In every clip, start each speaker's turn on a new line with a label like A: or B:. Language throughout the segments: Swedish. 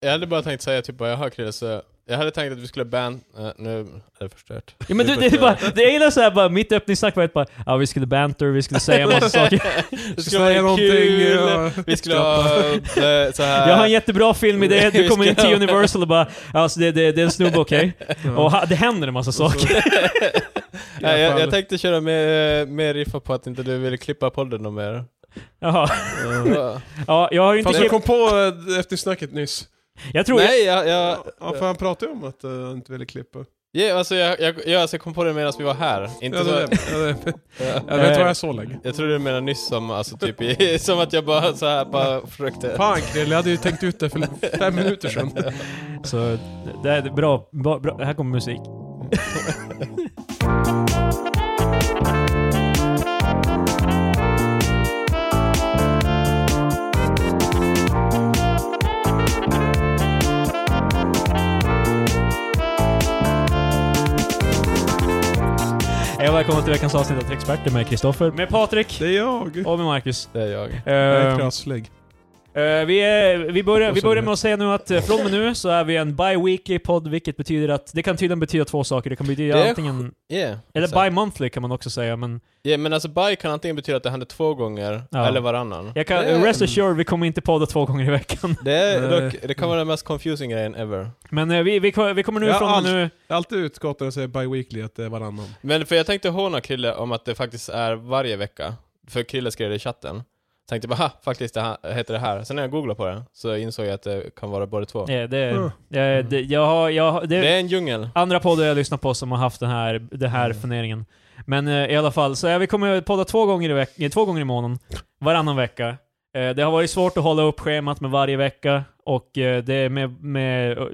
A: Jag hade bara tänkt säga typ bara, jaha Chrille, så jag hade tänkt att vi skulle ban... eh, nu är det förstört.
B: Ja, men du, det är bara, det jag gillar såhär bara, mitt öppningssnack var ett bara, ja vi skulle banter, vi skulle säga massa saker.
A: det skulle
C: Säga
A: vara
C: någonting,
A: kul,
C: ja.
A: vi skulle ha eh, så här.
B: Jag har en jättebra film i det, du kommer in till Universal och bara, alltså det, det, det är en snubbe okej. Och ha, det händer en massa saker.
A: Nej, jag, jag tänkte köra med, eh, med riffa på att inte du ville klippa podden något mer.
B: Jaha.
A: Ja.
B: Ja, jag har ju inte...
C: Fast jag
B: klippt-
C: kom på eh, efter snacket nyss.
B: Jag tror...
A: Nej, jag, jag,
C: Ja, för han pratade ju om att eh, han inte ville klippa.
A: ja, alltså, jag, jag, jag, alltså, jag kom på det medan vi var här. Inte
C: Ja,
A: så,
C: det, det, det,
A: ja.
C: jag vet vad jag så länge.
A: Jag trodde du menade nyss som, alltså, typ, i, som att jag bara så här bara försökte.
C: Fan Krille, jag hade ju tänkt ut det för fem minuter sedan.
B: Så det- det är bra, bra, bra. Här kommer musik. Hej och välkomna till veckans avsnitt av Trexperter med Kristoffer, med Patrik
C: Det är
A: Ehm.
C: jag.
B: och med Marcus.
A: Det är jag.
C: Jag
B: Eh,
C: är krasslig.
B: Eh, vi, är, vi, börjar,
C: Och
B: vi
C: så
B: börjar
C: vidare.
B: med att säga nu att eh, från och med nu så är vi en bi-weekly podd, vilket betyder att det kan tydligen betyda två saker. Det kan betyda
A: Det är
B: antingen...
A: Yeah.
B: Eller
A: exakt.
B: bi-monthly kan man också säga, men
A: Ja, men alltså by kan antingen betyda att det händer två gånger,
B: Ja.
A: eller varannan.
B: jag kan,
A: Det är-
B: rest Eh. assured, vi kommer inte podda två gånger i veckan.
A: Det, är
C: Nej.
A: dock, det kan vara den mest confusing grejen ever.
B: Men eh, vi, vi, ko- vi kommer nu
C: Ja,
B: från och med nu...
C: Jag har alltid utgått när jag säger bi-weekly att det är varannan.
A: Men för jag tänkte håna Krille om att det faktiskt är varje vecka. För Krille skrev det i chatten. Tänkte bara, ha, faktiskt det här, heter det här. Sen när jag googlade på det så insåg jag att det kan vara både två.
B: Ja, det,
C: Mm.
B: eh, det, jag har, jag, har-
A: Det
B: det, Mm.
A: är en djungel.
B: andra poddar jag lyssnat på som har haft den här, den här funderingen. Men eh, i alla fall, så ja, vi kommer podda två gånger i, veck- eh, två gånger i månaden, varannan vecka. Eh, det har varit svårt att hålla upp schemat med varje vecka, och eh, det är med, med eh,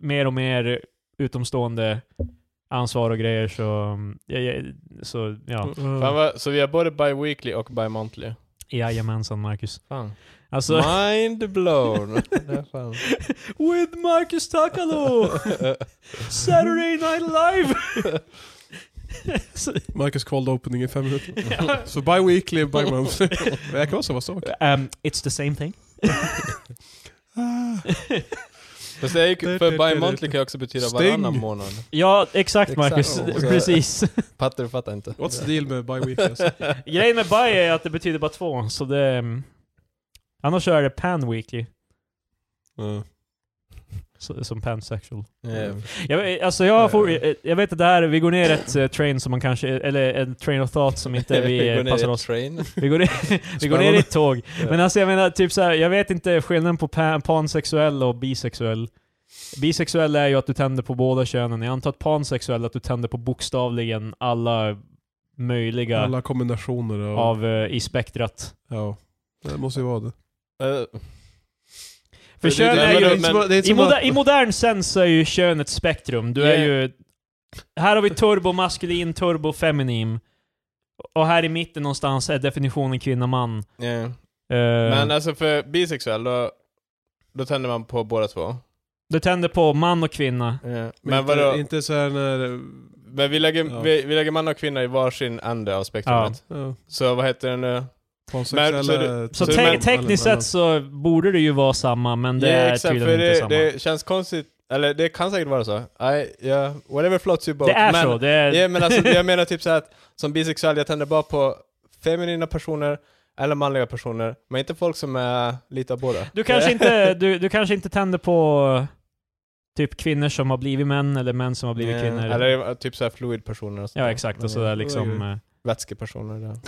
B: mer och mer utomstående ansvar och grejer, så, mm, ja, ja, så ja.
C: Mm.
A: Fan vad, så vi har både bi-weekly och bi-monthly.
B: Jajamensan Marcus.
A: Fan.
B: Alltså,
A: Mind blown. Det är fan.
B: with Marcus Takalo! Saturday Night Live! Så-
C: Marcus cold opening i fem minuter. Så bi-weekly, bi-monthly. Men jag kan vara samma sak.
B: um, it's the same thing.
A: Fast det är ju, för bi-monthly kan ju också betyda
C: Sting.
A: varannan månad.
B: Ja, exakt
A: Exakt.
B: Marcus.
A: Ja.
B: Precis.
A: Patter du fattar inte.
C: What's the deal med bi-weekly? Alltså?
B: Grejen med bi är att det betyder bara två, så det... mm, Annars är det pan-weekly,
C: Ja.
B: så- som pansexual.
A: Yeah.
B: Jag, alltså jag, har for, eh, jag vet att det här, vi går ner ett eh, train som man kanske, eller en train of thought som inte vi
A: går
B: eh,
A: ner i
B: passar
A: ett
B: oss.
A: Train.
B: Vi går, ner, vi går ner i ett tåg.
A: Ja.
B: Men alltså jag menar, typ så här, jag vet inte skillnaden på pan, pansexuell och bisexuell. Bisexuell är ju att du tänder på båda könen. Jag antar att pansexuell är att du tänder på bokstavligen alla möjliga
C: Alla kombinationer och...
B: av, eh, i spektrat.
C: Ja. Det måste ju vara det.
A: Eh, Det-
B: För
A: det-
B: kön
A: det- men-
B: är ju...
A: men-
C: som- är inte
B: I,
C: som
B: moder,
C: att-
B: I modern sens så är ju kön ett spektrum. Du är
A: Yeah.
B: ju... Här har vi turbomaskulin, turbofeminin. Och här i mitten någonstans är definitionen kvinna-man.
A: yeah.
B: Eh,
A: Men alltså för bisexuell, då, då tänder man på båda två. Eh,
B: du tänder på man och kvinna.
A: Men,
C: Men inte,
A: vadå?
C: inte så här när...
A: Men vi lägger,
C: Ja.
A: vi, vi lägger man och kvinna i varsin ände av spektrumet.
C: Ja,
A: Så vad heter det nu?
C: pansexuella...
A: Men- så du-
C: typ.
B: Så,
A: Så
B: te-
A: men-
B: tekniskt sett så borde det ju vara samma, men det
A: Ja,
B: är
A: exakt,
B: tydligen
A: för
B: inte
A: det,
B: samma. Det,
A: det känns konstigt, eller det kan säkert vara så. I, yeah, whatever floats your boat.
B: är
A: men,
B: så. Det är,
A: Ja, men alltså, jag menar typ så här att som bisexuell, jag tänder bara på feminina personer eller manliga personer, men inte folk som är lite av båda.
B: du, kanske inte, du, du kanske inte tänder på typ kvinnor som har blivit män, eller män som har blivit
A: Ja,
B: kvinnor.
A: Eller eh, typ så här fluid personer och sånt
B: ja,
A: där.
B: exakt.
A: Men,
B: Och sådär
A: eh,
B: liksom... eh,
A: Vätskepersoner. där.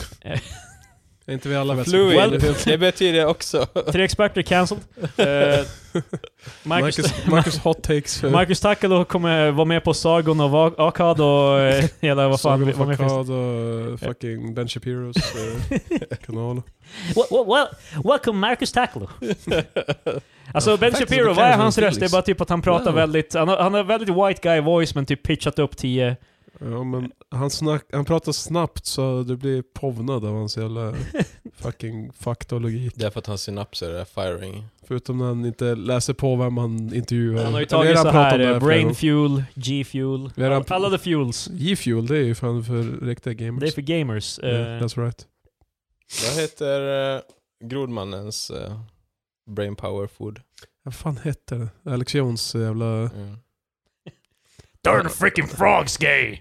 C: Är inte vi alla vätskor?
A: Fluid,
B: Well-
A: det betyder också.
B: Tre experter cancelled. Eh, Marcus,
C: Marcus, Marcus hot takes. eh, för-
B: Marcus Takalo kommer vara med på Sagon och Va- Akad och eh, hela vad fan
C: Sagan
B: vad mer finns det?
C: Fakad och eh, fucking Ben Shapiros eh, kanal.
B: Well, well, welcome Marcus Takalo. alltså Ben
C: Faktiskt,
B: Shapiro,
C: det
B: vad är
C: kanske
B: hans
C: är en
B: röst? Det är
C: tillis.
B: bara typ att han pratar
C: Wow.
B: väldigt, han har, han har väldigt white guy voice men typ pitchat upp 10.
C: Ja, men han, snack, han pratar snabbt så du blir povnad av hans jävla fucking faktologik.
A: Det är för att hans synapser är firing.
C: Förutom när han inte läser på vem han intervjuar.
B: Han har ju
C: Vi
B: tagit
C: redan
B: så här
C: pratat om det
B: eh,
C: här flera
B: brain
C: gånger.
B: fuel, G fuel,
C: Vi har redan-
B: alla the fuels.
C: G-fuel, det är ju fan för riktiga gamers.
B: Det är för gamers. eh.
C: Yeah, that's right.
A: Vad heter eh, Grodmannens eh, brain power food.
C: Vad fan hette det? Alex Jones jävla...
A: Mm.
B: Darn freaking frogs gay!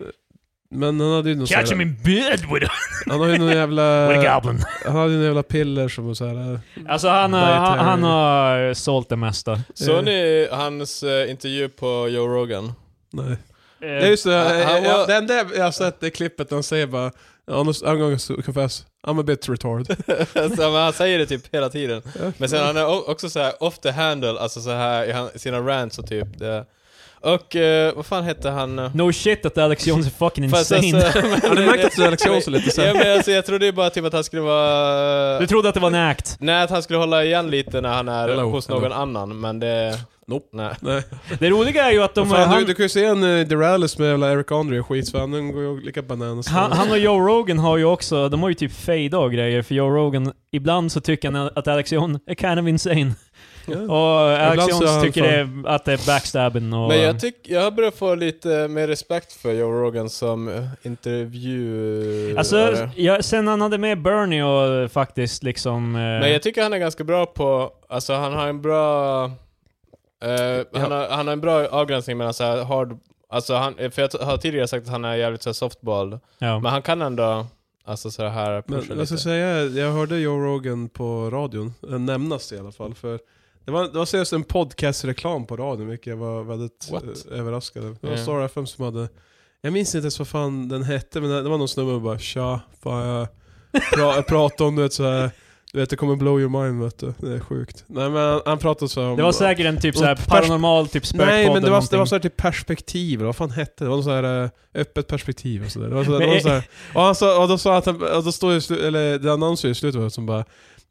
C: Men han hade ju någon, så
B: Catch him
C: här,
B: in bed with a,
C: han hade ju någon jävla...
B: with a goblin.
C: han hade ju någon jävla piller som var så här...
B: Eh,
C: eh,
B: Alltså han, har- han,
C: Dietary.
B: han har sålt det mesta.
A: Så
C: Eh.
A: ni hans eh, intervju på Joe Rogan?
C: Nej.
B: Eh,
C: Ja just det,
A: han- han
C: jag,
A: var-
C: jag, det enda jag har sett är klippet där han säger bara Honest, I'm going to confess, I'm a bit retard.
A: så, men han säger det typ hela tiden.
C: Ja.
A: Men sen han är o- också så här off the handle, alltså så här i han- sina rants och typ det. Och eh, vad fan hette han?
B: Eh, No shit att Alex Jones är fucking
A: Fast
B: insane.
A: alltså-
C: Har du märkt att Alex Jones är lite
A: ja,
C: sen?
A: men alltså, jag trodde ju bara typ att han skulle vara...
B: Du trodde att det var en act.
A: Nej, att han skulle hålla igen lite när han är
C: Hello,
A: hos någon annan, men det...
C: Nope.
A: Nej.
C: Nej.
B: Det roliga är ju att de...
C: Fan, du,
B: Han,
C: du kan ju se en uh, Deralis med jävla Eric Andre och skit, så han går ju lika bananas.
B: han, han och Joe Rogan har ju också, de har ju typ fejda och grejer, för Joe Rogan, ibland så tycker han att Alex Jones är kind of insane.
C: Ja.
B: Och Alex
C: Ibland så är
B: Jones
C: han
B: tycker
C: fan-
B: det, att det är backstabbing och...
A: Men jag tycker, jag har börjat få lite mer respekt för Joe Rogan som eh, intervju...
B: Alltså,
A: Eller-
B: jag, sen han hade med Bernie och eh, faktiskt liksom... eh,
A: Men jag tycker han är ganska bra på, alltså han har en bra... eh, han, har, han har en bra avgränsning mellan så här hard... Alltså han, för jag t- har tidigare sagt att han är jävligt så här softball,
B: ja.
A: men han kan ändå, alltså så här pusha
C: Men jag
A: lite.
C: ska säga, jag hörde Joe Rogan på radion, eh, nämnas i alla fall, för det var, det var seriöst en podcastreklam på radion, vilket jag var väldigt
A: What?
C: eh, överraskad över. Det var
A: Ja.
C: Star FM som hade, jag minns inte ens vad fan den hette, men det det var någon snubbe som bara tja, fan jag pra, jag pratar om du vet såhär, du vet det kommer blow your mind vet du, det är sjukt. Nej men han, han pratade så här om...
B: Det var säkert en typ såhär
C: Pers-
B: paranormal typ spökpodd
C: Nej men det
B: eller
C: var, det var
B: någonting.
C: så här typ perspektiv, eller vad fan hette det? Det var något så här eh, öppet perspektiv och sådär. Det var så,
B: Men
C: det var
B: är-
C: så här, och, han sa, och då sa att han, och då står ju, i slu- eller det annonsen i slutet var som bara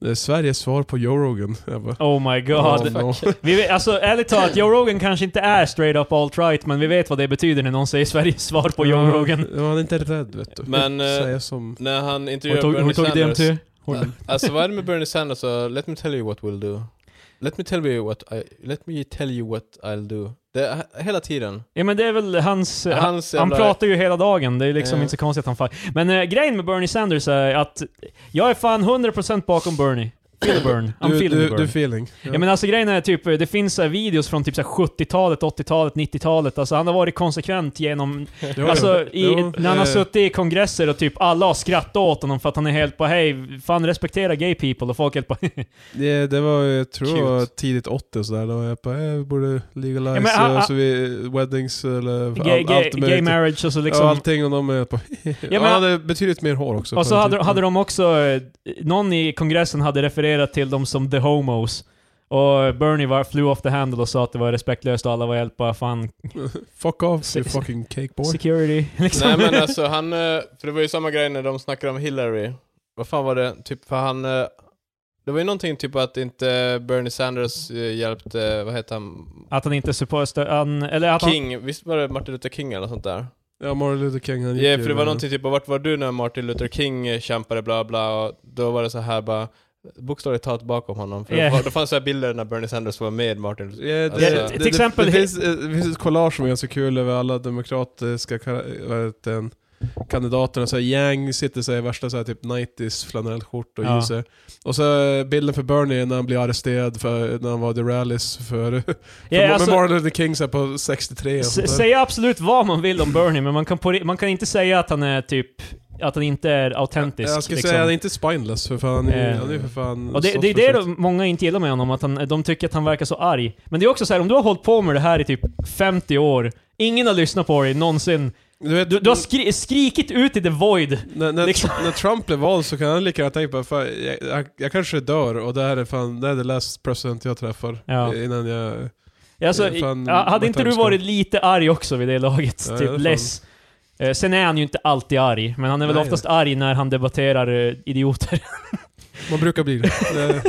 C: eh, Sveriges svar på Joe Rogan. Jag bara,
B: Oh my god.
C: "Oh, no."
B: Vi vet, alltså ärligt talat, Joe Rogan kanske inte är straight up alt-right, men vi vet vad det betyder när någon säger Sveriges svar på Joe Rogan.
C: Ja, han är inte rädd vet du.
A: Men, eh,
C: Säga som...
A: När han
B: Hon
A: intervjuar
B: tog, hon
A: Bernie
B: tog
A: Sanders...
B: DMT.
A: Uh, alltså vad är det med Bernie Sanders och let me tell you what we'll do? Let me tell you what I, let me tell you what I'll do. Det är he- hela tiden.
B: Ja men det är väl hans... Han,
A: Hans
B: han
A: jävla-
B: pratar ju hela dagen, det är liksom
A: Ja.
B: inte så konstigt att han far. Men eh, grejen med Bernie Sanders är att jag är fan 100% bakom Bernie. Feel the burn. I'm
C: Du,
B: feeling the
C: du,
B: burn.
C: du feeling. Ja.
B: Ja men alltså grejen är typ, det finns så här videos från typ så här 70-talet, 80-talet, 90-talet. Alltså han har varit konsekvent genom...
C: Jo,
B: alltså
C: jo.
B: i,
C: Jo,
B: när han har
C: eh,
B: suttit i kongresser och typ alla har skrattat åt honom för att han är helt på hej, fan respektera gay people och folk helt på
C: Det, det var, jag tror
A: Cute.
C: det var tidigt 80 och sådär. Då var jag bara, eh, vi borde legalize
B: Ja, men, ah,
C: eh,
B: ah.
C: så vi, weddings eller
B: gay, gay,
C: möjligt.
B: gay marriage och så
C: Ja,
B: liksom...
C: allting och de är på...
B: men-
C: han hade betydligt mer hår också. på
B: Och så
C: den
B: hade,
C: tiden.
B: hade de också, eh, någon i kongressen hade refererat till dem som the homos. Och Bernie var, flew off the handle och sa att det var respektlöst och alla var helt bara fan
C: Fuck off
B: Se-
C: you fucking cake boy.
B: security. Liksom.
A: Nej men alltså han, eh, för det var ju samma grej när de snackade om Hillary. Vad fan var det? Typ för han, eh, det var ju någonting typ att inte Bernie Sanders eh, hjälpte, vad heter han?
B: Att han inte supportar, han, eller att han,
A: King, visst var det Martin Luther King eller något sånt där?
C: Ja, Martin Luther King han
A: Ja,
C: gick
A: för
C: ju
A: det var
C: med-
A: någonting typ, vart var du när Martin Luther King eh, kämpade bla bla, och då var det så här bara, bokstavligt talat bakom honom. För
B: Yeah.
A: det, var, det fanns så här bilder när Bernie Sanders var med Martin Luther
C: Ja, det,
A: Alltså-
C: det,
A: Till
C: det,
B: exempel-
C: det, finns, eh, det finns ett collage som är ganska kul över alla demokratiska kar- vad heter den, kandidaterna. Så här, Yang sitter så här, i värsta så här, typ 90s flanellskjorta och
B: Ja.
C: jeans. Och så eh, bilden för Bernie när han blir arresterad för, när han var i the rallys för, för
B: Ja, alltså-
C: med Martin Luther King så här, på 63 och sånt
B: S-
C: där.
B: säga absolut vad man vill om Bernie, men man kan, på, man kan inte säga att han är typ... Att han inte är autentisk.
C: Jag ska
B: liksom.
C: säga, han är inte spineless för fan.
B: Eh.
C: Han är ju för fan...
B: och det,
C: stått
B: det är
C: för
B: det
C: sitt.
B: de, många inte gillar med honom, att han, de tycker att han verkar så arg. Men det är också så här, om du har hållit på med det här i typ 50 år, ingen har lyssnat på dig någonsin.
C: Du vet,
B: Du, du har skri, skrikit ut i the void.
C: När, när,
B: Liksom.
C: när Trump blev vald så kan han lika gärna tänka på fan, jag, jag, jag kanske dör och det här är fan, det här är the last president jag träffar.
B: Ja.
C: Innan jag...
B: Alltså,
C: Ja, fan,
B: ja, hade
C: vad
B: inte du
C: hemskt.
B: varit lite arg också vid det laget?
C: Ja, det är
B: typ
C: fan-
B: less. Eh, Sen är han ju inte alltid arg, men han är väl
C: Nej,
B: oftast arg när han debatterar eh, idioter.
C: Man brukar bli det. det.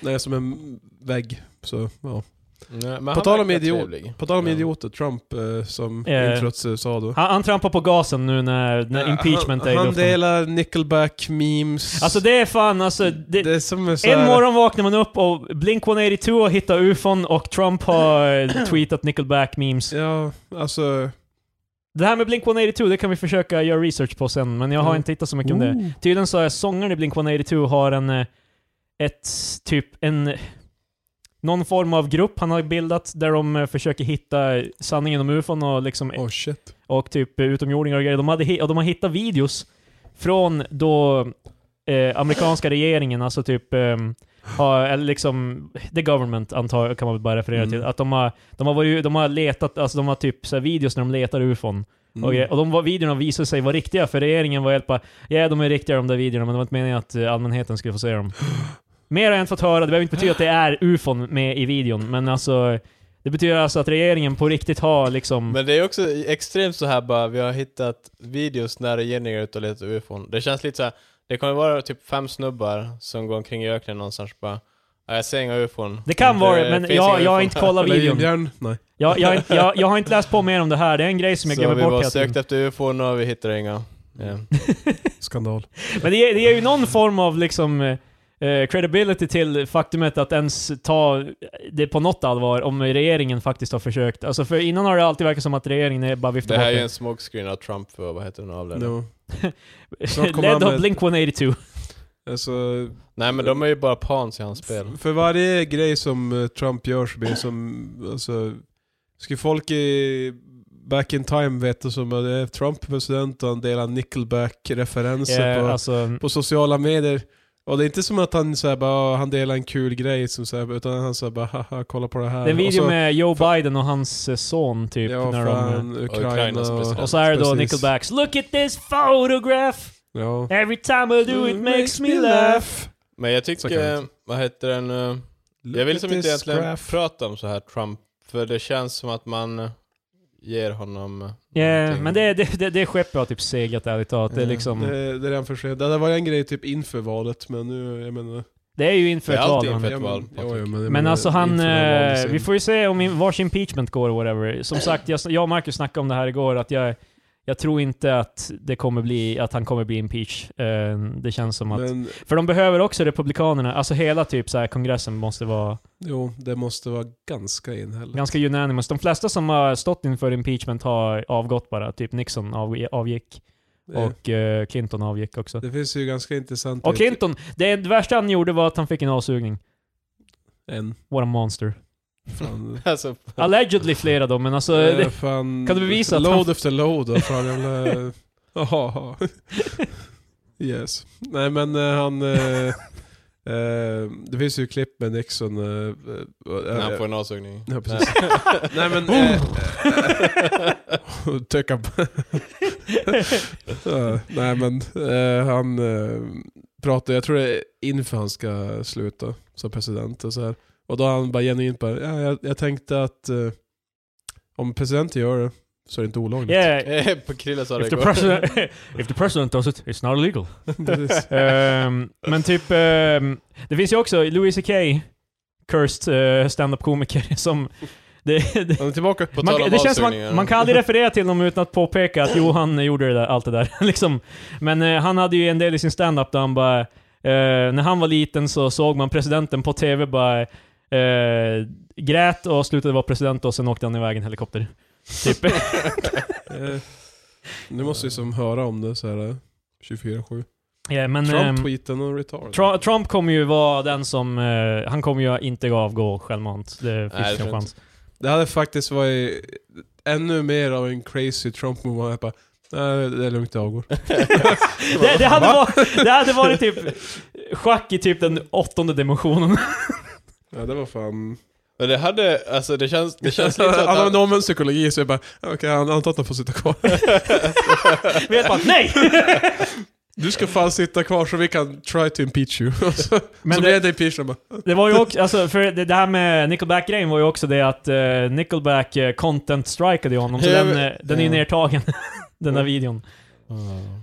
C: Det är som en vägg. Så, ja.
A: Nej, men
C: På tal om
A: verkar
C: idiot.
A: trevlig.
B: Mm.
C: På tal om
A: Ja.
C: idioter, Trump eh, som
B: Eh.
C: introts USA då. Eh,
B: Han, han trampar på gasen nu när, när impeachment
C: han,
B: är i
C: Han
B: luften.
C: delar nickelback memes.
B: Alltså det är fan alltså... Det,
C: det är som är så
B: en
C: här-
B: morgon vaknar man upp och Blink-182 har hittat ufon och Trump har eh, tweetat Nickelback-memes.
C: Ja, alltså...
B: Det här med Blink-182, det kan vi försöka göra research på sen, men jag har
C: Mm.
B: inte hittat så mycket om det. Tydligen så är sångaren i Blink-182 har en... eh, Ett typ en... någon form av grupp han har bildat där de eh, försöker hitta sanningen om ufon och, liksom,
C: Oh shit.
B: och typ eh, utomjordingar och grejer. De, hade, hi- och de har hittat videos från då eh, amerikanska regeringen, alltså typ ehm, har, eller liksom, the government antar jag, kan man väl bara referera
C: Mm.
B: till. Att de har, de har, varit, de har letat, alltså de har typ så här videos när de letar ufon.
C: Mm.
B: Och, grejer. och de var, videorna visade sig vara riktiga, för regeringen var helt bara Ja, de är riktiga de där videorna, men det var inte meningen att eh, allmänheten skulle få se dem. Mer har jag inte fått höra, det behöver inte betyda att det är ufon med i videon, men alltså Det betyder alltså att regeringen på riktigt har liksom
A: Men det är också extremt så här bara, vi har hittat videos när regeringen är ute och letar ufon. Det känns lite så här, det kommer vara typ fem snubbar som går omkring i öknen någonstans och bara "Ja, jag ser inga ufon.
B: Det kan vara det, men
A: finns
B: jag,
A: inga
B: jag har
A: ufon
B: inte
A: här."
B: kollat
C: Eller
B: videon.
C: inbjörn? Nej.
B: Jag, jag, har inte- jag, jag har inte läst på mer om det här, det är en grej som jag
A: Så
B: glömmer
A: vi
B: bort
A: bara
B: hela tiden. Mm.
A: sökt efter ufon och vi hittar inga. Ja.
C: Skandal.
B: Men det, ger- det är ju någon form av liksom eh, credibility till faktumet att ens ta det på något allvar om regeringen faktiskt har försökt. Alltså för innan har det alltid verkat som att regeringen är bara viftar
A: Det här
B: bort
A: är ju
B: det.
A: en smokescreen av Trump för, vad heter den avledaren?
C: No. Snart
B: Led
C: kommer han
B: av
C: med-
B: Blink 182.
C: Alltså,
A: Nej men de är ju bara pawns i hans spel.
C: F- För varje grej som eh, Trump gör så blir det som, alltså, skulle folk i back in time veta som att det är Trump president och han delar nickelback-referenser
B: Eh,
C: på,
B: alltså,
C: på sociala medier. Och det är inte som att han så här, bara, "Ah, han delar en kul grej, som så här, utan han säger bara haha kolla på det här.
B: det är en
C: Och
B: video
C: så,
B: med Joe Biden och hans eh, son typ.
C: ja,
B: när de,
C: fan, Ukraina
A: Ukrainas president.
B: eh, och så är det då
C: precis.
B: Nickelbacks 'Look at this photograph!
C: Ja. Mm,
B: Every time I do it makes me laugh'
A: Men jag
C: Så kan det
A: tycker,
C: inte.
A: vad heter den? eh, Jag vill
C: Look
A: som
C: at
A: inte
C: this
A: egentligen
C: graph.
A: prata om så här Trump, för det känns som att man eh, ger honom eh,
B: Yeah,
A: någonting.
B: men det, det, det, det skeppet har typ segat ärligt talat. Det är
C: Ja,
B: liksom...
C: det, det är redan för sent. Det hade varit en grej typ inför valet, men nu, jag menar...
B: Det är ju inför
A: Det är
B: ett val.
A: alltid
B: man-
A: inför ett val,
C: Ja, men-
A: Patrik.
C: ja, men jag
B: Men
C: menar,
B: alltså han,
C: inför en
B: eh,
C: valdesign.
B: vi får ju se om in- vars impeachment går och whatever. Som sagt, jag, jag och Marcus snackade om det här igår, att jag, jag tror inte att, det kommer bli, att han kommer bli impeach. Eh, det känns som att...
C: Men
B: För de behöver också Republikanerna, alltså hela typ så här, kongressen måste vara
C: jo, det måste vara ganska enhälligt.
B: ganska unanimous. De flesta som har stått inför impeachment har avgått bara, typ Nixon avg- avgick
C: Det-
B: och eh, Clinton avgick också.
C: Det finns ju ganska intressant...
B: Och Clinton, det, det värsta han gjorde var att han fick en avsugning.
C: En.
B: What a monster.
C: Fan.
A: Alltså,
B: Allegedly flera då, men alltså...
C: Eh,
B: det,
C: fan.
B: kan du bevisa att
C: Load
B: han-
C: efter load. och Fan jävla... Jaha. yes. Nej men eh, han... Eh, eh, det finns ju klipp med Nixon. Eh, eh,
A: när han
C: eh,
A: får en avsugning.
C: Ja, precis. Nej men... Eh, Tuck up. Eh, Nej men eh, han eh, pratar, jag tror det är inför han ska sluta som president och så här. Och då har han bara genuint bara, ja, jag, jag tänkte att eh, om presidenten gör det så är det inte olagligt.
B: yeah,
A: Eh, På Krille sa det
B: If the,
A: igår.
B: president, if the president does it, it's not illegal.
C: Precis.
B: Ehm, men typ, ehm, det finns ju också Louis CK, cursed uh, stand-up-komiker, som... Det, det,
C: Han är tillbaka.
A: På
B: man,
A: tal om
B: det känns som
A: avsugningar.
B: man, man kan aldrig referera till honom utan att påpeka att jo, han gjorde det där, allt det där. liksom. Men eh, han hade ju en del i sin stand-up där han bara... eh, när han var liten så såg man presidenten på TV bara eh, grät och slutade vara president och sen åkte han iväg i en helikopter. Typ.
C: Eh, nu måste vi som höra om det så här eh, 24-7.
B: Ja, men, ehm,
C: Trump-tweeten och retard.
B: Tru- Trump kommer ju vara den som... eh, han kommer ju inte avgå självmant. Det
A: Nej, det
B: finns
A: tror
B: ingen
A: jag
B: chans.
C: Det hade faktiskt varit ännu mer av en crazy Trump-move. Jag bara, nej det är lugnt, jag avgår.
B: Det, det, hade varit, det hade varit typ schack i typ den åttonde dimensionen.
C: Ja, det var fan...
A: Men det hade, alltså det känns, det känns lite att
C: han
A: han,
C: använder omvänd psykologi så jag bara, okej han antar att han får sitta kvar.
B: Vi vet bara, nej!
C: Du ska fan sitta kvar så vi kan try to impeach you. Och så
B: Men
C: så
B: det-
C: blir det impeach och bara,
B: Det var ju också, alltså, för det, det här med Nickelback-grejen var ju också det att eh, Nickelback eh, content-strikade ju honom, så
A: Jag-
B: den, eh, den är ju
C: ja.
B: nertagen. den där
C: Ja.
B: videon.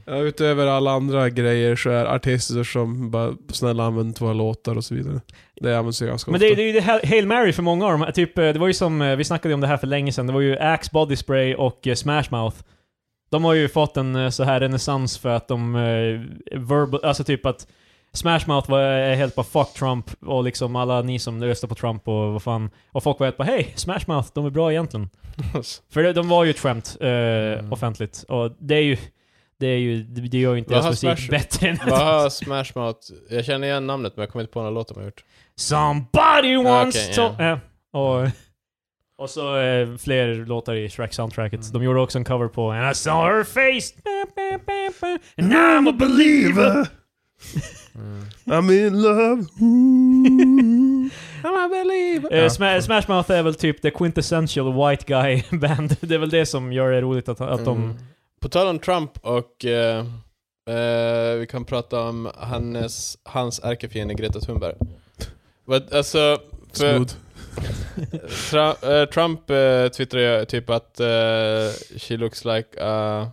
C: ja, utöver alla andra grejer så är artister som bara, snälla använd tvåa låtar och så vidare. Det används ju ganska
B: Men
C: ofta.
B: det, det är ju det här- Hail Mary för många av dem. Typ, eh, det var ju som, eh, vi snackade om det här för länge sedan, det var ju Axe Body Spray och eh, Smash Mouth. De har ju fått en eh, så här renässans för att de... Eh, verbal, alltså typ att Smash Mouth var eh, helt bara 'fuck Trump' och liksom alla ni som röstar på Trump och vad fan. Och folk var helt bara 'hej, Smash Mouth, de är bra egentligen' För de, de var ju ett skämt eh,
A: Mm.
B: offentligt. Och det är ju... Det, är ju, det det gör ju inte
A: Vad
B: deras
A: har
B: musik
A: Smash-
B: bättre än
A: Vad har Smash Mouth? Jag känner igen namnet men jag kommer inte på någon låt de har gjort.
B: Somebody wants
A: okej,
B: to...
A: ja.
B: Ja. och, och så eh, fler låtar i Shrek-soundtracket.
A: Mm.
B: De gjorde också en cover på And I saw her face, ba, ba, ba, ba, and I'm a believer.
A: Mm.
C: I'm in love. Ooh. I'm a believer.
B: Eh, Sma- Smash Mouth är väl typ the quintessential white guy band. Det är väl det som gör det roligt att, att
A: Mm.
C: Mm.
B: de...
A: På tal om Trump och... eh, eh, vi kan prata om hans, hans ärkefiende Greta Thunberg. But, alltså, för,
C: Smooth.
A: Tra- eh, Trump eh, twittrade ju typ att eh, she looks like a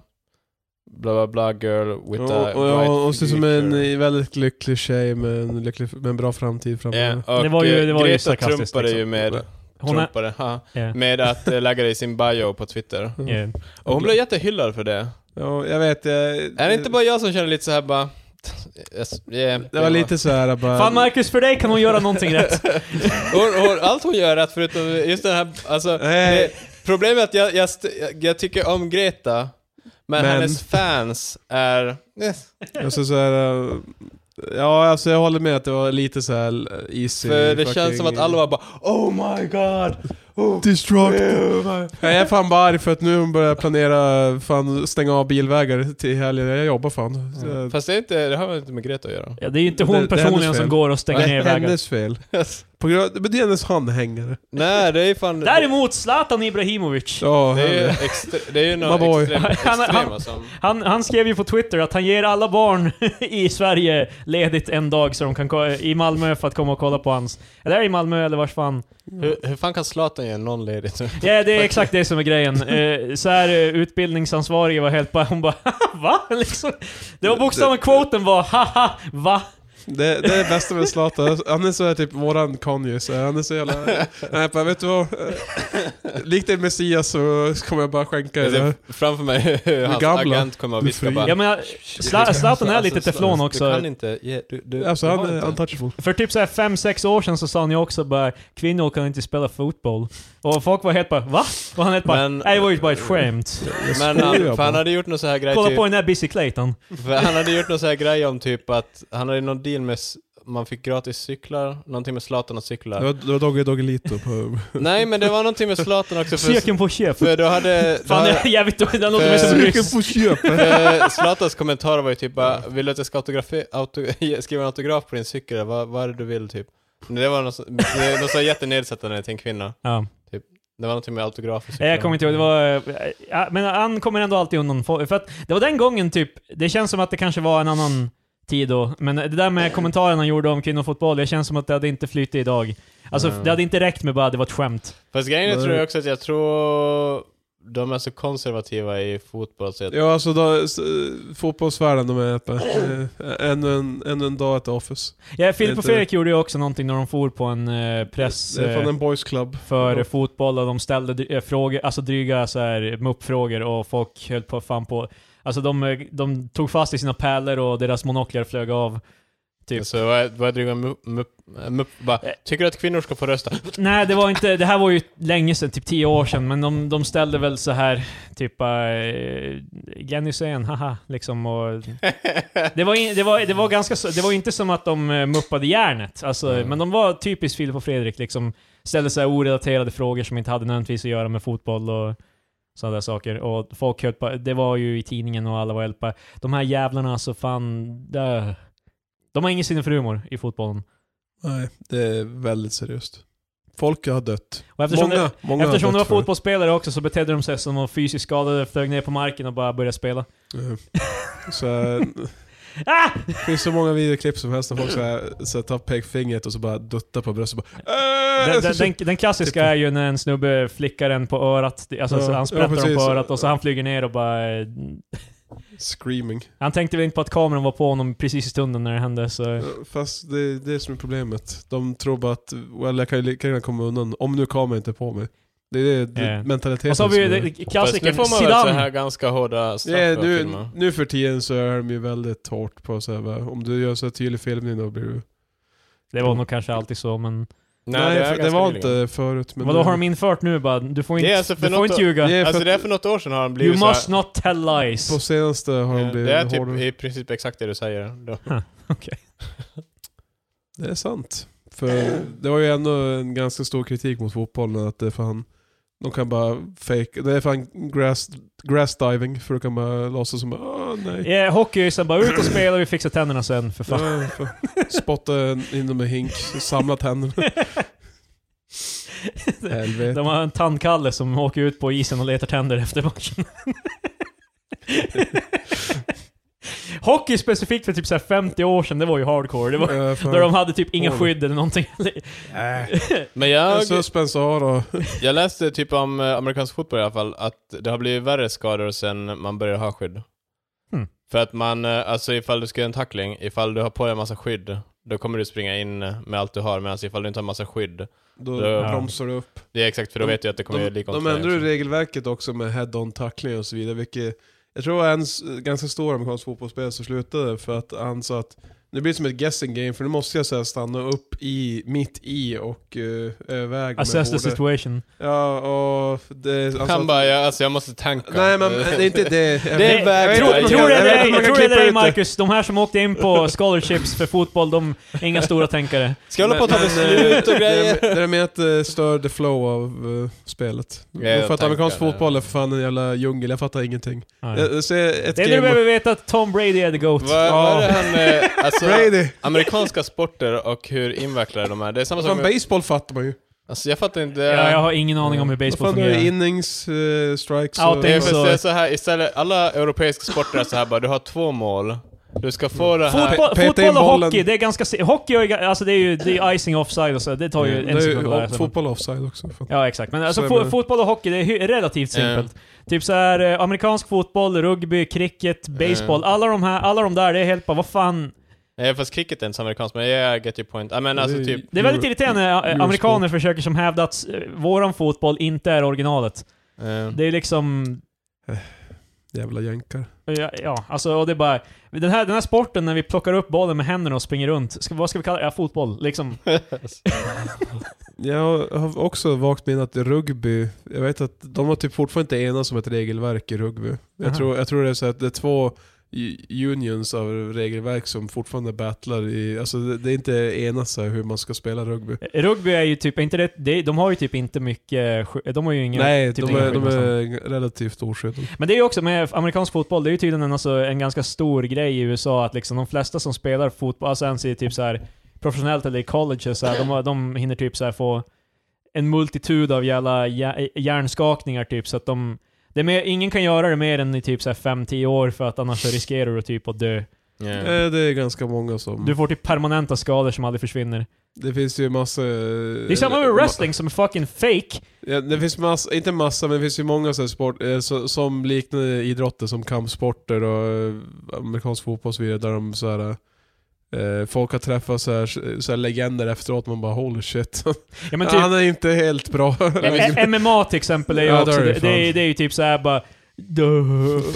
A: bla bla bla girl with a
C: Ja, och- och- och- Hon ser ut som en
A: future.
C: eh, väldigt lycklig tjej med en, lycklig, med en bra framtid framför
A: Ja, och
B: Det var ju- det var ju
A: Greta
B: sarkastiskt,
A: trumpade
B: liksom.
A: ju med,
B: Hon är,
A: trumpade, ha,
B: Ja.
A: med att eh, lägga det i sin bio på Twitter.
B: ja.
A: Och hon blev jättehyllad för det.
C: Ja, jag vet. Jag,
A: Är det inte bara jag som känner lite så här bara... yes, yeah,
C: Det var lite så här bara...
B: Fan Marcus, för dig kan hon göra någonting rätt.
A: hon, hon, allt hon gör är rätt förutom just den här, alltså,
C: Nej.
A: det, problemet är att jag, jag, st- jag, jag tycker om Greta, men,
C: Men-
A: hennes fans är... Yes.
C: Alltså så här, eh, ja, alltså jag håller med att det var lite så här eh, easy.
A: För det
C: fucking-
A: känns som att alla var bara Oh my god! Oh,
C: Destruct.
A: oh my.
C: Jag är fan bara arg för att nu börjar jag planera fan stänga av bilvägar till helgen. Jag jobbar
A: Mm.
C: fan. Så-
A: Fast det, är inte, det har väl inte med Greta att göra?
B: Ja, det är ju inte
C: Det-
B: hon
C: det är
B: personligen
C: hennes
B: som
C: fel.
B: går och stänger
C: det
B: ner
C: är
B: vägar.
C: hennes fel. På grund, men det är hennes handhängare.
A: Nej, det är fan...
B: Däremot Zlatan Ibrahimovic.
C: Ja,
A: Det är ju
C: henne.
A: extre- det är ju
C: My
A: några
C: boy.
A: extrema,
B: Han- han-
A: extrema som...
B: Han, han skrev ju på Twitter att han ger alla barn i Sverige ledigt en dag så de kan ko- i Malmö för att komma och kolla på hans... Eller i Malmö eller vars fan.
A: Hur, hur fan kan Zlatan ge någon ledigt?
B: Ja, det är exakt det som är grejen. Eh, så här eh, utbildningsansvarige var helt bara... Hon bara va? Liksom. Det var bokstavligen kvoten var haha va?
C: Det, det är det bästa med Zlatan. Han är så här typ våran Kanye. Så här, han är så jävla... Nej, jag bara, vet du vad? Likt en Messias så kommer jag bara skänka er
A: Jag
C: det här.
A: ser framför mig hur hans
C: gamla.
A: agent kommer och
C: Du
A: viskar
C: fri.
A: bara... Alltså,
B: Ja men Zla- Zlatan är lite teflon
A: Du
B: också.
A: kan inte ge... Du, du,
C: Alltså
A: du
C: han
A: har
C: är
A: inte.
C: untouchable.
B: För typ såhär 5-6 år sedan så sa han ju också bara kvinnor kan inte spela fotboll. Och folk var helt bara va? Och han helt bara
A: Men-
B: nej det var ju bara ett skämt.
A: Men
C: skojar
A: han, för
C: bara.
A: han hade gjort någon så här grej
B: Kolla
A: typ,
B: på den där Busy Clayton.
A: för han hade gjort någon så här grej om typ att han hade någon deal med s- man fick gratis cyklar, någonting med Zlatan och
C: Det
A: cyklar.
C: var, det var Dogge Doggelito på...
A: Nej men det var någonting med Zlatan också för,
B: Cirkeln på köpet.
A: för då hade... Då
B: Fan
A: hade
B: det är jävligt dåligt, den låter mig som
A: För-
C: Cirkeln
B: ryss.
C: på köpet!
A: för Zlatans kommentarer var ju typ bara, vill du att jag ska autografi- auto, ge- skriva en autograf på din cykel? Vad, vad är det du vill typ? Men det var något, så- det var något så här jättenedsättande till en kvinna.
B: Ja.
A: Det var någonting med autografer.
B: Nej, Jag kommer inte ihåg, det var... eh, ja, Men han kommer ändå alltid undan. För för att det var den gången typ, det känns som att det kanske var en annan tid då. Men det där med kommentaren han gjorde om kvinnofotboll, det känns som att det hade inte flyttat idag. Alltså
A: Mm.
B: det hade inte räckt med bara det var ett skämt.
A: Fast grejen är,
C: Nej.
A: tror jag också att jag tror de är så konservativa i fotboll så jag
C: Ja alltså då, s- fotbollsvärlden de är uppe. Eh, Ännu en, ännu en dag ett office.
B: Ja, Filip och
C: Inte-
B: Fredrik gjorde ju också någonting när de for på en eh, press
C: Det är
B: eh,
C: från en boys club.
B: för fotboll och de ställde dry- eh, frågor, alltså dryga så här muppfrågor och folk höll på fan på... Alltså de, eh, de tog fast i sina pärlor och deras monoklar flög av. Typ. Eh.
A: Så vad, vad driver mupp, mupp, mupp, bara, tycker du att kvinnor ska få rösta?
B: Nej, det var inte... Det här var ju länge sedan, typ 10 år sedan, men de, de ställde väl så här typ eh, Glenn Hysén, haha, liksom och... Det var, in, det, var, det var ganska så, det var inte som att de eh, muppade järnet, alltså,
A: Mm.
B: men de var typiskt Filip och Fredrik liksom. Ställde så här orelaterade frågor som inte hade nödvändigtvis att göra med fotboll och sådana där saker. Och folk höll på, det var ju i tidningen och alla var helt på, de här jävlarna alltså fan, dö. De har ingen sinne för humor i fotbollen.
C: Nej, det är väldigt seriöst. Folk har dött.
B: Och eftersom
C: Många,
B: det,
C: många har
B: Eftersom de var
C: dött för
B: fotbollsspelare också så betedde de sig som de var fysiskt skadade, flög ner på marken och bara började spela.
C: Eh, Så här,
B: Ah!
C: det finns så många videoklipp som helst när folk så här, så här, tar pekfingret och så bara duttar på bröstet och bara "Äh!"
B: Den, den,
C: Så-
B: den, den klassiska är ju när en snubbe flickar en på örat, alltså
C: Ja,
B: så
C: ja,
B: han sprätter dem på
C: precis.
B: örat och så han flyger ner och bara... eh,
C: Screaming.
B: Han tänkte väl inte på att kameran var på honom precis i stunden när det hände så...
C: Ja, Eh, Fast det är det som är problemet. De tror bara att well, jag kan ju lika gärna komma undan om nu kameran inte är på mig. Det är det, det
B: Ja.
C: mentaliteten
B: Eh. Och så har vi ju
C: som är-
B: den-
A: Fast nu
B: klassikern,
A: får man väl så här
B: Zidane!
A: ganska hårda straff
C: Ja,
A: för
C: nu,
A: filmer.
C: nu för tiden så är de ju väldigt hårt på så här, va? om du gör så här tydlig filmning då blir du...
B: Det var nog kanske alltid så men...
C: Nej,
A: det, är
C: för- det,
A: ganska
C: var
A: nyligen.
C: inte förut. Men
B: Vadå
C: nu-
B: har de infört nu bara? Du får
A: Det
B: inte,
A: är alltså för
B: du får
A: något-
B: inte ljuga.
C: Det är för
A: Alltså
C: att-
A: det är för något år sedan har de blivit
B: You
A: så här-
B: must not tell lies.
C: På senaste har de
A: Eh,
C: blivit
A: Det är typ
C: hårdare.
A: i princip exakt det du säger. Då.
C: Det är sant. För det var ju ändå en ganska stor kritik mot fotbollen att det är fan... De kan bara fake Det är fan grass, grass diving för du kan bara låtsas som åh nej.
B: Yeah, hockey är sen bara ut och spela och vi fixar tänderna sen för fan.
C: Ja, fan. Spotta in dem i hink, samla tänderna. Helvete.
B: De har en tandkalle som åker ut på isen och letar tänder efter matchen. Hockey specifikt för typ så här 50 år sedan, det var ju hardcore. Det var,
C: Ja, fan.
B: där de hade typ inga
C: Hård.
B: skydd eller någonting.
C: Äh,
A: Men jag,
C: Så Spencer
A: jag läste typ om eh, amerikansk fotboll i alla fall, att det har blivit värre skador sen man började ha skydd.
B: Hmm.
A: För att man, eh, alltså ifall du ska göra en tackling, ifall du har på dig en massa skydd, då kommer du springa in med allt du har, medan ifall du inte har massa skydd,
C: då
A: Ja.
C: bromsar du upp.
A: det är exakt för då
C: De-
A: vet du att det kommer
C: De,
A: göra lika ont
C: de
A: för dig
C: ändrar ju
A: också.
C: regelverket också med head-on tackling och så vidare, vilket jag tror var en s- ganska stor amerikansk fotbollsspelare som slutade för att han sa att nu blir det som ett guessing game för nu måste jag så här stanna upp i, mitt i och uh, överväga
B: Assess the
C: med både-
B: situation.
C: Ja, och det... alltså
A: Han
C: att-
A: bara, ja, alltså jag måste tanka.
C: Nej men eh, det är inte det. Jag
A: Det är
C: vet-
A: väg-
C: jag vet inte om
B: Tror
C: man
B: tror du
C: kan-
B: det
C: jag vet
B: eller ej?
C: inte om man kan
B: Tror du det
C: klippa
B: eller ej
C: ut
B: Marcus? De här som åkte in på scholarships för fotboll, de är inga stora tänkare.
A: Ska jag hålla på och ta
C: Men, eh,
A: beslut och grejer?
C: Det där med att det stör the flow av eh, spelet.
A: jag
C: för att amerikansk
A: tänker det.
C: fotboll är för fan en jävla djungel, jag fattar ingenting.
B: Nej.
C: Jag, jag ser ett
B: Det är det du
C: game...
B: behöver veta, att Tom Brady är the GOAT.
A: Vad vad är det han, eh, alltså
C: Brady!
A: amerikanska sporter och hur invecklade de är, det är samma sak
C: Fan
A: med,
C: baseball fattar man ju.
A: alltså jag fattar inte.
B: Ja, jag har ingen aning om hur baseball
C: Vad fan, då är det
B: fungerar.
C: innings, eh, strikes
B: Out
A: Det är
B: Så-
A: för att det är så här, istället, alla europeiska sporter är så här bara, du har två mål. Du ska få det här...
B: Fotboll,
C: Peta in
B: fotboll och
C: bollen.
B: hockey, det är ganska... se- Hockey är ju, ga- alltså det är ju det är icing offside och så, det tar ju
C: Mm, Det
B: en
C: är
B: sekund att lära
C: ju
B: sig.
C: fotboll offside också. Fan.
B: Ja, exakt. Men alltså
C: Så är
B: fo
C: det.
B: fotboll och hockey, det är hy- relativt simpelt. Typ så här eh, amerikansk fotboll, rugby, cricket, baseball. Alla de här, alla de där, det är helt bara, vad fan.
A: Nej fast cricket är inte så amerikanskt, men yeah, I get your point. I mean, alltså
C: Det är-
A: typ...
B: Det är väldigt
C: Euro-
B: irriterande när eh,
C: Eurosport.
B: amerikaner försöker som hävda att eh, våran fotboll inte är originalet.
A: eh,
C: Mm.
B: Det är liksom...
C: Jävla jänkar.
B: Ja, ja alltså och det är bara... Den här, den här sporten när vi plockar upp bollen med händerna och springer runt, ska, vad ska vi kalla det? Ja, fotboll. Liksom.
C: Jag har också vagt minne att rugby, jag vet att de har typ fortfarande inte enats om ett regelverk i rugby.
B: Aha.
C: Jag tror, jag tror det är så att det är två u- unions av regelverk som fortfarande battlar i, alltså det, det är inte enat så här hur man ska spela rugby.
B: Rugby är ju typ, är inte det, det, de har ju typ inte mycket, sky- de har ju ingen,
C: Nej,
B: typ
C: de
B: ingen
C: är, de
B: skillnad.
C: är relativt oskyddade.
B: Men det är ju också med amerikansk fotboll, det är ju tydligen en, alltså, en ganska stor grej i USA att liksom de flesta som spelar fotboll, alltså ens i typ så här professionellt eller i college, så här, de, har- de hinner typ så här få en multitud av jävla hjär- hjärnskakningar typ, så att de... Det är mer, ingen kan göra det mer än i typ så här 5-10 år för att annars så riskerar du typ att dö.
A: yeah.
C: Eh, Det är ganska många som...
B: Du får typ permanenta skador som aldrig försvinner.
C: Det finns ju massa... eh,
B: Det är samma med wrestling som är fucking fake.
C: Ja, det finns massa, inte massa, men det finns ju många så här sport, eh, så, som liknar idrotter som kampsporter och eh, amerikansk fotboll och så vidare där de så här, eh, folk har träffat så här, så här legender efteråt man bara holy shit.
B: Ja, men typ,
C: Han är inte helt bra.
B: Ä- MMA till exempel är ju
C: Ja,
B: också,
C: där är
B: det,
C: det
B: det, är,
C: fan. Typ
B: det är ju typ såhär bara... Duh.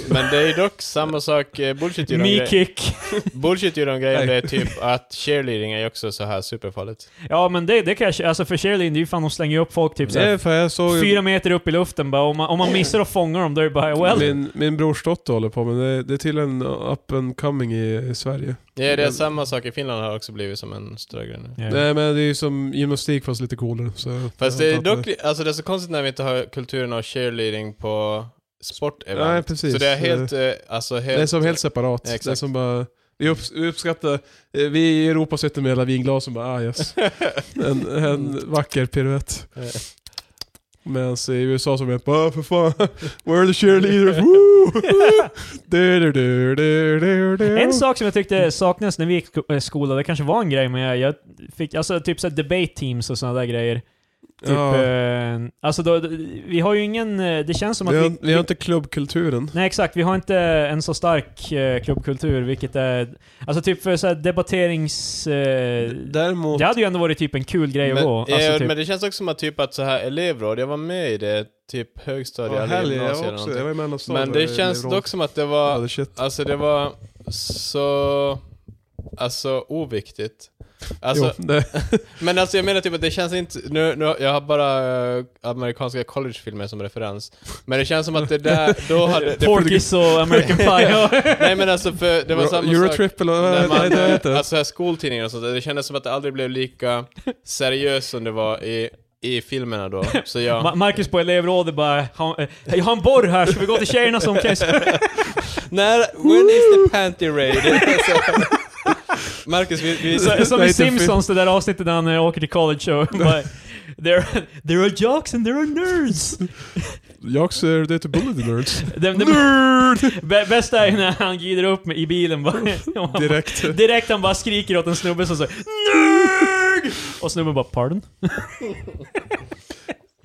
A: Men det är dock samma sak, eh, bullshit ju de
B: Me
A: gre-
B: kick.
A: Bullshit ju de grejerna,
C: Nej.
A: det är typ att cheerleading är ju också så här superfarligt.
B: Ja men det, det kanske, alltså för cheerleading, det är ju fan de slänger ju upp folk typ
C: det är
B: såhär,
C: för jag såg
B: fyra meter upp i luften bara, om man, om man missar och fångar dem då är det bara well.
C: min, min brors dotter håller på men det, det är till en up and coming i, i Sverige.
A: Ja, det är samma sak i Finland har också blivit som en större grej nu.
B: Ja.
C: Nej men det är ju som gymnastik fast lite coolare. Så
A: Fast det är dock, alltså det är så konstigt när vi inte har kulturen av cheerleading på sportevent.
C: Nej, precis.
A: Så det är helt, eh, alltså helt...
C: Det är som helt separat.
A: Ja,
C: det är
A: exakt.
C: som bara... Vi, upp, vi uppskattar... eh, Vi i Europa sitter med hela vinglasen bara ah yes. En, en
A: Mm.
C: vacker piruett. Medan i USA så är det bara ah, för fan, we're the cheerleaders, woo! Du, du, du, du, du, du.
B: En sak som jag tyckte saknades när vi gick sko- eh, skola, det kanske var en grej men jag, jag fick, alltså typ såhär debate teams och sådana där grejer. Typ,
C: Ja.
B: eh, alltså då, vi har ju ingen, eh, det känns som att
C: vi,
B: vi,
C: har, vi har inte klubbkulturen.
B: Nej exakt, vi har inte en så stark eh, klubbkultur, vilket är... Alltså typ för så här debatterings... Eh,
C: Däremot...
B: det hade ju ändå varit typ en kul grej att
A: men,
B: gå. Alltså
A: eh,
B: typ,
A: men det känns också som att typ att så här elevråd, jag var med i det typ högstadiet
C: Ja,
A: eller
C: helg, jag
A: gymnasiet
C: var
A: eller
C: också. Jag
A: någonting.
C: var i mellanstadiet.
A: Men det känns dock som att det var,
C: Ja, shit.
A: alltså det var så, alltså oviktigt. Alltså,
C: jo, det,
A: Men alltså jag menar typ att det känns inte, nu, nu jag har bara eh, amerikanska collegefilmer som referens. Men det känns som att det där, då hade... Det,
B: Porkis och American Pie.
A: nej men alltså för det var samma sak.
C: Eurotrip eller
A: När
C: vad
A: man,
C: nej, det heter.
A: alltså så här skoltidningar och sånt, där, det kändes som att det aldrig blev lika seriöst som det var i, i filmerna då. Så
B: Ma-
A: jag,
B: Marcus på elevrådet bara "Ha- eh, Jag har en borr här, ska vi gå till tjejerna som kan...
A: när, when is the panty raid? Alltså, Marcus, vi, vi,
B: Så- Som
C: Nej,
B: i
C: inte
B: Simpsons, det där avsnittet när han eh, åker till college och bara... There, there are jocks and there are nerds!
C: Jag ser det till Bullet Nerds.
B: Den, den, Bä- Bästa är när han glider upp med, i bilen bara, och han
C: Direkt.
B: bara... Direkt han bara skriker åt en snubbe som säger NERD! Och snubben bara 'Pardon?'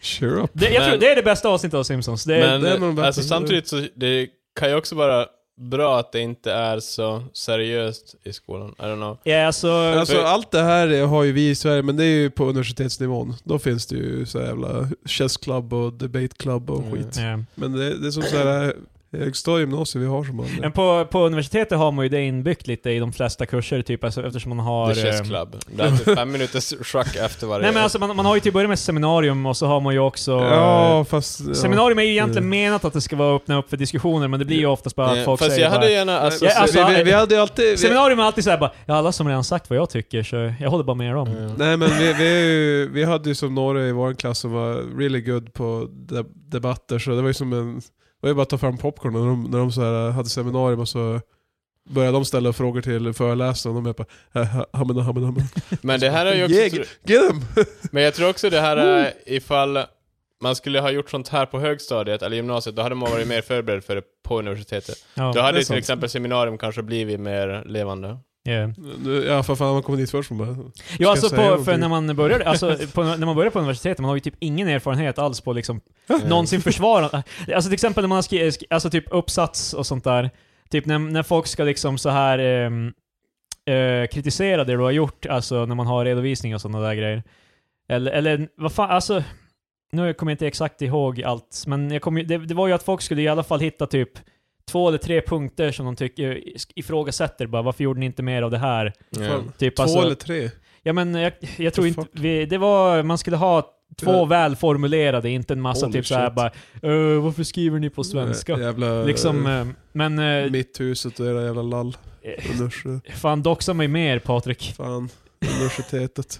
C: Cheer up.
B: Det, jag
A: Men-
B: tror det är det bästa avsnittet av Simpsons. Det är,
A: Men
C: det är nog bättre.
A: alltså, samtidigt så det kan ju också vara bra att det inte är så seriöst i skolan. I don't know.
B: ja, alltså,
C: Alltså
A: För-
C: allt det här har ju vi i Sverige, men det är ju på universitetsnivån. Då finns det ju så jävla chess club och debate club och
A: Mm.
C: skit.
B: ja.
C: Men det, det är som så här högstadie gymnasium vi har som man...
B: Men på, på universitetet har man ju det inbyggt lite i de flesta kurser, typ, alltså, eftersom man har...
A: The Chess
B: ehm,
A: Club. Det är typ fem minuters schack efter varje...
B: Nej men alltså man, man har ju till att börja med seminarium och så har man ju också... Eh,
C: Ja, fast... Ja.
B: Seminarium är ju egentligen
C: Mm.
B: menat att det ska vara öppna upp för diskussioner, men det blir ju oftast bara att
A: Eh,
B: folk
A: Fast
B: säger
A: jag hade
B: bara,
A: gärna... Alltså,
B: Ja,
A: så-
B: alltså,
C: vi, vi, vi hade ju alltid... Vi,
B: Seminarium är alltid såhär bara, ja alla som redan sagt vad jag tycker, så jag håller bara med dem.
A: Ja.
C: nej men vi, vi, är ju- vi hade ju som några i vår klass som var really good på de, debatter, så det var ju som en... Det var ju bara att ta fram popcorn när de, när de så här hade seminarium och så började de ställa frågor till föreläsaren och de bara "Ha, ha, hamna, hamna, hamna.
A: men det här är ju också...
C: Yeah, Get them!
A: Men jag tror också det här är ifall man skulle ha gjort sånt här på högstadiet eller gymnasiet, då hade man varit mer förberedd för det på universitetet.
B: Ja,
A: då hade
C: det är
A: till
C: sant.
A: exempel seminarium kanske blivit mer levande.
B: yeah.
C: Nu- Ja för fan, man kommer dit först och bara...
B: ja alltså
C: jag säga
B: på, för
C: någonting?
B: när man börjar alltså, på, när man börjar på universitetet, man har ju typ ingen erfarenhet alls på liksom,
C: Äh.
A: Mm.
B: någonsin försvara... Alltså till exempel när man har skrivit, sk- alltså typ uppsats och sånt där. Typ när, när folk ska liksom så här ehm, eh, kritisera det du har gjort, alltså när man har redovisning och sådana där grejer. Eller, eller vad fan, alltså... Nu kommer jag inte exakt ihåg allt, men jag kommer ju- det, det var ju att folk skulle i alla fall hitta typ två eller tre punkter som de tycker eh, ifrågasätter bara, varför gjorde ni inte mer av det här?
A: Ja.
C: Fan,
B: Typ
C: Två
B: alltså,
C: eller tre?
B: Ja men jag, jag tror
C: The
B: inte,
C: fuck?
B: vi, det var, man skulle ha två
C: Ja.
B: välformulerade, inte en massa
C: Holy
B: typ såhär
C: shit.
B: bara "Eh, varför skriver ni på svenska?
C: Eh, Jävla...
B: Liksom,
C: eh,
B: eh, men eh,
C: Mitthuset och era jävla lall.
B: eh,
C: Unurs-
B: fan doxa mig mer Patrik.
C: Fan. Universitetet.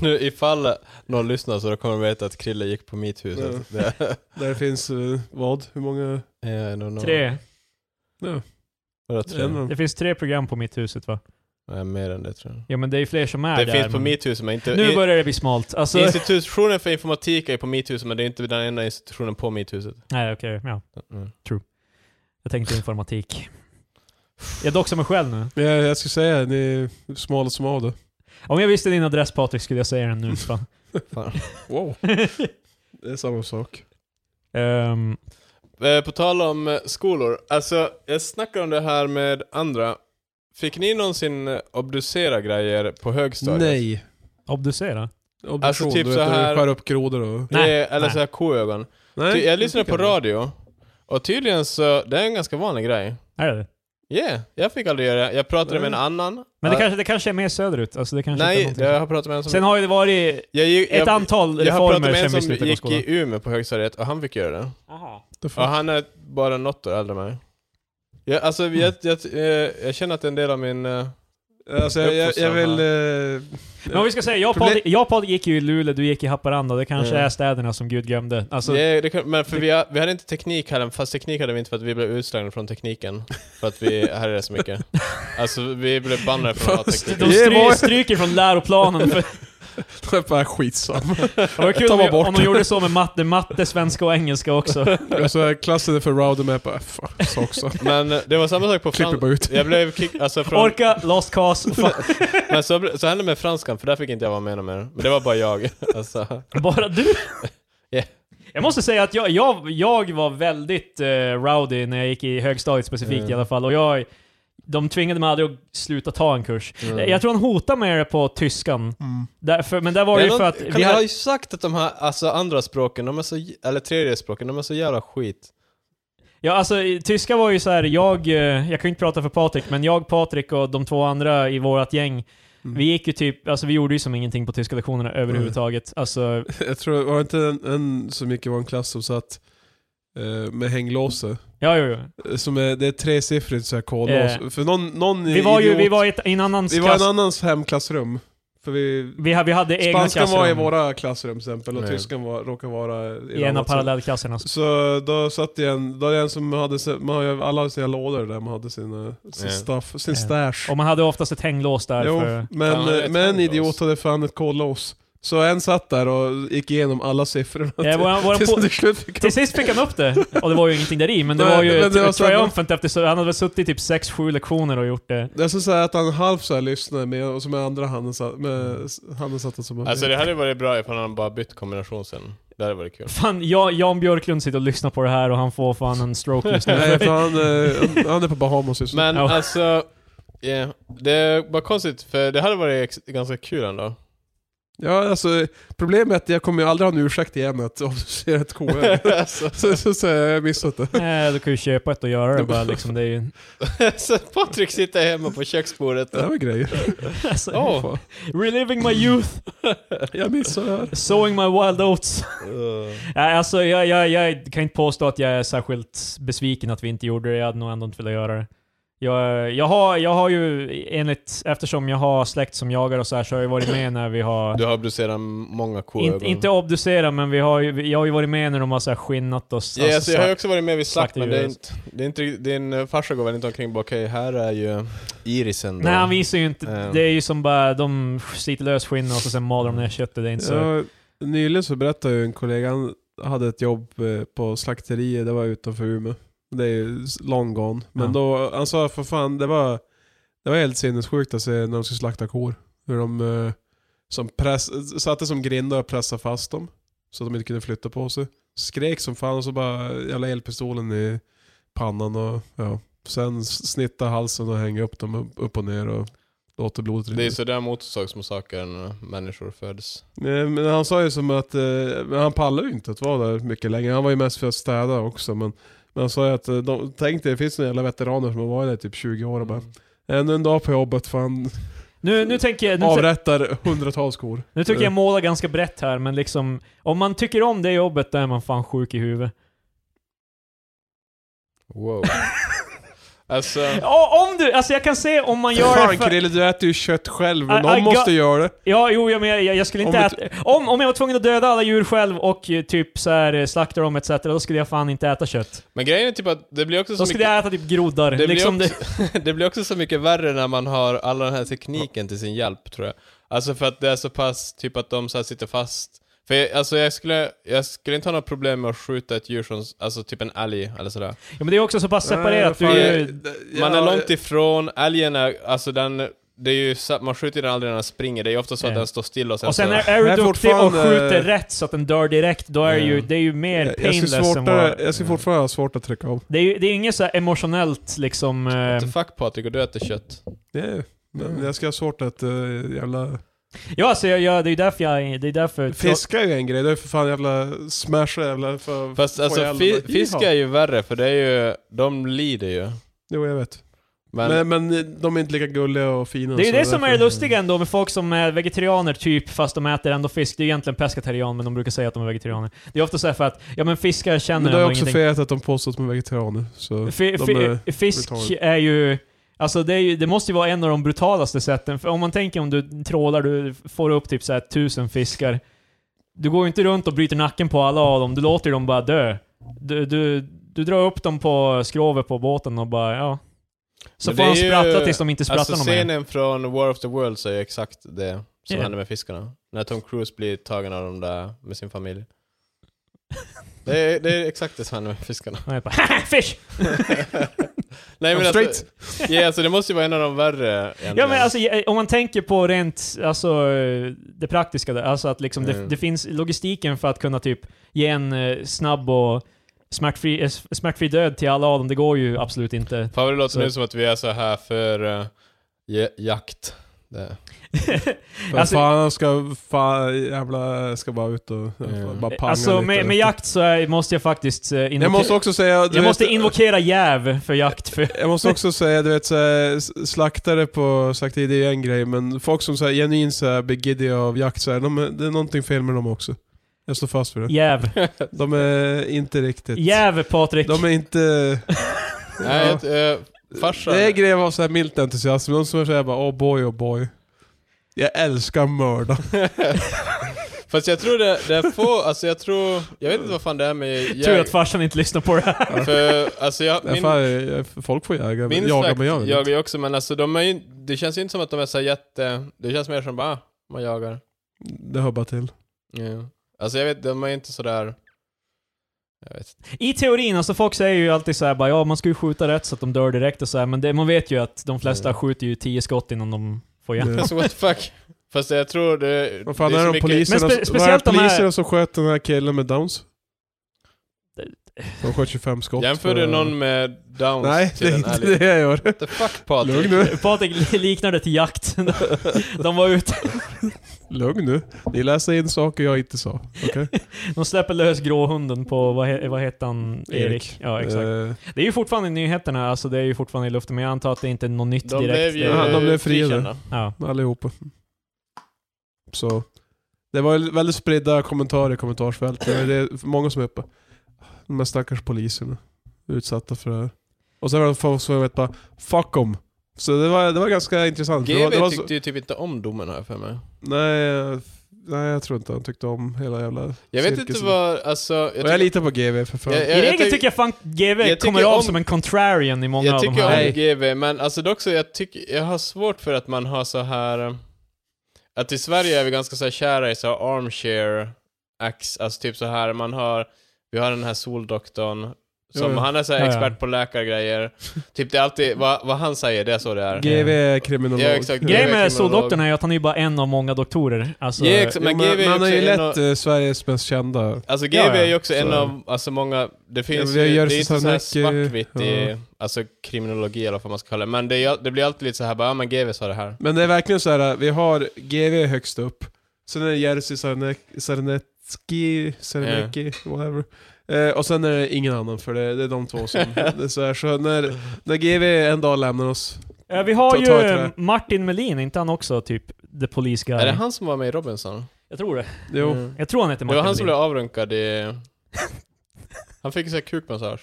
A: Nu ifall någon lyssnar så då kommer de veta att Krille gick på Meethuset. Det-
C: Där finns eh, vad? Hur många?
A: I don't know.
B: Tre.
C: Ja,
A: Vadå tre?
C: en av
B: Det
C: dem.
B: finns tre program på mitt huset va?
A: Nej, mer än det tror jag.
B: Ja men det är ju fler som är
A: Det
B: där.
A: finns på
B: men-
A: Meethuset men inte...
B: Nu
A: i-
B: börjar det bli smalt. Alltså,
A: Institutionen för informatik är på Meethuset men det är inte den enda institutionen på Meethuset.
B: nej okej, ja.
A: Mm.
B: Jag tänkte informatik. Jag doxar mig själv nu.
C: Ja, jag skulle säga ni är smala som av det.
B: Om jag visste din adress Patrik skulle jag säga den nu. Fan.
C: Wow. Det är samma sak.
B: Ehm,
A: Eh, På tal om eh, skolor, alltså jag snackar om det här med andra. Fick ni någonsin eh, obducera grejer på högstadiet?
C: Nej.
B: obducera?
C: Obduktion,
A: Alltså, typ
C: du
A: så
C: vet, när
A: här-
C: du skär upp grodor och...
A: Det,
B: Nej,
A: eller
B: nej.
A: så här koögon. Ty- jag lyssnade på radio, och tydligen så, det är en ganska vanlig grej.
B: Är det det
A: Yeah, jag fick aldrig göra det. Jag pratade med en
C: Nej.
A: annan.
B: Mm. Men det,
A: Ja,
B: kanske, det kanske är mer söderut? Alltså det kanske
A: Nej,
B: inte är
A: jag
B: någonting
A: har pratat med en som...
B: som... Sen har ju det varit
A: jag, gick-
B: ett
A: jag,
B: antal
A: jag har pratat
B: reformer
A: med en
B: sen
A: som
B: vi slutade gå i
A: gick
B: skolan.
A: i Umeå på högstadiet, och han fick göra det.
C: The fuck?
A: Och han är bara något år äldre än mig. Jag, alltså, jag, jag, jag, jag känner att det är en del av min... eh,
C: Alltså, jag, jag, jag vill... eh,
B: Men om vi ska säga, jag och Patrik- jag och Patrik gick ju i Luleå, du gick i Haparanda. Det kanske
A: Mm.
B: är städerna som Gud gömde. Alltså,
A: ja, det kan, men för vi, har- vi hade inte teknik här, fast teknik hade vi inte för att vi blev utslagna från tekniken. För att vi här är det så mycket. Alltså vi blev bannade från att ha
C: Fast
A: teknik.
B: De
C: Det
B: stry,
C: var-
B: stryker från läroplanen. För,
C: Det är eh, bara skitsam.
B: det var kul
C: Ta
B: om, vi-
C: bort.
B: om de gjorde så med matte, matte, svenska och engelska också.
C: Alltså, klassen är för rowdy med bara... Fuck, så också.
A: Men eh, det var samma sak på
C: Klipper
A: franskan.
C: bara ut.
A: Jag blev kick, alltså från,
B: Orka, lost cause, fa-
A: men så, ble- så hände det med franskan, för där fick inte jag vara med någon mer. Men det var bara jag. Alltså,
B: bara du.
A: Ja.
B: Jag måste säga att jag, jag, jag var väldigt eh, rowdy när jag gick i högstadiet specifikt
A: Mm.
B: i alla fall. Och jag, de tvingade mig aldrig att sluta ta en kurs.
A: mm.
B: Jag tror han hotade med det på tyskan.
C: Mm.
B: Därför, men där var det
A: Men
B: ju
A: de-
B: för att
A: kan
B: vi
A: jag har
B: hade,
A: ju sagt att de här alltså, andra språken, de är så, j- eller tredje språken, de är så jävla skit.
B: ja, alltså, i- Tyska var ju så här, jag, eh, jag kan ju inte prata för Patrik, men jag, Patrik och de två andra i vårt gäng
C: Mm.
B: Vi gick ju typ, alltså vi gjorde ju som ingenting på tyska lektionerna överhuvudtaget.
C: Mm.
B: Alltså,
C: Jag tror, var det inte en, en som gick i vår klass som satt eh, med hänglåse?
B: ja, jo, jo.
C: Eh, Som är, det är tresiffrigt så här kodlås.
B: Eh.
C: För någon, någon
B: Vi var ju,
C: idiot-
B: vi var i ett, i en annan
C: vi var i
B: klass.
C: en annans hemklassrum. För vi...
B: Vi, ha- vi hade egna
C: Spanskan
B: klassrum.
C: var i våra klassrum till exempel och
A: Nej.
C: tyskan var, råkade vara i,
B: I en av
C: annat rum.
B: parallellklasserna.
C: Så då satt det en, då är det en som hade, sin- man har ju alla hade sina lådor där man hade sina, sin
A: Ja.
C: stuff, sin
B: Ja.
C: stash.
B: Och man hade oftast ett hänglås där
C: Jo,
B: för...
A: Fan,
C: men, eh,
A: det är ett
C: men en
A: hänglås.
C: idiot hade fan ett kodlås. Så en satt där och gick igenom alla siffrorna.
B: Ja, Eh, våran, våran
C: Tills
B: på,
C: till slut fick
B: till sist fick han upp det, och det var ju ingenting där i, men det
C: Nej,
B: var ju
C: men
B: ett,
C: det var
B: ett
C: så att-
B: triumphant efter så han hade väl suttit i typ 6-7 lektioner och gjort det.
C: Det är så så här att han halvt så här lyssnade med, och så med andra handen satt, med s- handen satt han som
A: Alltså det hade varit bra ifall han bara bytt kombination sen. Det hade varit kul.
B: Fan, jag, Jan Björklund sitter och lyssnar på det här och han får fan en stroke just
C: Nej,
B: nu.
C: för han, eh, han, han är på Bahamas just nu.
A: Men
B: Ja.
A: alltså, yeah. det är bara konstigt för det hade varit ex- ganska kul ändå.
C: Ja, alltså problemet är att jag kommer ju aldrig ha en ursäkt igen att om du ser ett KR.
A: alltså,
C: så, så, så, jag har missat det.
B: Nej, du Eh, kan ju köpa ett och göra det bara liksom. Det är ju...
A: så Patrik sitter hemma på köksbordet.
C: Det här var grejer.
B: Alltså,
A: Åh.
C: Fan,
B: Reliving my youth,
C: Jag missade det här.
B: sowing my wild oats.
A: Uh.
B: Nej, alltså jag, jag, jag kan inte påstå att jag är särskilt besviken att vi inte gjorde det. Jag hade nog ändå inte velat göra det. Jag, jag, har, jag har ju enligt, eftersom jag har släkt som jagar och så här så har jag varit med när vi har...
A: Du har obducerat många kor.
B: In, inte obducerat men vi har, ju- jag har ju varit med när de har så här skinnat oss.
A: Ja, alltså,
B: alltså,
A: jag har ju
B: så-
A: också varit med vid slakt, men det är
B: slaktdjur.
A: inte, det är inte, riktigt- din eh, farsa går väl inte omkring och bara okej, här är ju irisen då.
B: Nej han visar ju inte.
A: Eh.
B: Det är ju som bara de sliter lös skinnet och så sen maler de ner köttet. Det är inte så...
C: Ja, nyligen så berättade ju en kollega, han hade ett jobb eh, på slakteriet, det var utanför Umeå. Det är ju s- long gone. Men
B: Ja.
C: då, han sa för fan, det var, det var helt sinnessjukt att se när de skulle slakta kor. Hur de eh, som press, satte som grindar och pressade fast dem. Så att de inte kunde flytta på sig. Skrek som fan och så bara jävla elpistolen i pannan och ja. Sen s- snitta halsen och hänga upp dem upp- upp och ner och låter blodet rinna
A: Det är
C: ut.
A: sådär motorsågsmassakern eh, människor föds.
C: Nej, Eh, men han sa ju som att, eh, men han pallade ju inte att vara där mycket längre. Han var ju mest för att städa också. Men, men han sa ju att, eh, de, tänk dig, det finns några jävla veteraner som har varit där i typ 20 år och bara Ännu en dag på jobbet, fan.
B: Nu, nu tänker jag... Nu, tän-
C: Avrättar hundratals kor.
B: nu tycker jag måla ganska brett här men liksom... Om man tycker om det jobbet då är man fan sjuk i huvudet.
A: Wow. alltså,
B: Ja, om du, alltså jag kan se om man gör det
C: Fan
B: för,
C: Krille, du äter ju kött själv. Men
B: I-
C: någon
B: I
C: måste göra det.
B: Ja, jo, jag, men jag, jag skulle inte
C: Om
B: om
C: du
B: äta... Om, om jag var tvungen att döda alla djur själv och eh, typ så här, eh, slakta dem etc. Då skulle jag fan inte äta kött.
A: men grejen är typ att det blir också så
B: Då
A: mycket...
B: skulle jag äta typ groddar.
A: Det blir,
B: liksom det,
A: också, det... blir också så mycket värre när man har all den här tekniken till sin hjälp, tror jag. Alltså för att det är så pass, typ att de så här sitter fast. För jag, alltså jag skulle, jag skulle inte ha något problem med att skjuta ett djur som, alltså typ en älg eller sådär.
B: ja, men det är också så pass separerat.
C: Nej,
B: du
C: Eh, fan,
B: är
C: jag-
B: ju,
C: jag-
A: Man är
B: eh,
A: långt ifrån, älgen är, alltså den, det är ju, sa- man skjuter den aldrig när den springer, det är ju ofta så att
B: Ja.
A: den står still och sen,
B: och sen
A: så...
B: är, är du
C: Nej,
B: duktig och
C: fortfarande-
B: skjuter rätt så att den dör direkt, då är
A: Ja.
B: ju, det är ju mer
C: jag, jag, skulle
B: painless än
C: svårtare,
B: vad...
C: jag skulle fortfarande ha svårt att trycka av.
B: Det är ju det är inget så här emotionellt liksom...
A: What
B: Eh,
A: the fuck Patrik, och du äter kött?
C: Yeah. Men
A: Mm.
C: jag ska ha svårt att eh, jävla...
B: ja, alltså jag, jag, det är ju därför jag... Det är därför...
C: Fiska är ju en grej, det är för fan jävla smasha jävla... För,
A: Fast
C: få
A: alltså
C: ihjäl
A: fi,
C: dem.
A: fisk är ju värre, för det är ju, de lider ju.
C: Jo, jag vet.
A: Men,
C: Men, men, eh, de är inte lika gulliga och fina.
B: Det är ju
C: så
B: det som är
C: därför-
B: lustigt ändå med folk som är vegetarianer typ, fast de äter ändå fisk. Det är egentligen pescatarian, men de brukar säga att de är vegetarianer. Det är ofta så här för att, ja men fiskar känner
C: Men det är
B: ändå
C: också
B: ingenting.
C: fet att de påstår att de är vegetarianer. Så
B: Fi,
C: de
B: fi,
C: är
B: fisk
C: brutala.
B: är ju... Alltså det, är ju, det måste ju vara en av de brutalaste sätten. För om man tänker om du trålar, du får upp typ så här tusen fiskar. Du går ju inte runt och bryter nacken på alla av dem, du låter ju dem bara dö. Du, du, du drar upp dem på skrovet på båten och bara, ja. Så
A: Men
B: får
A: det är
B: de
A: ju-
B: sprattla tills de inte sprattlar
A: Alltså
B: någon mer.
A: scenen från War of the Worlds är ju exakt det som
B: Ja.
A: hände med fiskarna. När Tom Cruise blir tagen av dem där med sin familj. Det är, det är exakt det som händer med fiskarna.
B: Och jag bara, "Haha, fish!
A: Nej men
C: straight.
A: alltså, yeah, alltså, det måste ju vara en av de värre egentligen.
B: Ja men alltså, ja, om man tänker på rent, alltså eh, det praktiska där, alltså att liksom det,
A: Mm.
B: det finns logistiken för att kunna typ ge en eh, snabb och smärtfri, eh, s- smärtfri död till alla av dem, det går ju absolut inte.
A: Fan vad det låter
B: Så-
A: nu som att vi är så här för eh, ja- jakt. Det.
C: För
B: Alltså-
C: fan, han ska, fan, jävla, ska bara ut och
A: Mm.
C: bara panga
B: alltså
C: lite.
B: med, med jakt så är, måste jag faktiskt... Eh, invoke-
C: Jag måste också säga... du
B: jag måste
C: vet,
B: invokera jäv för jakt. För,
C: Jag måste också säga, du vet såhär, slaktare på slakteri det är ju en grej, men folk som såhär, genuint såhär, blir giddiga av jakt, såhär, de, är- det är någonting fel med dem också. Jag står fast vid det.
B: jäv.
C: De är inte riktigt...
B: Jäv Patrik.
C: De är inte...
A: Nej,
C: Ja.
A: ett, eh, farsan.
C: Det är grejen att vara såhär milt entusiasm, de som är såhär bara oh boy, oh boy. Jag älskar mörda.
A: Fast jag tror det, det är få, alltså jag tror, jag vet inte vad fan det är med
B: Tur
A: jägare.
B: att farsan inte lyssnar på det här.
A: För, alltså jag,
C: Min,
A: min,
C: fan, jag- folk får jaga,
A: min
C: jaga
A: slakt
C: men jag vill
A: jagar
C: inte.
A: ju också, men alltså de är ju, det känns ju inte som att de är så här jätte, det känns mer som bara, ah, man jagar.
C: Det hör bara till.
A: Ja. Alltså jag vet, de är ju inte sådär, jag vet inte.
B: I teorin, alltså folk säger ju alltid så här, bara, ja man ska ju skjuta rätt så att de dör direkt och så här, men det, man vet ju att de flesta
A: Mm.
B: skjuter ju 10 skott innan de får igen.
C: Det-
A: Alltså what the fuck. Fast jag tror det,
C: Vad fan
A: det
C: är,
A: så
C: de poliserna,
B: Men spe-
C: spe,
B: speciellt de här-
C: poliserna som sköt den här killen med downs? De sköt 25 skott.
A: Jämför du
C: för-
A: någon med downs
C: Nej, det
A: till
C: är
A: en
C: inte
A: ärlig?
C: det jag gör.
A: What the fuck Patrik?
C: Lugn nu.
B: Patrik liknar det till jakt. De var ute,
C: Lugn nu. Ni läser in saker jag inte sa. Okej?
B: de släpper lös gråhunden på, vad, he, vad heter han? Erik.
C: Erik.
B: Ja, exakt.
C: Eh,
B: Det är ju fortfarande i nyheterna, alltså det är ju fortfarande i luften, men jag antar att det inte är något nytt
A: De
B: direkt.
A: blev ju
C: Ja, de blev friade.
A: frikända.
B: Ja.
C: allihopa. Så. Det var ju väldigt spridda kommentarer i kommentarsfältet. men Det är många som är uppe. De här stackars poliserna. Utsatta för det här. Och sen var det folk som vet bara 'fuck them' Så det var, det var ganska intressant. det var, det
A: GV
C: var så,
A: tyckte ju typ inte om domen har jag för mig.
C: nej, jag- nej, jag tror inte han tyckte om hela jävla
A: Jag vet
C: cirkusen.
A: inte vad, alltså... Jag,
C: Och jag
A: tycker-
C: litar på GV för fan.
A: Jag-
B: I regel
A: tycker-
B: tycker jag fan GV
A: jag
B: kommer
A: tycker
B: av
A: om-
B: som en contrarian i många
A: jag
B: av de
A: tycker
B: här.
A: om
C: Nej.
A: GV, men alltså dock så jag, tycker, jag har svårt för att man har så här eh, Att i Sverige är vi ganska så här kära i så här armchair acts, alltså typ så här man har, vi har den här soldoktorn, som
C: Jo, jo.
A: han är så här
B: Ja, ja.
A: expert på läkargrejer. typ det är alltid, vad, vad han säger, det är så det är.
C: GV är kriminolog.
A: Ja, exakt.
C: Jo,
B: Grejen
A: Jag är
B: med
A: kriminolog.
B: soldoktorn är ju att han är ju bara en av många doktorer. Alltså,
A: Ja, exakt. Men
C: men
A: GV är
C: han är
A: också
C: ju
A: en av-
C: lätt eh, Sveriges mest kända
A: Alltså GV
B: Ja, ja.
A: är ju också en
C: Så.
A: av, alltså många, det finns
C: vi
A: ju, det
C: gör
A: är
C: så
A: inte så här
C: här mycket,
A: svartvitt i,
C: ja.
A: alltså kriminologi eller vad man ska kalla det, men det, är ju- det blir alltid lite så här bara, ja men GV sa det här.
C: Men det är verkligen så här, äh, vi har GV högst upp, sen är det Jerzy Sarnek- Sarnecki, Sarnecki, whatever. Eh, och sen är det ingen annan för det, det är de två som... det är så, här, så när, när GV en dag lämnar oss,
B: Eh, Vi har
C: Ta- ta ett
B: ju
C: trä.
B: Martin Melin, inte han också typ the police guy?
A: Är det han som var med i Robinson?
B: Jag tror det.
C: jo.
A: Mm.
B: Jag tror han heter
A: Det
B: Martin
A: var han som
B: Melin.
A: blev avrunkad i... Han fick ju såhär kukmassage.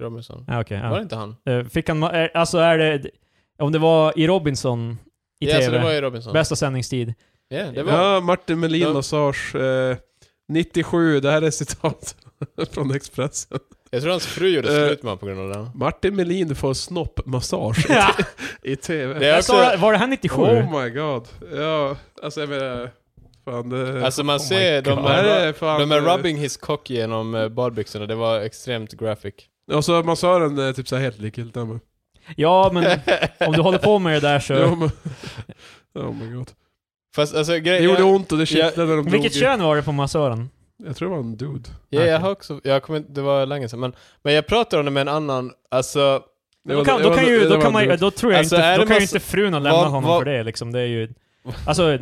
A: i Robinson.
B: Ja, Ah, okej,
A: Var det inte han?
B: ja. Eh, Fick han, ma- eh, alltså är det, om det var i Robinson i
A: ja, så
B: TV,
A: det var i Robinson.
B: bästa sändningstid.
A: Ja, det var...
C: Ja, Martin Melin
A: Ja.
C: Massage, eh, 97, det här är citat från Expressen.
A: Jag tror hans fru gjorde
C: Eh.
A: slut med honom på grund av det.
C: Martin Melin får snoppmassage
B: Ja,
C: i TV.
A: Det är
B: jag sa, var det här 97?
C: Oh my god. Ja, alltså jag menar... Fan det...
A: Alltså man
B: Oh my
A: ser, de
B: God.
C: det här
A: är,
C: är fan...
A: de är
C: eh,
A: rubbing his cock genom eh, badbyxorna, det var extremt graphic.
C: Och så massören är typ såhär helt likgiltig. Han bara,
B: Ja, men om du håller på med det där
C: "Jo,
B: så...
C: men- Oh my god.
A: Fast alltså
C: Det
A: grejen...
C: gjorde
A: jag,
C: ont och det kittlade när de drog
B: Vilket
C: i-
B: kön var det på massören?
C: Jag tror det var en dude.
A: ja, jag
B: Okej.
A: har också, jag kommer inte, det var länge sedan, men, men jag pratade om det med en annan, alltså...
C: Det
B: Då
C: var-
B: kan,
C: det
B: då
C: var-
B: kan ju,
C: det
B: då
C: var
B: kan
C: en
B: man ju-
C: dude.
B: då tror jag
A: Alltså,
B: inte,
A: är
B: då
A: det
B: kan ju
A: massa-
B: inte frun ha lämnat
A: vad-
B: honom
A: vad-
B: för det liksom. Det är ju... Alltså,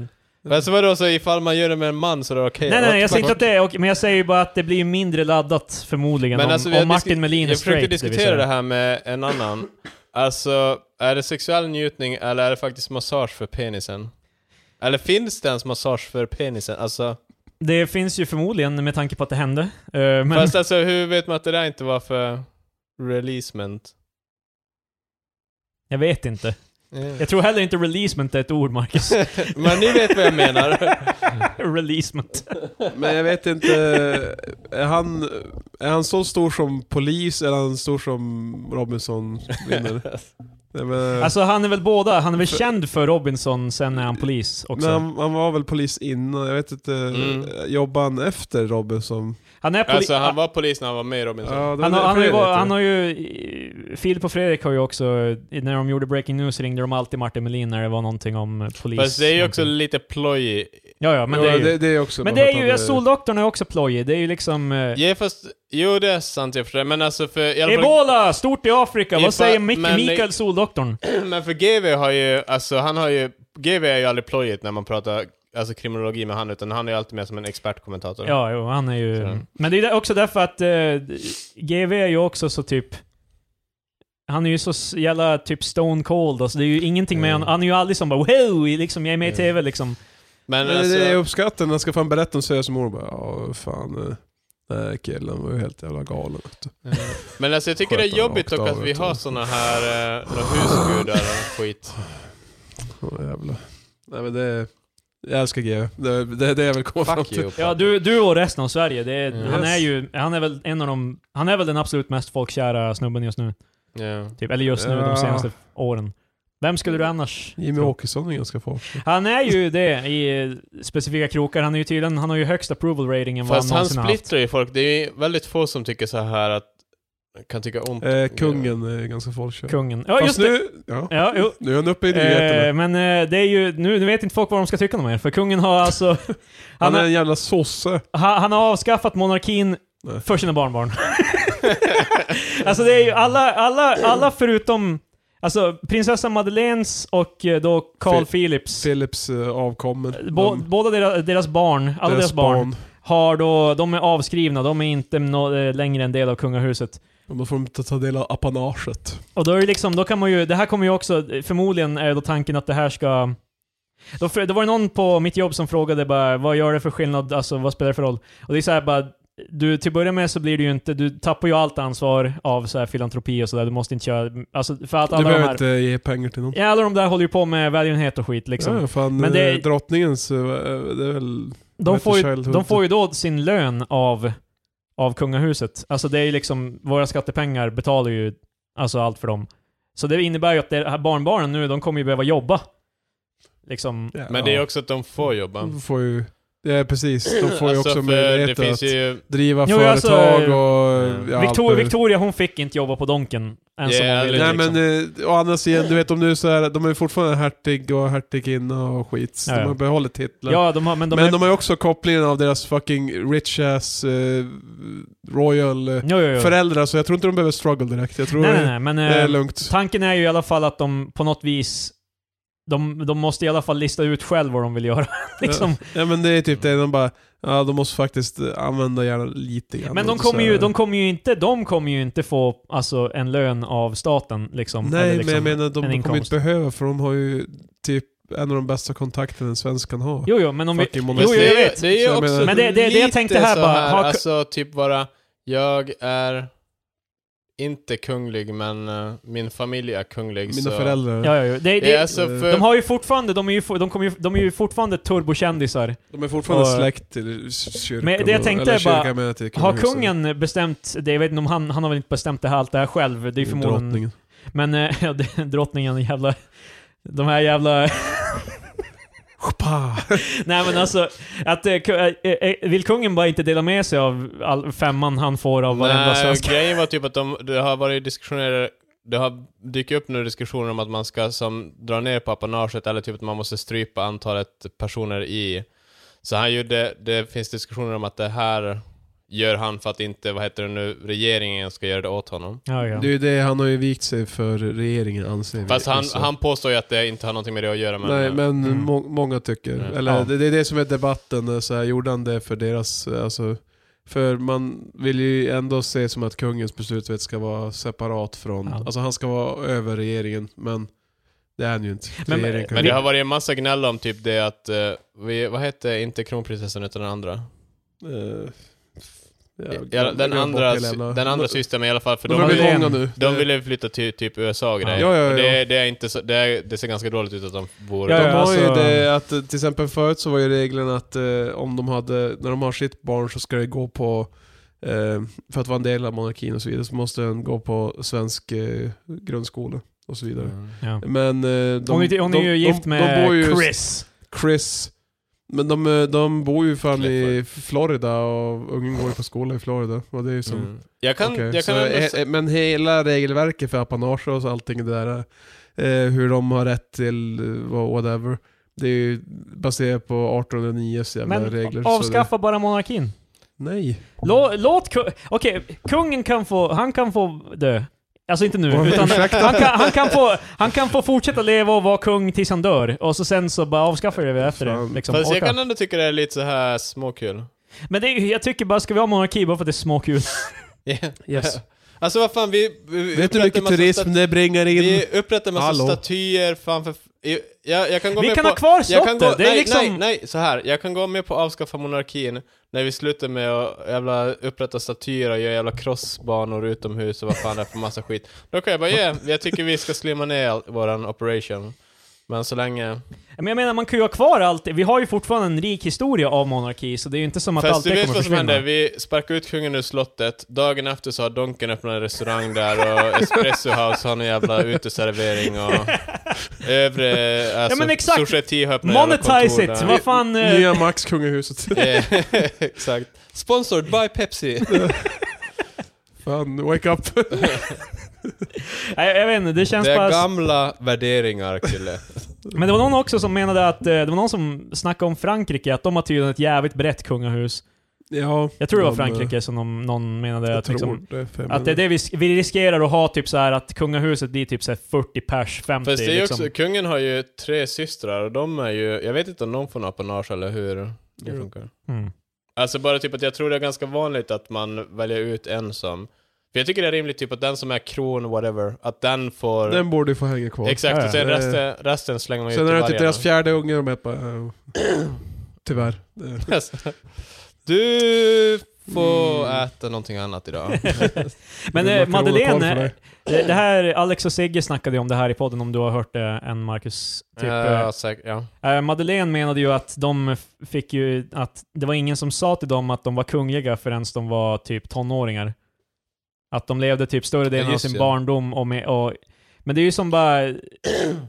A: Alltså vadå, så ifall man gör det med en man så är det okej?
B: Nej, nej, nej,
A: What
B: jag
A: the
B: säger inte
A: fuck?
B: att det är okej, men jag säger ju bara att det blir mindre laddat förmodligen om,
A: alltså, vi har
B: om Martin
A: disku-
B: Melin är
A: Jag försökte
B: straight. vill säga.
A: diskutera det här med en annan. Alltså, är det sexuell njutning eller är det faktiskt massage för penisen? Eller finns det ens massage för penisen? Alltså,
B: Det finns ju förmodligen med tanke på att det hände. eh, men
A: Fast alltså hur vet man att det där inte var för releasement?
B: jag vet inte.
A: Mm.
B: Jag tror heller inte releasement är ett ord, Marcus.
A: Men ni vet vad jag menar.
B: releasement.
C: Men jag vet inte, är han, är han så stor som polis eller är han stor som Robinson vinner? Nej, men,
B: Alltså han är väl båda. Han är väl känd för Robinson sen när han polis också.
C: men han, han var väl polis innan, jag vet inte,
A: Mm.
C: jobbade han efter Robinson?
B: Han är polis...
A: Alltså han var polis när han var med i Robinson.
C: Ja, det var
B: Han har,
C: det-
B: han, har
C: för
B: ju,
C: det
B: var-
C: vet jag.
B: han har ju... Filip och Fredrik har ju också... När de gjorde Breaking News ringde de alltid Martin Melin när det var någonting om eh, polis.
A: Fast det är ju också
B: någonting.
A: lite ploj.
B: Ja, ja, men
C: Jo,
B: det är ju...
C: det, det är också
B: Men det
C: bara för
B: är
C: att
B: ju...
C: han är-
B: Soldoktorn är också plojig. Det är ju liksom... eh,
A: Ja, fast, jo det är sant jag förstår. Men alltså för... i alla fall-
B: Ebola, stort i Afrika.
A: Ifall-
B: Vad säger Micke
A: men-
B: Mikael, Soldoktorn?
A: Men för GV har ju, alltså han har ju GV är ju aldrig plojigt när man pratar alltså, kriminologi med han, utan han är ju alltid med som en expertkommentator.
B: Ja, jo, han är ju...
A: Så.
B: Men det är också därför att eh, GV är ju också så typ... Han är ju så s- jävla typ stone cold, alltså. Det är ju ingenting med
A: Mm.
B: honom. Han är ju aldrig som bara wow, liksom, jag är med i
A: Mm.
B: TV liksom.
A: Men
C: Men
A: alltså,
C: det är uppskattande, han ska fan berätta om Sösmor bara ja fan, eh, den här killen var ju helt jävla galen. vet du."
A: men alltså jag tycker det är
C: Sköt honom
A: jobbigt
C: rakt
A: dock
C: av,
A: att vi
C: vet du.
A: har såna här eh, några husgudar och skit.
C: Åh, jävlar. Nej men det är, jag älskar GW. Det, det är det jag vill komma fram
A: Fuck
C: till.
A: you.
B: Ja, du, du och resten av Sverige, det är,
A: Mm.
B: han är
C: Yes.
B: ju... Han är väl en av de... Han är väl den absolut mest folkkära snubben just nu.
A: Ja.
B: Typ. Eller just nu,
C: Ja.
B: de senaste åren. Vem skulle du annars...
C: Jimmy
B: tro?
C: Åkesson är ganska farlig.
B: Han är ju det i eh, specifika krokar. Han är ju tydligen... Han har ju högst approval rating än vad
A: Fast
B: han
A: han
B: någonsin har haft.
A: splittrar ju folk. Det är ju väldigt få som tycker så här att kan tycka ont om
C: Eh,
A: GV.
C: kungen är ganska folkkär.
B: Kungen. Ja, just
C: Fast
B: det!
C: nu, ja,
B: Ja, jo.
C: nu är han uppe i nyheterna.
B: Eh, men eh, det är ju, nu, nu vet inte folk vad de ska tycka om det här, för kungen har alltså...
C: han,
B: han,
C: är
B: har,
C: en jävla sosse.
B: ha- han har avskaffat monarkin
C: Nej.
B: för sina barnbarn. alltså det är ju alla, alla, alla förutom... Alltså prinsessa Madeleines och eh, då Carl
C: Fi-
B: Philips.
C: Philips eh, avkommen.
B: Bå,
C: De-
B: båda deras, deras barn, alla deras, barn, har då, de är avskrivna, de är inte nå- eh, längre en del av kungahuset.
C: Ja, Då får de inte ta del av apanaget.
B: Och då är det liksom, då kan man ju, det här kommer ju också, förmodligen är då tanken att det här ska... Då, fr- då var det någon på mitt jobb som frågade bara, vad gör det för skillnad, alltså vad spelar det för roll? Och det är så här bara, du, till att börja med så blir du ju inte, du tappar ju allt ansvar av så här filantropi och sådär, du måste inte köra, alltså för att
C: Du
B: alla de
C: behöver
B: här...
C: inte ge pengar till någon.
B: Ja, alla de där håller ju på med välgörenhet och skit liksom.
C: Ja, fan,
B: Men
C: men
B: det-
C: drottningens, eh, det är väl...
B: De
C: Vet
B: får,
C: du,
B: ju,
C: Childhood.
B: de får ju då sin lön av, av kungahuset. Alltså det är ju liksom, våra skattepengar betalar ju alltså allt för dem. Så det innebär ju att det här barnbarnen nu, de kommer ju behöva jobba. Liksom,
C: Ja,
A: Men det är också att de får jobba.
C: De får ju... Ja, precis. De får ju
A: Alltså,
C: också
A: för det
C: möjlighet
A: finns
C: att
A: ju...
C: driva
B: Jo,
C: företag
B: alltså,
C: och...
A: eh,
B: Victor,
C: Ja, allt möjligt.
B: Victoria hon fick inte jobba på Donken. Än som
A: Yeah,
B: hon ville,
C: Nej
B: liksom.
C: men eh, å andra sidan, du vet om nu så här, de är fortfarande hertig och hertiginna och skit. Så
B: Ja, ja.
C: De har behållit titeln.
B: Ja, de har, men de
C: men
B: är...
C: de har ju också kopplingen av deras fucking rich ass eh, royal eh,
B: jo, jo, jo.
C: föräldrar, så jag tror inte de behöver struggle direkt. Jag tror
B: Mm, Nej, nej, nej, men...
C: det är
B: eh,
C: lugnt.
B: Tanken är ju i alla fall att de på något vis... De, de måste i alla fall lista ut själv vad de vill göra. liksom.
C: Ja men det är typ det, de bara, ja de måste faktiskt eh, använda hjärnan lite grann.
B: Men de
C: Så
B: kommer,
C: här.
B: ju, de kommer ju inte, de kommer ju inte få alltså, en lön av staten liksom.
C: Nej
B: Eller liksom
C: men jag menar de,
B: en
C: de kommer
B: inkomst.
C: inte behöva för de har ju typ en av de bästa kontakterna en svensk kan ha.
B: Jo, jo, men om vi...
C: Fucking
B: Jo,
C: monarki.
B: jo,
A: det,
B: jag
A: är-
B: vet.
A: det är ju
C: Så jag
A: också
C: menar-
B: Men det- det- det jag tänkte
A: lite
B: här
A: så
B: bara,
A: här,
B: ha-
A: alltså typ bara, jag är inte kunglig men eh, min familj är kunglig så...
C: Mina föräldrar,
B: Ja, ja, ja. Det,
A: Det är
B: det,
A: alltså för...
B: de har ju fortfarande, de är ju, for- de kommer ju, de är ju fortfarande turbokändisar.
C: de är fortfarande
B: Och-
C: släkt till kyrkan.
B: Men det jag tänkte
C: eller
B: är bara,
C: kyrkan menar jag till
B: Har
C: kungahuset.
B: kungen bestämt det? Jag vet inte om han, han har väl inte bestämt det här, allt det här själv. Det är ju förmodligen...
C: Drottningen.
B: Men eh, ja, det- drottningen, jävla... De här jävla...
C: Spa.
B: Nej men alltså, att, eh, ku- eh, eh, vill kungen bara inte dela med sig av all femman han får av varenda
A: Nej,
B: svensk?
A: grejen var typ att de, det har varit diskussioner, det har dykt upp nu diskussioner om att man ska som dra ner på apanaget eller typ att man måste strypa antalet personer i. Så han gjorde, det finns diskussioner om att det här gör han för att inte, vad heter det nu, regeringen ska göra det åt honom.
B: Ja, ja.
C: Det är ju det, han har ju vikt sig för regeringen anser vi.
A: Fast han,
C: Alltså.
A: han påstår ju att det inte har någonting med det att göra men...
C: Nej, men
B: Mm.
C: må många tycker.
A: Mm.
C: Eller
B: Ja.
C: det, det är det som är debatten. eh, Så här, gjorde han det för deras... eh, Alltså, för man vill ju ändå se som att kungens beslutsrätt ska vara separat från...
B: Ja.
C: Alltså han ska vara över regeringen, men det är han ju inte.
B: Men-
C: Regeringen kan
A: Men
C: ju-
A: det har varit en massa gnäll om typ det att, eh, vi, vad hette inte kronprinsessan utan den andra?
C: Eh, ja,
A: Ja, den,
C: glöm bort
A: andra,
C: hela jävla-
A: den andra
C: De-
A: systern i alla fall, för
C: De
A: de,
C: har
A: har ju-
C: blivit
B: ju-
C: många nu.
A: De ville flytta till typ USA och grejer.
C: Ja, ja, ja.
A: Och det, det, är inte så, det, är, det ser ganska dåligt ut att de bor...
B: Ja,
C: De
B: ja.
C: har ju
B: alltså-
C: det att, eh, till exempel förut så var ju regeln att eh, om de hade, när de har sitt barn så ska det gå på, eh, för att vara en del av monarkin och så vidare, så måste den gå på svensk eh, grundskola och så vidare.
A: Mm.
B: Ja.
C: Men eh, de,
B: hon, är- hon är
C: de,
B: ju
C: de,
B: gift
C: de,
B: med
C: de bor ju,
B: Chris.
C: Chris. Men de, eh, de bor ju fan i
A: Clifford.
C: Florida och ungen går ju på skola i Florida. Och det är ju som,
A: Mm. Jag kan...
C: Okej,
A: Jag
C: så,
A: kan ändå
C: he,
A: se-
C: he- men hela regelverket för apanage och så allting det där, eh, hur de har rätt till eh, whatever, det är ju baserat på 1809s jävla
B: Men
C: regler. så
B: avskaffa bara monarkin.
C: Det, nej.
B: Lå, låt ku- Okej, kungen kan få, han kan få dö. Alltså inte nu,
C: Åh,
B: utan han
C: ursäkta.
B: kan, han, kan få, han kan få fortsätta leva och vara kung tills han dör, och så sen så bara avskaffar vi det efter det.
C: Fan.
B: Liksom.
A: Fast jag
B: Orka.
A: kan ändå tycka det är lite så här småkul.
B: Men det, är- jag tycker bara, ska vi ha monarki bara för att det är småkul?
A: Yeah.
C: Yes.
A: Alltså vad fan, vi... vi
C: Vet du hur mycket turism det bringar in?
A: Vi upprättar massa
C: Hallå.
A: statyer, fan för... i- Jag, jag kan gå
B: Vi
A: med
B: kan
A: på...
B: ha kvar
A: jag kan
B: slottet!
A: gå,
B: det är
A: nej,
B: liksom...
A: nej, nej, så här. Jag kan gå med på att avskaffa monarkin när vi slutar med att jävla upprätta statyer och göra jävla crossbanor utomhus och vad fan det är för massa skit. Då kan jag bara, yeah, jag tycker vi ska slimma ner all- våran operation. Men så länge...
B: Men jag menar, man kan ju ha kvar allt. Vi har ju fortfarande en rik historia av monarki, så det är ju inte som att
A: Fast
B: allt
A: du
B: det
A: vet
B: kommer
A: vad som hände?
B: försvinna.
A: Vi sparkade ut kungen ur slottet, dagen efter så har Donken öppnat en restaurang där och Espresso House har en jävla uteservering och övre... Alltså,
B: men exakt.
A: Society har öppnat jävla
B: Monetize
A: kontor
B: it!
A: där.
B: Vad fan... eh,
C: Nya Max, kungahuset.
A: Eh, Exakt. Sponsored by Pepsi.
C: Fan, wake up.
B: Nej, jag vet inte, det känns
A: Det är
B: bara...
A: gamla värderingar, kille.
B: Men det var någon också som menade att, eh, det var någon som snackade om Frankrike, att de har tydligen ett jävligt brett kungahus.
C: ja,
B: Jag tror det var
C: de, eh,
B: Frankrike som de, någon menade
C: Jag
B: att,
C: tror
B: liksom,
C: det. Fem
B: att det är
C: minuter.
B: det vi, sk- vi riskerar att ha typ så här att kungahuset blir typ så här 40 pers, 50
A: Fast det är ju
B: liksom.
A: också, kungen har ju tre systrar och de är ju, jag vet inte om de får något apanage eller hur det funkar.
B: Mm.
A: Alltså bara typ att jag tror det är ganska vanligt att man väljer ut en som, för jag tycker det är rimligt typ att den som är kron, whatever, att den får,
C: Den borde ju få hänga kvar.
A: exakt,
B: Ja,
A: och sen
C: ja.
A: resten, resten slänger man ju
C: Sen
A: till
C: är det typ
A: vargarna.
C: deras fjärde unge och de är bara... eh, Tyvärr. Eh,
A: Du får
C: Mm. Typ,
A: äta någonting annat idag.
B: Men
C: det är
B: eh,
C: makaroner kvar
B: Madeleine, eh,
C: för dig.
B: det, det här, Alex och Sigge snackade ju om det här i podden, om du har hört det än Marcus. Typ, eh,
A: ja, säkert, ja.
B: Eh, Madeleine menade ju att de f- fick ju att det var ingen som sa till dem att de var kungliga förrän de var typ tonåringar. Att de levde typ större delen
A: Ja,
B: av
A: just
B: sin
A: det.
B: barndom och, med, och Men det är ju som bara,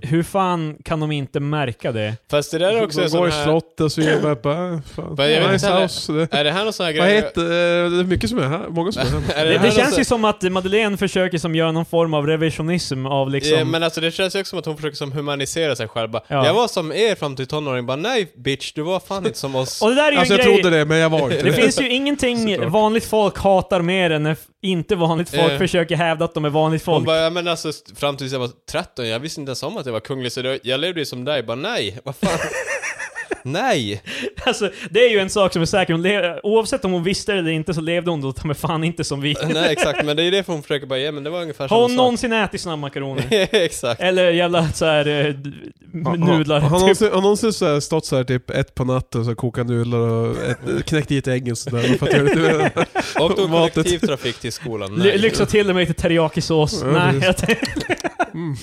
B: hur fan kan de inte märka det?
A: Fast det där är också
C: de
A: en sån
C: går i
A: här-
C: slottet så är man bara... eh, Fan.
A: Men jag vet inte
C: Nice
A: heller-
B: Äh,
C: house. Det-
A: Är det här någon sån här
C: Vad
A: grej?
C: heter... eh, Det är mycket som är här. Många som är
A: Är
C: här.
A: här
B: Det,
A: alltså-
B: det
A: någon
B: känns
A: sån-
B: ju som att Madeleine försöker som göra någon form av revisionism av liksom...
A: Ja, men alltså det känns ju också som att hon försöker som humanisera sig själv. Bara,
B: Ja.
A: Jag var som er fram till tonåring, bara nej bitch, du var fan inte som oss.
B: och det där är ju
C: Alltså
B: en
C: jag
B: grej...
C: trodde det, men jag var inte
B: Det finns ju ingenting
C: Såklart.
B: vanligt folk hatar mer än när f- inte vanligt folk
A: Eh.
B: försöker hävda att de är vanligt folk.
A: Hon bara, ja, men alltså st- fram tills jag var 13, jag visste inte ens om att jag var kunglig, så då, jag levde ju som dig. Bara nej, vad fan. nej.
B: Alltså, det är ju en sak som är säker. Hon le- oavsett om hon visste det eller inte så levde hon då ta mig fan inte som vi.
A: nej, exakt, men det är ju därför hon försöker bara, ja men det var ungefär
B: Har hon
A: samma sak.
B: någonsin ätit såna makaroner?
A: exakt.
B: eller jävla såhär eh, d-
C: Har- har-
B: nudlar?
C: Har
B: typ.
C: någonsin, har någonsin så här stått så här typ ett på natten och så kokat nudlar och ett, knäckt i ett ägg och sådär. För att göra lite-
A: Åkte hon
C: Matet.
A: kollektivtrafik till skolan?
B: Ly-
A: Nej.
B: Lyxa till det med lite teriyakisås.
C: Ja,
B: Nej,
C: precis.
B: jag tänkte...
C: mm.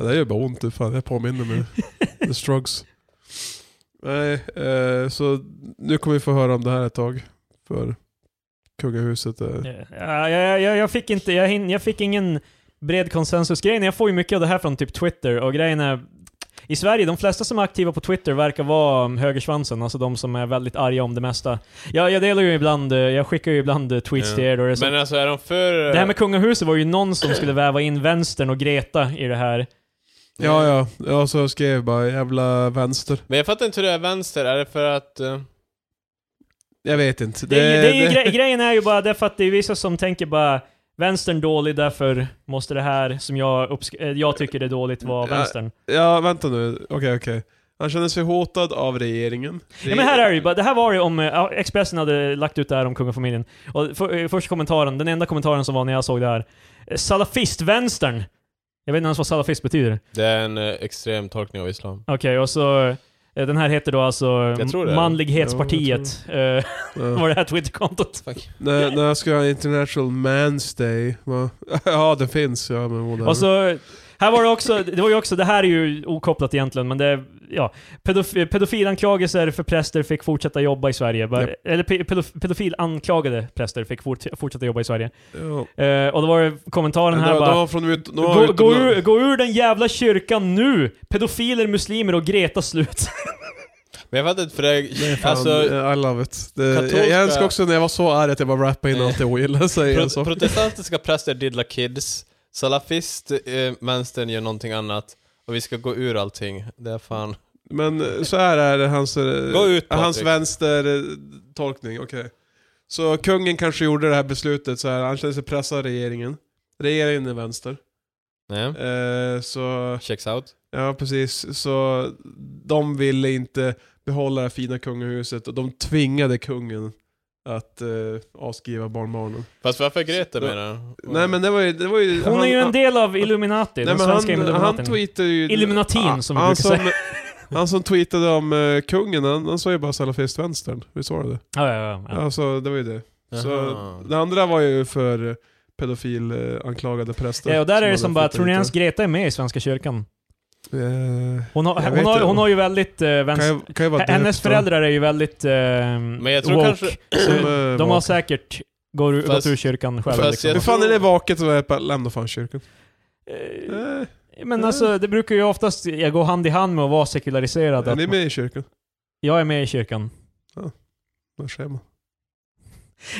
C: Det där gör bara ont, det fan. Jag påminner mig. The strugs. Nej, eh, så nu kommer vi få höra om det här ett tag. För kungahuset eh. är...
B: Ja, jag, jag, jag, fick inte, jag, hin- jag fick ingen bred konsensus. Grejen är, jag får ju mycket av det här från typ Twitter och grejen är i Sverige, de flesta som är aktiva på Twitter verkar vara mm, högersvansen, alltså de som är väldigt arga om det mesta. Jag, jag delar ju ibland, eh, jag skickar ju ibland eh, tweets
A: Ja.
B: till er då det är så
A: Men alltså är de för...
B: Det här med kungahuset var ju någon som skulle väva in vänstern och Greta i det här.
C: Ja, ja. Ja, så jag skrev bara jävla vänster.
A: Men jag fattar inte hur det är vänster, är det för att... eh,
C: Jag vet inte.
B: Det, är ju- det är ju gre- grejen är ju bara därför att det är vissa som tänker bara vänstern dålig, därför måste det här som jag, uppsk- eh, jag tycker är dåligt vara
C: Ja.
B: vänstern.
C: Ja, vänta nu. Okej, okej. Han känner sig hotad av regeringen.
B: Ja, men här är det ju bara, det här var ju om, eh, Expressen hade lagt ut det här om kungafamiljen. Och för, eh, första kommentaren, den enda kommentaren som var när jag såg det här. eh, Salafitvänstern! Jag vet inte ens vad salafist betyder.
A: Det är en eh, extrem tolkning av islam.
B: Okej, och så... eh, Den här heter då alltså
A: Jag tror det.
B: Manlighetspartiet. eh,
C: Ja.
B: var det här Twitterkontot.
C: När, när jag ska ha International Man's Day? Va? Ja, den finns. Ja, men whatever.
B: Och så, här var det också, det var ju också, det här är ju okopplat egentligen, men det, ja. Pedof, pedofilanklagelser för präster fick fortsätta jobba i Sverige. Bara-
C: Japp.
B: Eller pe- pedof, pedofilanklagade präster fick fort, fortsätta jobba i Sverige.
C: ja.
B: Eh, och då var det kommentaren
C: Men
B: här
C: de, de
B: bara...
C: var från ut, de var
B: Gå, gå,
C: utomlands."
B: ur, gå ur den jävla kyrkan nu! Pedofiler, muslimer och Greta slut.
A: Men jag fattar inte, för det...
C: Fan,
A: Alltså,
C: eh, I love it. Det,
A: katolska-
C: jag, jag önskar också när jag var så arg att jag bara rappade in allt jag ogillade. säger jag
A: Pro
C: så.
A: protestantiska präster diddlar kids, salafist, eh, vänstern gör någonting annat, och vi ska gå ur allting. Det är fan...
C: Men eh, så här är det, hans, eh,
A: Gå ut,
C: hans eh,
A: Patrik.
C: vänstertolkning. Okej. Så kungen kanske gjorde det här beslutet så här. han kände sig pressad av regeringen. Regeringen är vänster.
A: Nej.
C: Eh, så,
A: Checks out.
C: ja precis. Så de ville inte behålla det här fina kungahuset och de tvingade kungen att eh, avskriva barnbarnen.
A: Fast varför Greta
C: Så-
A: menar du?
C: Nej men det var ju... Det var ju
B: Hon är ju en del av Illuminati,
C: Nej,
B: den
C: men
B: svenska
C: han, han
B: Illuminatin.
C: tweetade ju...
B: Illuminatin,
C: Ah,
B: som vi
C: han
B: brukar säga.
C: Han som tweetade om eh, kungen, han, han sa ju bara salafistvänstern. Visst var det det?
B: Ja, ja, ja.
C: Alltså det var ju det.
A: Jaha.
C: Så det andra var ju för eh, pedofil eh, anklagade präster.
B: Ja, och där är det
C: hade
B: som bara,
C: fått
B: tror ni
C: ut
B: ens Greta är med i Svenska kyrkan?
C: det. Eh,
B: Hon har,
C: Jag
B: hon
C: vet
B: har,
C: inte.
B: hon har ju väldigt... eh,
C: kan
B: vänster,
C: ju- kan ju vara
B: hennes
C: döpt, va?
B: föräldrar är ju väldigt eh,
A: Men jag tror
B: woke.
A: kanske...
B: Så
C: Som, eh,
B: de har
C: var-
B: säkert går, ur- gått
A: Fast-
B: ur kyrkan själva.
A: fast
B: Liksom.
A: jag-
C: Hur fan är det vaket att jag bara, lämna fan kyrkan?
B: Eh,
C: Eh,
B: Men alltså, det brukar ju oftast jag gå hand i hand med att vara sekulariserad.
C: är
B: Att
C: ni
B: man,
C: med i kyrkan?
B: jag är med i kyrkan.
C: Vad säger man?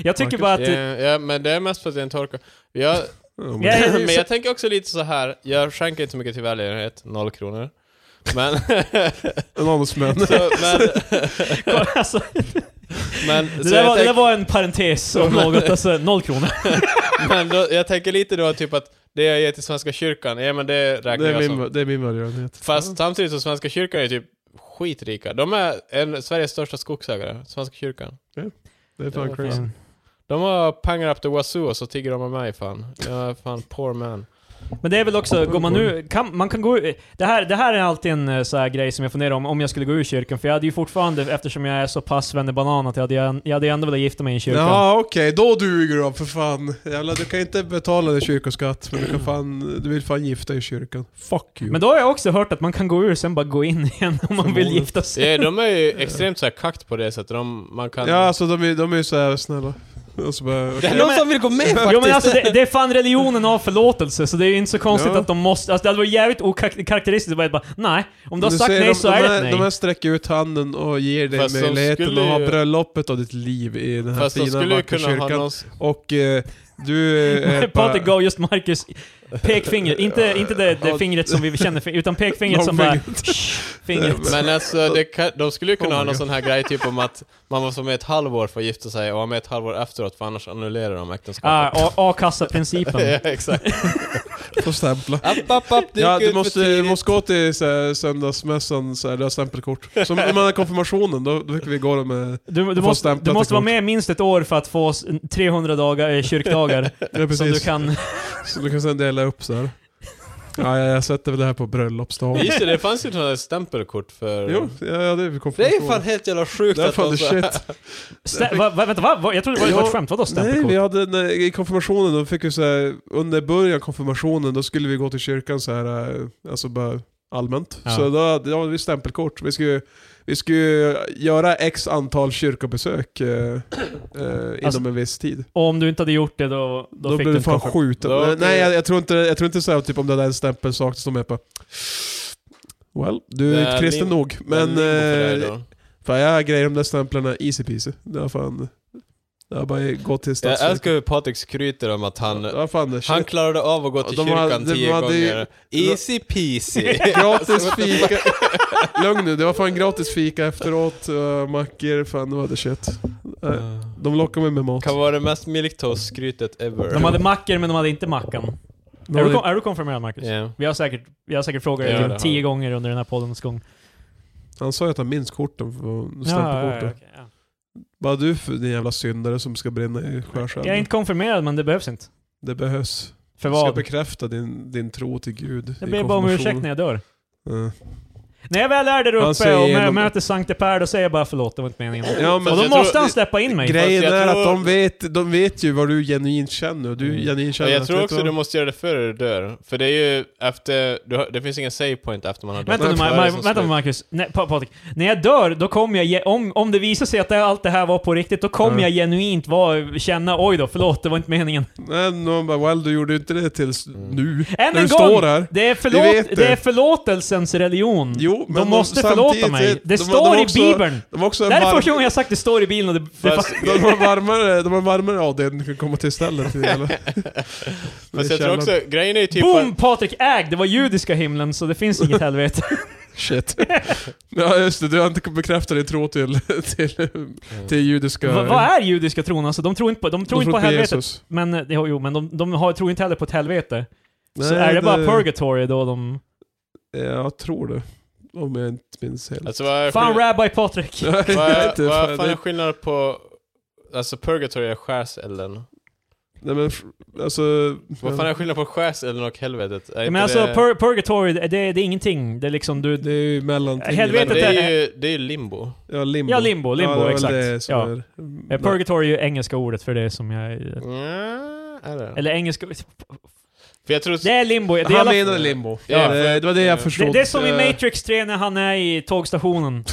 B: Jag tycker
C: Marcus?
B: bara att...
A: Ja, ja, men det är mest för att jag inte orkar. Jag,
C: Ja,
B: Ja,
C: men-
B: ja,
A: men
B: så-
A: jag tänker också lite så här. jag skänker inte så mycket till välgörenhet, noll kronor. Men...
C: En adelsmän.
A: så, men,
B: alltså,
A: men,
B: det,
A: så
B: där
A: jag
B: var, det
A: tänk-
B: där var en parentes om något, alltså noll kronor.
A: men då, jag tänker lite då typ att det jag ger till Svenska kyrkan, ja men det räknar
C: Det
A: jag
C: är
A: som.
C: min, det är min välgörenhet.
A: alltså. Fast samtidigt så Svenska kyrkan är typ skitrika. De är en, Sveriges största skogsägare, Svenska kyrkan.
C: Ja, det är fan
A: Ja,
C: crazy.
A: De har pengar up the wazoo och så tigger de av mig fan. Jag är fan poor man.
B: Men det är väl också, går man nu, kan, man kan gå ur- det här, det här är alltid en eh, så här grej som jag funderar om, om jag skulle gå ur kyrkan, för jag hade ju fortfarande, eftersom jag är så pass banan att jag hade, ju- jag hade ju ändå velat gifta mig i en kyrka.
C: Ja okej, då duger du för fan. Jävlar, du kan inte betala din kyrkoskatt, men du, kan fan, du vill fan gifta dig i kyrkan. Fuck you.
B: Men då har jag också hört att man kan gå ur sen bara gå in igen om man vill
C: Förmodligen.
B: gifta sig.
A: Ja, de är ju extremt så här kakt på det sättet. De, man kan...
C: Ja, alltså de är ju de är ju så här snälla. Och så bara,
A: Det
C: okej.
A: är någon som vill gå med faktiskt!
B: Jo men alltså det, det är fan religionen av förlåtelse, så det är ju inte så konstigt
C: Ja.
B: att de måste... Alltså det hade varit jävligt okaraktäristiskt att bara, bara nej, om du har
C: Men
B: sagt
C: säger
B: nej
C: de,
B: så
C: de
B: är det
C: här-
B: ett nej.
C: De här sträcker ut handen och ger dig
A: Fast de
C: möjligheten
A: skulle
C: att ha
A: ju-
C: bröllopet av ditt liv i den här
A: Fast de
C: fina
A: skulle ju
C: vackra
A: kunna ha
C: kyrkan.
A: någon...
C: Och eh, du eh, är
B: Patrik gav just Marcus pekfingret, inte, inte det, det fingret som vi känner, för- utan pekfingret som bara... "Shh", Fingret.
A: Men alltså, det kan, de skulle ju kunna
C: Oh
A: ha
C: my
A: någon
C: God.
A: sån här grej typ om att man måste vara med ett halvår för att gifta sig och vara med ett halvår efteråt för annars annullerar de äktenskapet.
B: Ah, a- A-kassa-principen.
A: ja, exakt.
C: får stämpla.
A: App, app, app, det gick
C: Ja, du
A: ut för
C: måste,
A: tidigt.
C: måste gå till så här, söndagsmässan, så här, du har stämpelkort. Som när man hade konfirmationen, då, då fick vi gå eh, med...
B: Du, du,
C: Får
B: måste,
C: stämpla
B: du måste
C: till
B: vara
C: kort.
B: med minst ett år för att få s- 300 dagar, eh, kyrkdagar
C: Ja,
B: som du
C: precis.
B: kan...
C: Så du kan sen dela upp så här. Ja, jag, jag sätter väl det här på bröllopsdagen.
A: Just det, det fanns ju sådana här stämpelkort för...
C: Jo, ja, ja, det är väl
A: Det är ju
C: konfirmationen.
A: fan helt jävla sjukt
C: Det är
A: att
C: fan
A: de
C: the
A: så här-
C: shit.
B: Stä, va, va, vänta, va, va, jag trodde det var
C: Ja.
B: ett skämt, vadå
C: Nej,
B: stämpelkort?
C: vi hade, när, i konfirmationen, då fick vi så här, under början konfirmationen, då skulle vi gå till kyrkan så här, eh, alltså bara allmänt.
B: Ja.
C: Så då hade då hade vi stämpelkort. Vi skulle, vi skulle göra x antal kyrkobesök eh, eh, inom
B: Alltså,
C: en viss tid.
B: Och om du inte hade gjort det då, då,
C: Då,
B: fick
C: blev
B: du
C: du
B: en
C: fan
B: konfirmation.
C: skjuten.
A: Då-
C: Eh, Nej, jag, jag tror inte, jag tror inte så här, typ om det där är en stämpel saknas, de är på Well, du
A: Det
C: är
A: är
C: inte kristen
A: lim-
C: nog. Men
A: limbo för dig
C: eh,
A: då.
C: fan, jag har grejer om de där stämplarna easy peasy. Det har fan... Det har bara gått till
A: Jag
C: stadsverket.
A: älskar hur Patrik skryter om att han...
C: Det har fan det
A: Han
C: shit.
A: klarade av att gå
C: Ja,
A: till
C: de
A: kyrkan
C: hade- de
A: tio
C: hade ju-
A: gånger. Easy peasy.
C: Gratis fika. Lugn nu, det var fan gratis fika efteråt. Uh, mackor, fan det var det shit. Eh, De lockade mig med mat.
A: Kan vara det mest milktoast-skrytet ever.
B: De hade mackor men de hade inte mackan.
C: De
B: Är du,
C: hade-
B: kon- är du konfirmerad Marcus?
A: Ja.
B: Vi har säkert, vi har säkert frågat
A: Ja,
B: dig
A: det har
B: typ tio
A: vi.
B: gånger under den här poddens gång.
C: Han sa ju att han minns korten från stämpelkorten.
B: okej, ja.
C: Bara du för din jävla syndare som ska brinna i
B: Jag är
C: skärsjälen.
B: inte konfirmerad men det behövs inte.
C: Det behövs.
B: För
C: Du ska
B: vad?
C: bekräfta din, din tro till Gud.
B: Jag
C: i
B: ber bara om ursäkt
C: konfirmationen.
B: när jag dör.
C: Eh.
B: När jag väl är där
C: Han
B: uppe
C: säger
B: och mö-
C: genom-
B: möter Sankte Per, då säger jag bara förlåt, det var inte meningen.
C: Ja, men
B: och
A: alltså,
B: då
A: jag tror-
B: Alltså, måste han släppa in mig.
A: Fast
C: Grejen
A: jag
C: är
A: tror-
C: att de vet, de vet ju vad du genuint känner. och Du
A: Mm.
C: genuint
A: Och
C: känner
A: jag
C: att,
A: tror
C: vet
A: också
C: vad?
A: du måste göra det före du dör. För det är ju efter... Du har, det finns ingen save point efter man har dött.
B: Vänta nu,
A: Det är
B: Ma-
A: det
B: Ma-
A: som
B: vänta nu
A: slut.
B: Marcus. Nej, Pa- Patrik. När jag dör, då kommer jag... Ge- om, om det visar sig att det, allt det här var på riktigt, då kommer
C: Mm.
B: jag genuint vara, känna oj då, förlåt, det var inte meningen.
C: Nej, någon bara well, du gjorde ju inte det tills
A: Mm.
C: nu.
B: Än
C: när
B: en
C: du
B: gång!
C: står här.
B: Det är,
C: Vi vet
B: förlåt,
C: det.
B: det är förlåtelsens religion.
C: Jo, men
B: de måste förlåta
C: samtidigt-
B: mig. Det
C: de- de
B: står
C: har
B: i
C: också-
B: Bibeln.
C: De har också en
B: Det här är
C: varm-
B: första gången jag har sagt det står i Bibeln och det... det
A: Fast-
C: De har varmare, de har varmare avdelning kan komma till stället. till hela-
A: Fast jag tror också... Grejen är ju typ...
B: Boom! Patrik ägd! Det var judiska himlen, så det finns inget helvete.
C: Shit. Ja just det, du har inte bekräftat din tro till, till, till judiska...
B: Va- vad är judiska tron alltså? De tror inte på, de tror inte på helvetet.
C: Jesus.
B: Men, eh, jo, jo, men de, de har, tror inte heller på ett helvete.
C: Nej,
B: så är det, bara purgatory då de...
C: Jag tror det. Om jag inte minns helt.
A: Alltså vad är
B: Fan Typ,
A: skillnaden-
B: Rabbi Patrik!
C: Jag vet
A: vad är-
C: inte,
A: vad
C: fan,
A: fan är
C: det-
A: skillnaden på... Alltså purgatory är skärselden.
C: Nej men alltså...
A: Vad fan är skillnaden på skärselden och helvetet? Är
B: Men
A: inte
B: alltså
A: det...
B: pur, purgatory, det, det är ingenting. Det är liksom du...
C: Det är ju mellantingen.
A: Men
B: Helvetet
A: det
B: är-
A: är ju det är ju limbo.
C: Ja, limbo.
B: Ja, limbo, limbo,
C: ja, det är mm, väl
B: exakt.
C: Det som
B: ja.
C: är,
B: Eh, Purgatory är ju engelska ordet för det som jag...
A: Mm, är det?
B: Eller engelska...
A: För jag tror...
B: Det är limbo. Det är,
C: Han
B: alla, det,
C: menade limbo.
A: Ja,
C: Ja,
A: för-
C: det, det var det jag
A: eh,
C: förstod.
B: det är som i
C: Eh,
B: Matrix 3 när han är i tågstationen.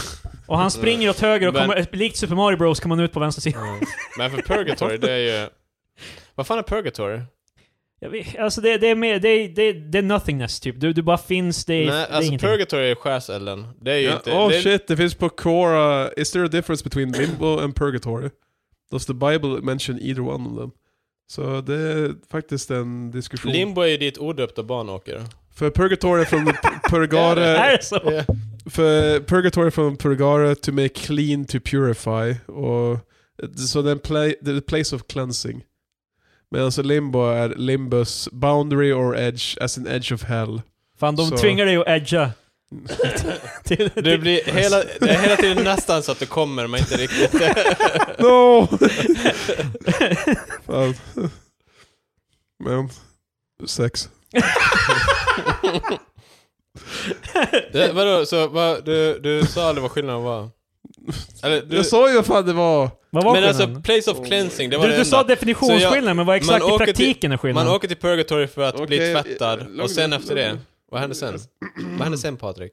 B: Och han springer åt höger och
A: Men-
B: kommer... Likt Super Mario Bros kommer man ut på vänster sida.
A: Mm. Men för purgatory, det är ju... Vad fan är purgatory?
B: Jag vet, alltså det, det är mer... Det, är- det, är- det är nothingness typ. Du, du bara finns, det är,
A: Nej,
B: det är
A: alltså
B: ingenting.
A: purgatory är skärselden. Det är ju
C: Ja,
A: inte...
C: oh
A: det,
C: shit, det finns på Quora. Is there a difference between limbo and purgatory? Does the Bible mention either one of them? Så det är faktiskt en diskussion.
A: Limbo är ju dit odöpta barn åker.
C: för purgatory är från purgare...
B: Är det så?
A: Yeah.
C: För purgatory från purgare to make clean to purify. Och, så det är en pla- det är a place of cleansing. Medan alltså limbo är limbus boundary or edge as an edge of hell.
B: Fan, de
C: Så-
B: tvingar dig att edga. Till-
A: Det,
B: till-
A: blir hela, det är hela tiden nästan så att du kommer, men inte riktigt.
C: No! Fan. Men, sex.
A: det, vadå, så vad, du, du sa aldrig vad skillnaden var? Eller, du,
C: Jag sa ju vad fan det var.
B: Vad var
A: men
B: skillnaden?
A: alltså, place of cleansing, det var
B: du,
A: det
B: du sa
A: enda.
B: definitionsskillnaden, men vad exakt i
A: åker till-
B: praktiken är
A: Man
B: skillnaden?
A: åker till purgatory för att bli
C: Okej, eh,
A: tvättad,
C: lugn,
A: och sen
C: lugn,
A: efter det,
C: lugn.
A: vad händer sen? Vad händer sen Patrik?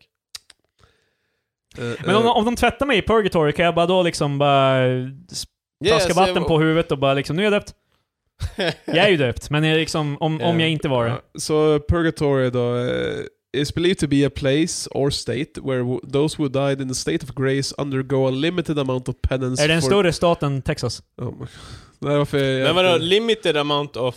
B: men om, om de tvättar mig i purgatory, kan jag bara då liksom bara
A: Yeah,
B: traska
A: så jag-
B: vatten på huvudet och bara liksom, nu är jag döpt. Jag är ju döpt, men jag är liksom, om, om jag inte var det.
C: Eh, Så purgatory då. eh, Is believed to be a place or state where wo- those who died in the state of grace undergo a limited amount of penance
B: Är det en
C: for-
B: större stat än Texas?
C: Oh my- Nej, varför jag-
A: Men vadå, limited amount of...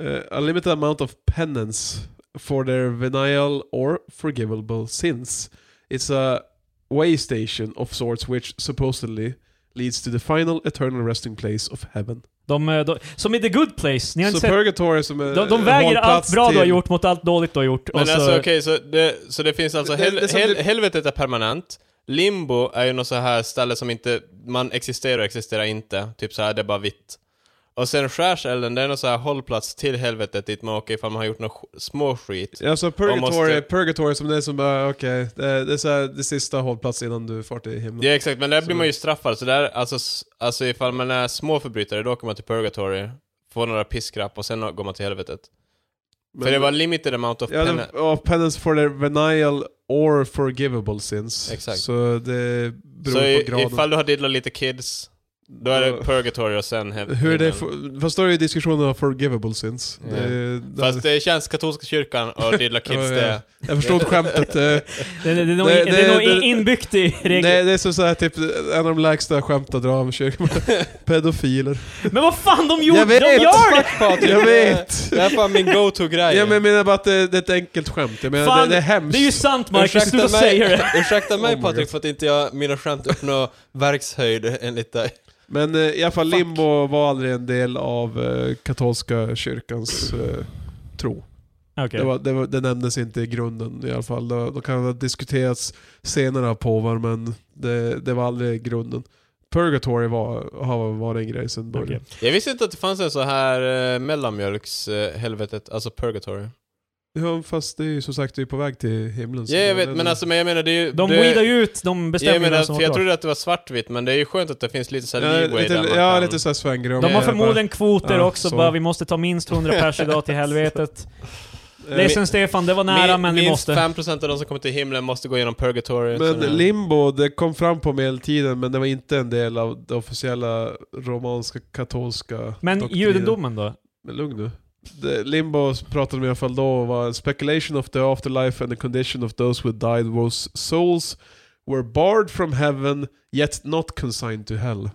C: Eh, a limited amount of penance for their venial or forgivable sins. It's a way station of sorts which supposedly leads to the final eternal resting place of heaven.
B: De, eh, de, som i The Good Place, ni har
C: Så
B: inte sett,
C: purgatory som är
B: de, de
C: en
B: väger allt
C: hållplats
B: bra du har
C: till-
B: gjort mot allt dåligt du har gjort.
A: Men
B: och så,
A: alltså okej, så, det, så det finns alltså
C: Det- det-
A: hel,
C: det som
A: hel,
C: det-
A: helvetet är permanent, limbo är ju något så här ställe som inte, man existerar och existerar inte, typ så här det är bara vitt. Och sen skärselden, det är någon så här hållplats till helvetet dit man åker ifall man har gjort något sk- små skit.
C: Ja, så purgatory,
A: Man måste-
C: purgatory som det är som bara, okej, det, det är så här, det sista hållplatsen innan du far till himlen.
A: Ja exakt, men där blir
C: Så-
A: man ju straffad, så där, alltså, s- alltså ifall man är småförbrytare då åker man till purgatory, får några piskrapp och sen går man till helvetet.
C: Men-
A: För det var limited amount of
C: Ja,
A: penna.
C: det, ja, penance for their venial or forgivable sins.
A: Exakt.
C: Så det beror
A: Så i,
C: på graden.
A: ifall du har diddlat lite kids, då är det
C: Ja.
A: purgatory och sen he-
C: Hur är det,
A: himlen.
C: för- fast då är ju diskussionen om forgivable sins.
A: Ja.
C: Det- det-
A: Fast det känns katolska kyrkan och diddla kids
C: Ja, ja.
A: det.
C: Jag förstod skämtet. eh,
B: det, det, det, är nog-
C: det-
B: det är nog
C: det- det-
B: inbyggt i
C: det,
B: reglerna.
C: det är som så här, typ, en av de lägsta skämt att dra om kyrkan. Pedofiler.
B: Men vad fan, de, gjorde,
C: Jag vet!
B: de gör det!
A: Patrik,
C: Jag
A: det-
C: vet!
A: Det här är fan min go-to-grej.
C: typ. Ja, men jag menar bara att det, det är ett enkelt skämt. Jag menar,
B: Fan,
C: det, det är hemskt.
B: Det är ju sant Marcus,
A: Ursäkta
B: sluta
A: mig-
B: säga det!
A: Ursäkta mig
C: Oh my
A: Patrik
C: God.
A: för att inte jag, mina skämt uppnår verkshöjd enligt dig.
C: Men eh, i alla fall,
A: Fuck.
C: limbo var aldrig en del av eh, katolska kyrkans eh, tro.
B: Okej.
C: Det, var, det, var, det nämndes inte i grunden i alla fall. Det, det kan ha diskuterats senare av påvar, men det, det var aldrig grunden. Purgatory var, har varit en grej sedan början.
B: Okej.
A: Jag visste inte att det fanns en så här eh, mellanmjölkshelvetet, alltså purgatory.
C: Ja, fast det är ju som sagt det är på väg till himlen. så
A: Ja, jag
C: det-
A: vet,
C: det-
A: men alltså men jag menar det är ju...
B: De
A: det,
B: weedar ju ut de
A: jag
B: bestämningarna
A: menar,
B: som
A: för
B: var
A: jag
B: kvar.
A: trodde att det var svartvitt, men det är ju skönt att det finns lite såhär
C: Ja,
A: leeway där
C: lite,
A: man
C: ja,
A: kan...
C: lite såhär svängrum.
B: De har
A: Eh,
B: förmodligen kvoter
C: ja,
B: också,
C: så.
B: bara vi måste ta minst 100 pers idag till helvetet.
C: Eh,
B: Ledsen Stefan, det var nära
A: Min-
B: men vi
A: minst
B: måste.
A: 5% av de som kommer till himlen måste gå igenom purgatory.
C: Men
A: sådär.
C: limbo, det kom fram på medeltiden men det var inte en del av det officiella romanska katolska
B: Men
C: doktrinen.
B: judendomen då?
C: Men lugn nu. Det, limbo pratade om i alla fall då var speculation of the afterlife and the condition of those who died was souls were barred from heaven yet not consigned to hell.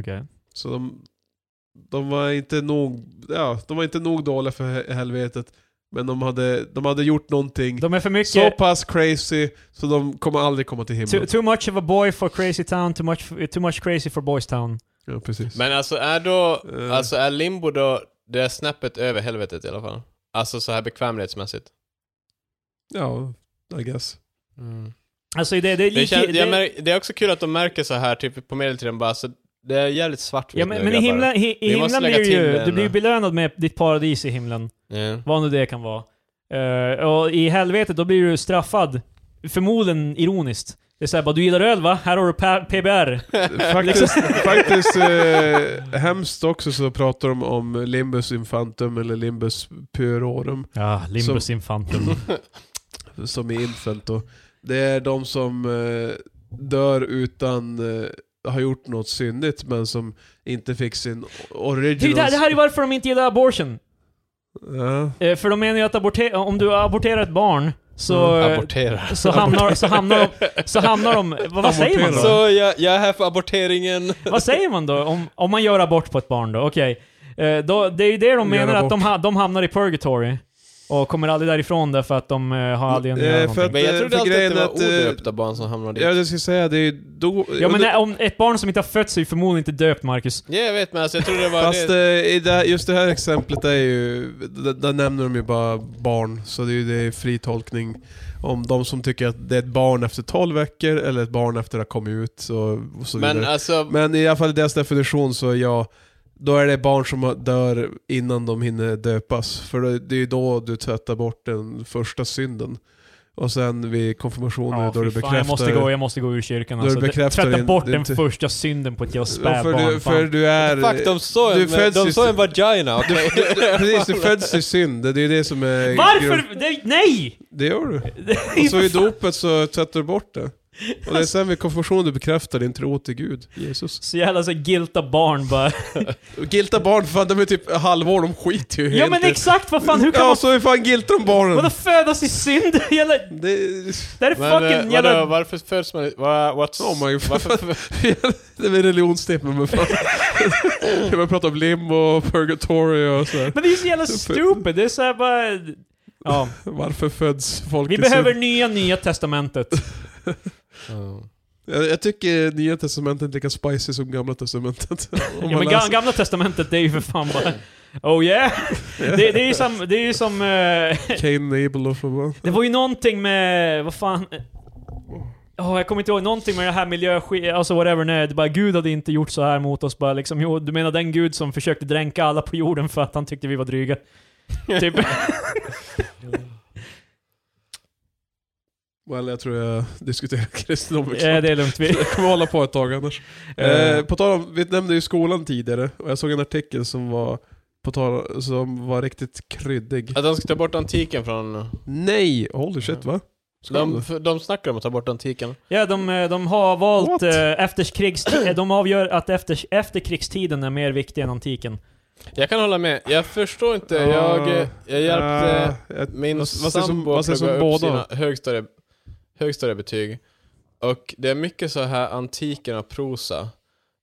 B: Okej.
C: Så de, de var inte nog, ja, de var inte nog dåliga för he- helvetet Men de hade, de hade gjort någonting
B: De är för
C: så
B: mycket...
C: pass crazy så de kommer aldrig komma till
B: Too,
C: himlen.
B: too much of a boy for crazy town, too much, too much crazy for boys town.
C: Ja, precis.
A: Men alltså är då,
C: Eh.
A: alltså är limbo då, det är snäppet över helvetet i alla fall? Alltså så här bekvämlighetsmässigt.
C: Ja, I guess.
B: Alltså det, det är
A: Det,
B: lika...
A: känns, jag
B: det-
A: mär, det är också kul att de märker så här typ på medeltiden bara, så det är jävligt svartvitt
B: Ja, men,
A: nu,
B: men i
A: grabbar.
B: himlen, i, i
A: Ni måste
B: himlen
A: lägga
B: blir du
A: till
B: ju,
A: den.
B: du blir ju belönad med ditt paradis i himlen.
A: Ja.
B: Vad nu det kan vara. Eh, och i helvetet, då blir du straffad. Förmodligen ironiskt. Det är såhär bara, du gillar öl va? Här har du pa- PBR.
C: Faktiskt,
B: Liksom-
C: faktiskt eh, hemskt också så pratar de om limbus infantum eller limbus puerorum.
B: Ja,
C: limbus
B: infantum.
C: som i Infant då. Det är de som eh, dör utan eh, har gjort något syndigt men som inte fick sin
B: Typ, det,
C: original...
B: här- det här är varför de inte gillar abortion.
C: Ja.
B: Eh, för de menar ju att aborte- om du aborterar ett barn så...
A: Mm, Abortera.
B: så hamnar, så hamnar de... Så hamnar de vad, vad säger man då?
C: Abortera.
A: Så jag, jag är här för aborteringen.
B: Vad säger man då om, om man gör abort på ett barn då? Okej. Eh, då, det är ju det de
C: Gör
B: menar att
C: abort.
B: de, ha, de hamnar i purgatory. Och kommer aldrig därifrån därför att de eh, har aldrig
C: Eh,
B: eh,
C: för att-
A: Men jag trodde
C: för
A: alltid att
C: grejen
A: det var
C: att, eh,
A: odöpta barn som hamnade
C: Ja,
A: dit.
C: jag ska säga det är då...
B: Ja men
C: under-
B: nej, om ett barn som inte har fötts är ju förmodligen inte döpt Marcus.
A: Ja, jag vet men alltså jag trodde det var
C: Fast
A: det.
C: eh, i det, här- just det här exemplet är ju, där, där nämner de ju bara barn, så det är ju det är fri tolkning. Om de som tycker att det är ett barn efter 12 veckor eller ett barn efter att ha kommit ut och, och så
A: Men
C: vidare.
A: alltså,
C: Men i alla fall i deras definition så är jag, då är det barn som dör innan de hinner döpas. För det- det är ju då du tvättar bort den första synden. Och sen vid konfirmationen
B: Ja,
C: då du
B: fy fan, jag, måste
C: bekräftar...
B: gå, jag måste gå ur kyrkan
C: då du
B: alltså. Det-
C: bekräftar
B: Tvätta
C: din-
B: bort
C: din
B: den
C: ty-
B: första synden på ett jävla
C: Ja, för, du,
B: spädbarn.
C: för
B: fan.
C: du är...
A: fuck de såg
C: du
A: en,
C: föds
A: de
C: i-
A: såg en vagina. okej?
C: Precis, du föds i synd. Det är ju det som är... grund-
B: Varför? Det, nej!
C: Det gör du. Och så i dopet så tvättar du bort det. Och det är sen vid konfirmationen du bekräftar din tro till Gud, Jesus.
B: Så jävla så här gilta barn bara.
C: Gilta barn, fan de är typ halvår, de skiter ju
B: ja men
C: i-
B: exakt, vad fan, hur kan
C: ja,
B: man...
C: så hur fan giltar de barnen?
B: Vadå födas i synd? Jävla,
C: Det...
B: det här är
A: Men eh,
B: fucking
A: vadå,
B: jävla...
A: varför föds man va, what's,
C: Oh my-
A: varför,
C: det är religionstepen men fan. Jag börjar prata om limbo och purgatory och sådär.
B: Men det är ju så jävla stupid, det är så här bara... Ja,
C: Varför föds folk
B: vi
C: i
B: behöver
C: synd?
B: nya, nya testamentet.
A: Ja.
C: Jag, jag tycker nya testamentet är lika spicy som gamla testamentet. Om man
B: Ja, men ga-
C: läser-
B: gamla testamentet, det är ju för fan bara... Oh yeah! Det, det är ju som... Det, är ju som eh,
C: Cain och Abel och så bara.
B: det var ju någonting med... Vad fan... Oh, jag kommer inte ihåg någonting med det här miljöskit, alltså whatever, nej. Det är bara Gud hade inte gjort så här mot oss bara liksom. Jo, du menar den Gud som försökte dränka alla på jorden för att han tyckte vi var dryga? typ.
C: Well, jag tror jag diskuterar kristendom
B: Ja, Eh, det är lugnt. Vi,
C: Jag kommer hålla på ett tag annars. Eh,
B: Eh.
C: på tal om, vi nämnde ju skolan tidigare och jag såg en artikel som var, på tal, som var riktigt kryddig.
A: Att de ska ta bort antiken från...
C: Nej! Holy shit va? Ska
A: De, de snackar om att ta bort antiken.
B: Ja, de, eh, de har valt
C: What?
B: eh, efterkrigs... eh, De avgör att efter, efterkrigstiden är mer viktig än antiken.
A: Jag kan hålla med. Jag förstår inte.
C: Ja.
A: Jag, eh, jag hjälpte
C: Eh, ett-
A: min
C: vad- vad säger som-
A: sambo
C: vad
A: att
C: säger
A: plugga
C: som
A: upp
C: båda?
A: sina högstadie, högstadiebetyg. Och det är mycket så här antiken och prosa.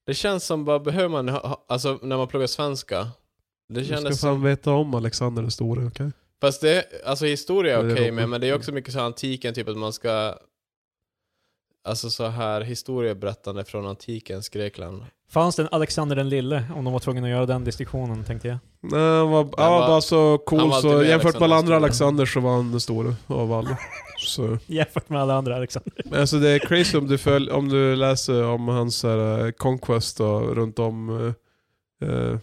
A: Det känns som bara, behöver man ha- ha, alltså när man pluggar svenska? Det
C: Du ska
A: kändes
C: fan veta om Alexander den store, okej?
A: Fast det, alltså historia är
C: Men det
A: okej
C: är roligt.
A: med, men det är också mycket så här antiken, typ att man ska... Alltså så här historieberättande från antikens Grekland.
B: Fanns det en Alexander den lille, om de var tvungna att göra den distinktionen, tänkte jag.
C: Nej, han var, han var
A: var-
C: bara så
A: han
C: cool
A: var
C: så
A: alltid med
C: jämfört med alla andra
A: Alexander
C: Alexander så var han den store av alla. Så.
B: Jämfört med alla andra Alexander.
C: Men alltså det är crazy om du, följ, om du läser om hans så här, eh, conquest då, runt om... eh, Eh,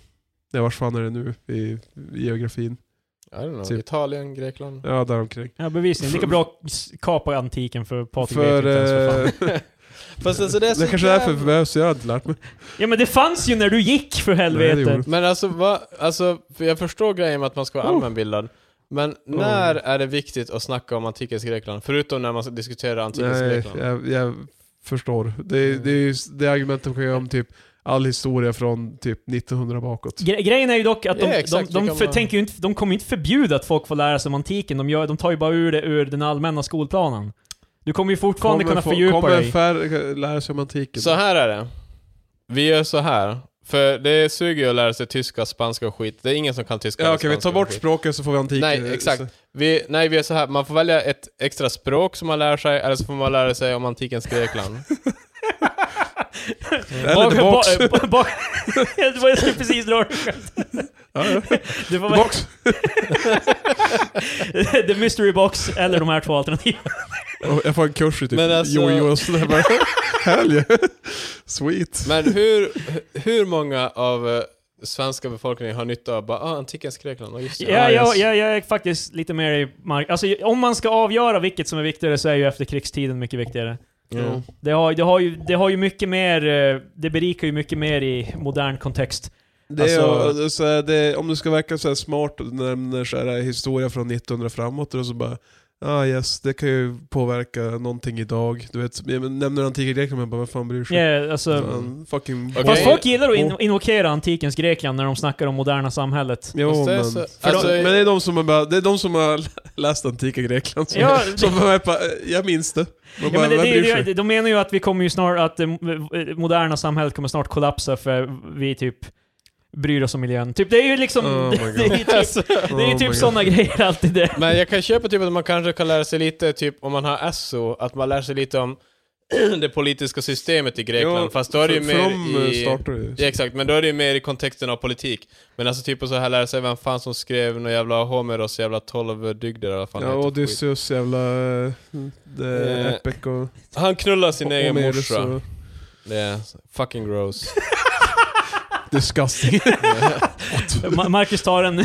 C: ja, vars fan är det nu i, i geografin?
A: I don't know,
C: Typ.
A: Italien, Grekland.
C: Ja, däromkring.
B: Ja, bevisligen. Lika bra att s- kapa antiken för Patrik
C: För...
B: vet inte ens vad fan.
C: eh,
A: Fast alltså det är så
C: det kanske är därför vi behövs, jag har inte lärt mig.
B: Ja men det fanns ju när du gick, för
C: Nej, det gjorde
B: helvete!
C: det.
A: Men alltså, va, alltså för jag förstår grejen med att man ska
C: Oh.
A: vara allmänbildad. Men när är det viktigt att snacka om antikens Grekland? Förutom när man ska diskutera antikens
C: Nej,
A: Grekland.
C: jag, jag förstår. Det, är- det är ju s- det argumentet man kan göra om typ all historia från typ 1900 bakåt.
B: Gre- Grejen är ju dock att de,
A: Ja, exakt,
B: de, de,
A: det kan
B: för,
A: man-
B: tänker ju inte, de kommer ju inte förbjuda att folk får lära sig om antiken, de, gör, de tar ju bara ur det ur den allmänna skolplanen. Du kommer ju fortfarande kunna
C: få-
B: fördjupa
C: kommer
B: dig.
C: typ. färre lära sig om antiken?
A: Så här är det. Vi gör så här. För det suger ju att lära sig tyska, spanska och skit. Det är ingen som kan tyska
C: Ja,
A: eller
C: okej, vi
A: spanska
C: tar
A: och
C: bort
A: skit.
C: språket så får vi antiken.
A: Nej, exakt. Vi, nej, vi är så här. man får välja ett extra språk som man lär sig, eller så får man lära sig om antikens Grekland.
C: Eller the box.
B: Ba- ba- ba- det var jag skulle precis dra det skämt.
C: Ja, ja.
B: Det var
C: The
B: väl-
C: box.
B: The mystery box eller de här två alternativen.
C: Och jag får en kurs i typ
A: Men alltså-
C: jojo och sådär bara. Helg. Sweet.
A: Men hur, hur många av eh, svenska befolkningen har nytta av bara, ah, antikens Grekland, oh, just det.
B: Ja,
C: Ah,
B: jag,
C: yes.
B: jag, jag är faktiskt lite mer i mark... Alltså, om man ska avgöra vilket som är viktigare så är ju efterkrigstiden mycket viktigare.
A: Ja.
B: Det har, det, har ju, det har ju mycket mer, eh, det berikar ju mycket mer i modern kontext.
C: Det är,
B: Alltså-
C: ju- så här, det är, om du ska verka så här smart och nämner så här, historia från 1900 framåt och så bara Ah yes, det kan ju påverka någonting idag. Du vet, jag nämner antika Grekland men bara vad fan bryr sig?
B: Yeah, alltså,
C: Fan, fucking...
A: Okej.
B: Fast folk gillar att in,
C: Och-
B: invokera antikens Grekland när de snackar om moderna samhället.
C: Jo,
A: Fast det är
C: men,
A: så-
C: för
A: alltså-
C: de, men det är de som har, bara- det är de som har läst antika Grekland som,
B: Ja,
C: som bara, bara, jag minns det. Man
B: Ja,
C: bara,
B: men det,
C: vem
B: det,
C: bryr sig?
B: det, de menar ju att vi kommer ju snart, att det mo- moderna samhället kommer snart kollapsa för vi typ bryr oss om miljön. Typ, det är ju liksom,
C: Oh my
B: det,
C: God.
B: det är ju typ,
A: Alltså,
B: det är ju
C: Oh
B: typ
C: my
B: sådana grejer alltid det.
A: men jag kan köpa typ att man kanske kan lära sig lite, typ om man har SO, att man lär sig lite om det politiska systemet i Grekland.
C: Ja,
A: Fast då är det ju
C: för,
A: mer
C: för de
A: i...
C: startar ju.
A: Ja, exakt, men då är det ju mer i kontexten av politik. Men alltså typ så här lära sig vem fan som skrev någon jävla Homeros jävla 12 dygder eller vad fan
C: Ja,
A: det heter för skit.
C: Odysseus jävla... eh, Det,
A: Eh,
C: Epic och...
A: Han knullar sin egen
C: Homerus
A: morsa.
C: och-
A: Det är fucking gross.
C: Disgusting.
B: Ma- Marcus tar en...